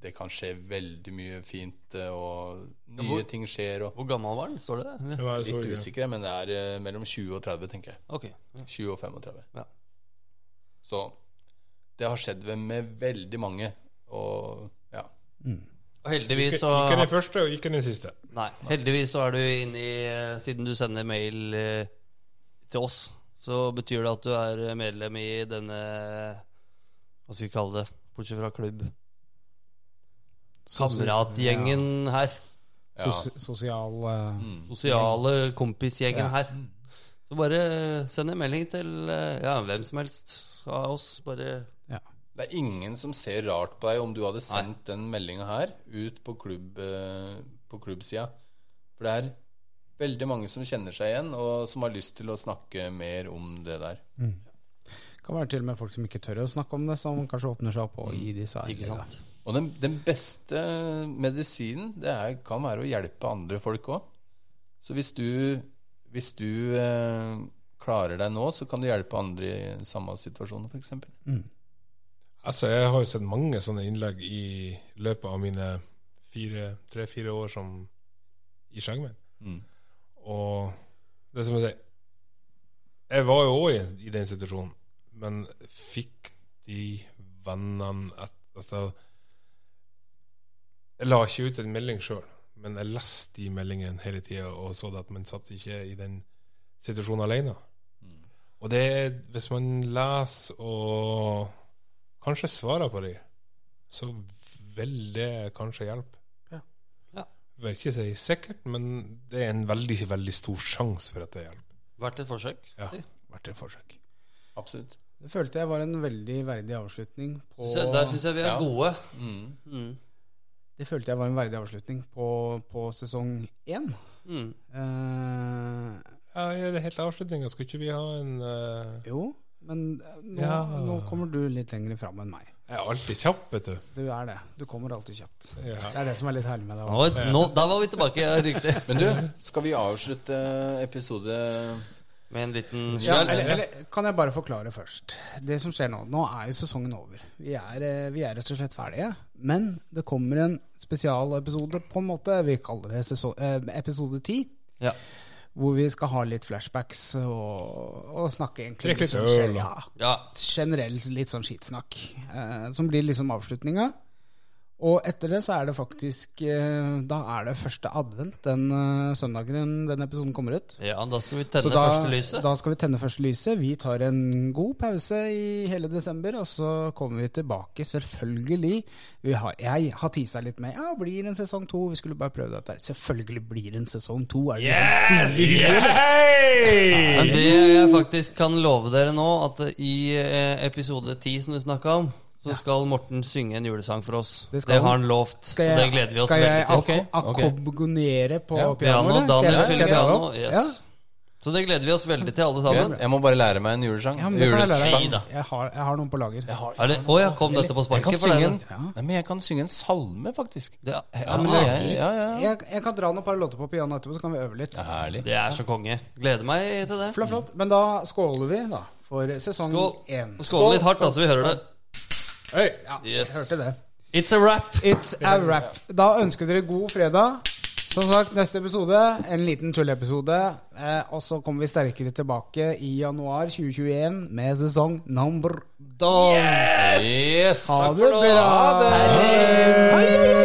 [SPEAKER 4] det kan skje veldig mye fint, eh, og nye
[SPEAKER 2] hvor-
[SPEAKER 4] ting skjer. Og
[SPEAKER 2] Hvor gammel var den? Står det det?
[SPEAKER 3] Det var
[SPEAKER 4] litt
[SPEAKER 3] sorgen.
[SPEAKER 4] usikker, men det er eh, mellom 20 og 30, tenker jeg.
[SPEAKER 2] Ok.
[SPEAKER 4] 20 og 35.
[SPEAKER 2] Ja.
[SPEAKER 4] Så det har skjedd ved- med veldig mange, og ja.
[SPEAKER 1] Mm.
[SPEAKER 2] Og heldigvis
[SPEAKER 3] Ikke
[SPEAKER 2] så
[SPEAKER 3] ikke den første, og ikke den siste.
[SPEAKER 2] Nei. Heldigvis så er du inne i eh, Siden du sender mail eh, til oss, så betyr det at du er eh, medlem i denne Hva skal vi kalle det? Bortsett fra klubb. Kameratgjengen her.
[SPEAKER 4] ja.
[SPEAKER 1] Sos sosial
[SPEAKER 4] Mm.
[SPEAKER 1] eh,
[SPEAKER 2] Sosiale kompisgjengen
[SPEAKER 1] Ja.
[SPEAKER 2] her. Så bare send en melding til eh, ja, hvem som helst av oss. Bare
[SPEAKER 1] ja.
[SPEAKER 4] Det er ingen som ser rart på deg om du hadde sendt den meldinga her ut på, klubb, eh, på klubbsida. For det er veldig mange som kjenner seg igjen, og som har lyst til å snakke mer om det der.
[SPEAKER 1] Kan være til og med folk som ikke tør å snakke om det, som kanskje åpner seg opp og gir disse
[SPEAKER 2] Mm. Ikke
[SPEAKER 1] her.
[SPEAKER 2] sant?
[SPEAKER 4] Og den, den beste medisinen det er, kan være å hjelpe andre folk òg. Så hvis du, hvis du eh, klarer deg nå, så kan du hjelpe andre i samme situasjon, f.eks.
[SPEAKER 1] Mm.
[SPEAKER 3] Altså, jeg har jo sett mange sånne innlegg i løpet av mine fire, tre-fire år som i skjeggmenn.
[SPEAKER 4] Mm.
[SPEAKER 3] Og det er som jeg sier Jeg var jo òg i, i den situasjonen, men fikk de vennene et, Altså Jeg la ikke ut en melding sjøl, men jeg leste de meldingene hele tida og så det at man satt ikke i den situasjonen alene. Og det er Hvis man leser og kanskje svarer på de, så vil det kanskje hjelpe.
[SPEAKER 1] Ja.
[SPEAKER 2] Ja.
[SPEAKER 3] Vil ikke si sikkert, men det er en veldig, veldig stor sjanse for at det hjelper.
[SPEAKER 2] Verdt et forsøk.
[SPEAKER 3] Ja.
[SPEAKER 2] si.
[SPEAKER 1] Vært et forsøk.
[SPEAKER 4] Absolutt.
[SPEAKER 1] Det følte jeg var en veldig verdig avslutning på
[SPEAKER 2] Synes jeg- Der syns jeg vi er
[SPEAKER 4] Ja.
[SPEAKER 2] gode.
[SPEAKER 4] Mm.
[SPEAKER 2] Mm.
[SPEAKER 1] Det følte jeg var en verdig avslutning på, på sesong én.
[SPEAKER 2] Mm.
[SPEAKER 1] Eh,
[SPEAKER 3] Ja, i det hele avslutninga skal ikke vi ha en eh,
[SPEAKER 1] jo, men eh, nå,
[SPEAKER 3] Ja.
[SPEAKER 1] nå kommer du litt lenger fram enn meg.
[SPEAKER 3] Jeg er alltid kjapp, vet du.
[SPEAKER 1] Du er det. Du kommer alltid kjapt.
[SPEAKER 3] Ja.
[SPEAKER 1] Det er det som er litt herlig med det.
[SPEAKER 2] Nå, nå, da var vi tilbake, ja, riktig.
[SPEAKER 4] Men du, skal vi avslutte episode
[SPEAKER 2] Med en liten
[SPEAKER 1] Ja,
[SPEAKER 2] kjøl.
[SPEAKER 1] eller, eller kan jeg bare forklare først? Det som skjer nå Nå er jo sesongen over. Vi er, eh, vi er rett og slett ferdige. Men det kommer en spesialepisode, på en måte. Vi kaller det sesong, eh, episode ti.
[SPEAKER 2] Ja.
[SPEAKER 1] Hvor vi skal ha litt flashbacks og, og snakke egentlig
[SPEAKER 3] Drikke litt
[SPEAKER 1] som
[SPEAKER 3] øl,
[SPEAKER 1] skjer.
[SPEAKER 3] da.
[SPEAKER 1] Ja,
[SPEAKER 2] ja.
[SPEAKER 1] generelt litt sånn skitsnakk. Eh, som blir liksom avslutninga. Og etter det så er det faktisk eh, Da er det første advent den eh, søndagen den- den episoden kommer ut.
[SPEAKER 2] ja, da skal vi tenne
[SPEAKER 1] Så da,
[SPEAKER 2] første lyset.
[SPEAKER 1] Da skal vi tenne første lyset. Vi tar en god pause i hele desember, og så kommer vi tilbake, selvfølgelig. Vi har, jeg har tisa litt med Ja, blir det en sesong to? Vi skulle bare prøve dette. her. Selvfølgelig blir det en sesong to. Er det
[SPEAKER 2] Men det jeg faktisk kan love dere nå, at i eh, episode 10 som du snakka om, så skal Morten synge en julesang for oss.
[SPEAKER 1] Det
[SPEAKER 2] Det,
[SPEAKER 1] skal han.
[SPEAKER 2] har han lovt,
[SPEAKER 1] Skal jeg,
[SPEAKER 2] og det gleder vi oss
[SPEAKER 1] skal jeg
[SPEAKER 2] veldig til.
[SPEAKER 1] akko-
[SPEAKER 4] Ok, ok.
[SPEAKER 1] akkompagnere på
[SPEAKER 4] Ja,
[SPEAKER 1] pianoet?
[SPEAKER 2] Piano,
[SPEAKER 1] eller? Skal jeg-
[SPEAKER 2] Daniel
[SPEAKER 1] skal
[SPEAKER 2] spiller
[SPEAKER 1] jeg dra det
[SPEAKER 2] piano.
[SPEAKER 1] opp?
[SPEAKER 2] Yes. Så det gleder vi oss veldig til, alle sammen.
[SPEAKER 4] Jeg må bare lære meg en julesang.
[SPEAKER 1] Ja, ja, men det kan jeg, lære
[SPEAKER 4] Julesang.
[SPEAKER 1] deg. jeg, har, jeg har noen på lager.
[SPEAKER 4] Jeg har-
[SPEAKER 2] Er det- Å ja, kom dette på
[SPEAKER 4] Jeg kan
[SPEAKER 2] sparket for deg?
[SPEAKER 4] synge en,
[SPEAKER 2] da?
[SPEAKER 1] Ja.
[SPEAKER 4] nei, men jeg kan synge en salme, faktisk.
[SPEAKER 2] Ja,
[SPEAKER 4] Ja,
[SPEAKER 2] ja,
[SPEAKER 4] ja, ja, ja, ja.
[SPEAKER 1] Jeg, jeg kan dra noen par låter på pianoet etterpå, så kan vi øve litt.
[SPEAKER 4] Det er herlig.
[SPEAKER 2] det er så konge. Gleder meg til det.
[SPEAKER 1] Flott, flott. Men da skåler vi, da, for sesong
[SPEAKER 2] Skål.
[SPEAKER 1] én.
[SPEAKER 2] Skål litt hardt, da, så vi hører det.
[SPEAKER 1] Oi, ja, jeg
[SPEAKER 2] Yes.
[SPEAKER 1] hørte det.
[SPEAKER 2] It's a wrap.
[SPEAKER 1] It's a wrap. Da ønsker dere god fredag. Som sagt, neste episode, en liten tulleepisode. Eh, og så kommer vi sterkere tilbake i januar 2021 med sesong number dog.
[SPEAKER 4] Yes!
[SPEAKER 1] Ha det bra.
[SPEAKER 4] Ha det.
[SPEAKER 1] Hei, hei, hei.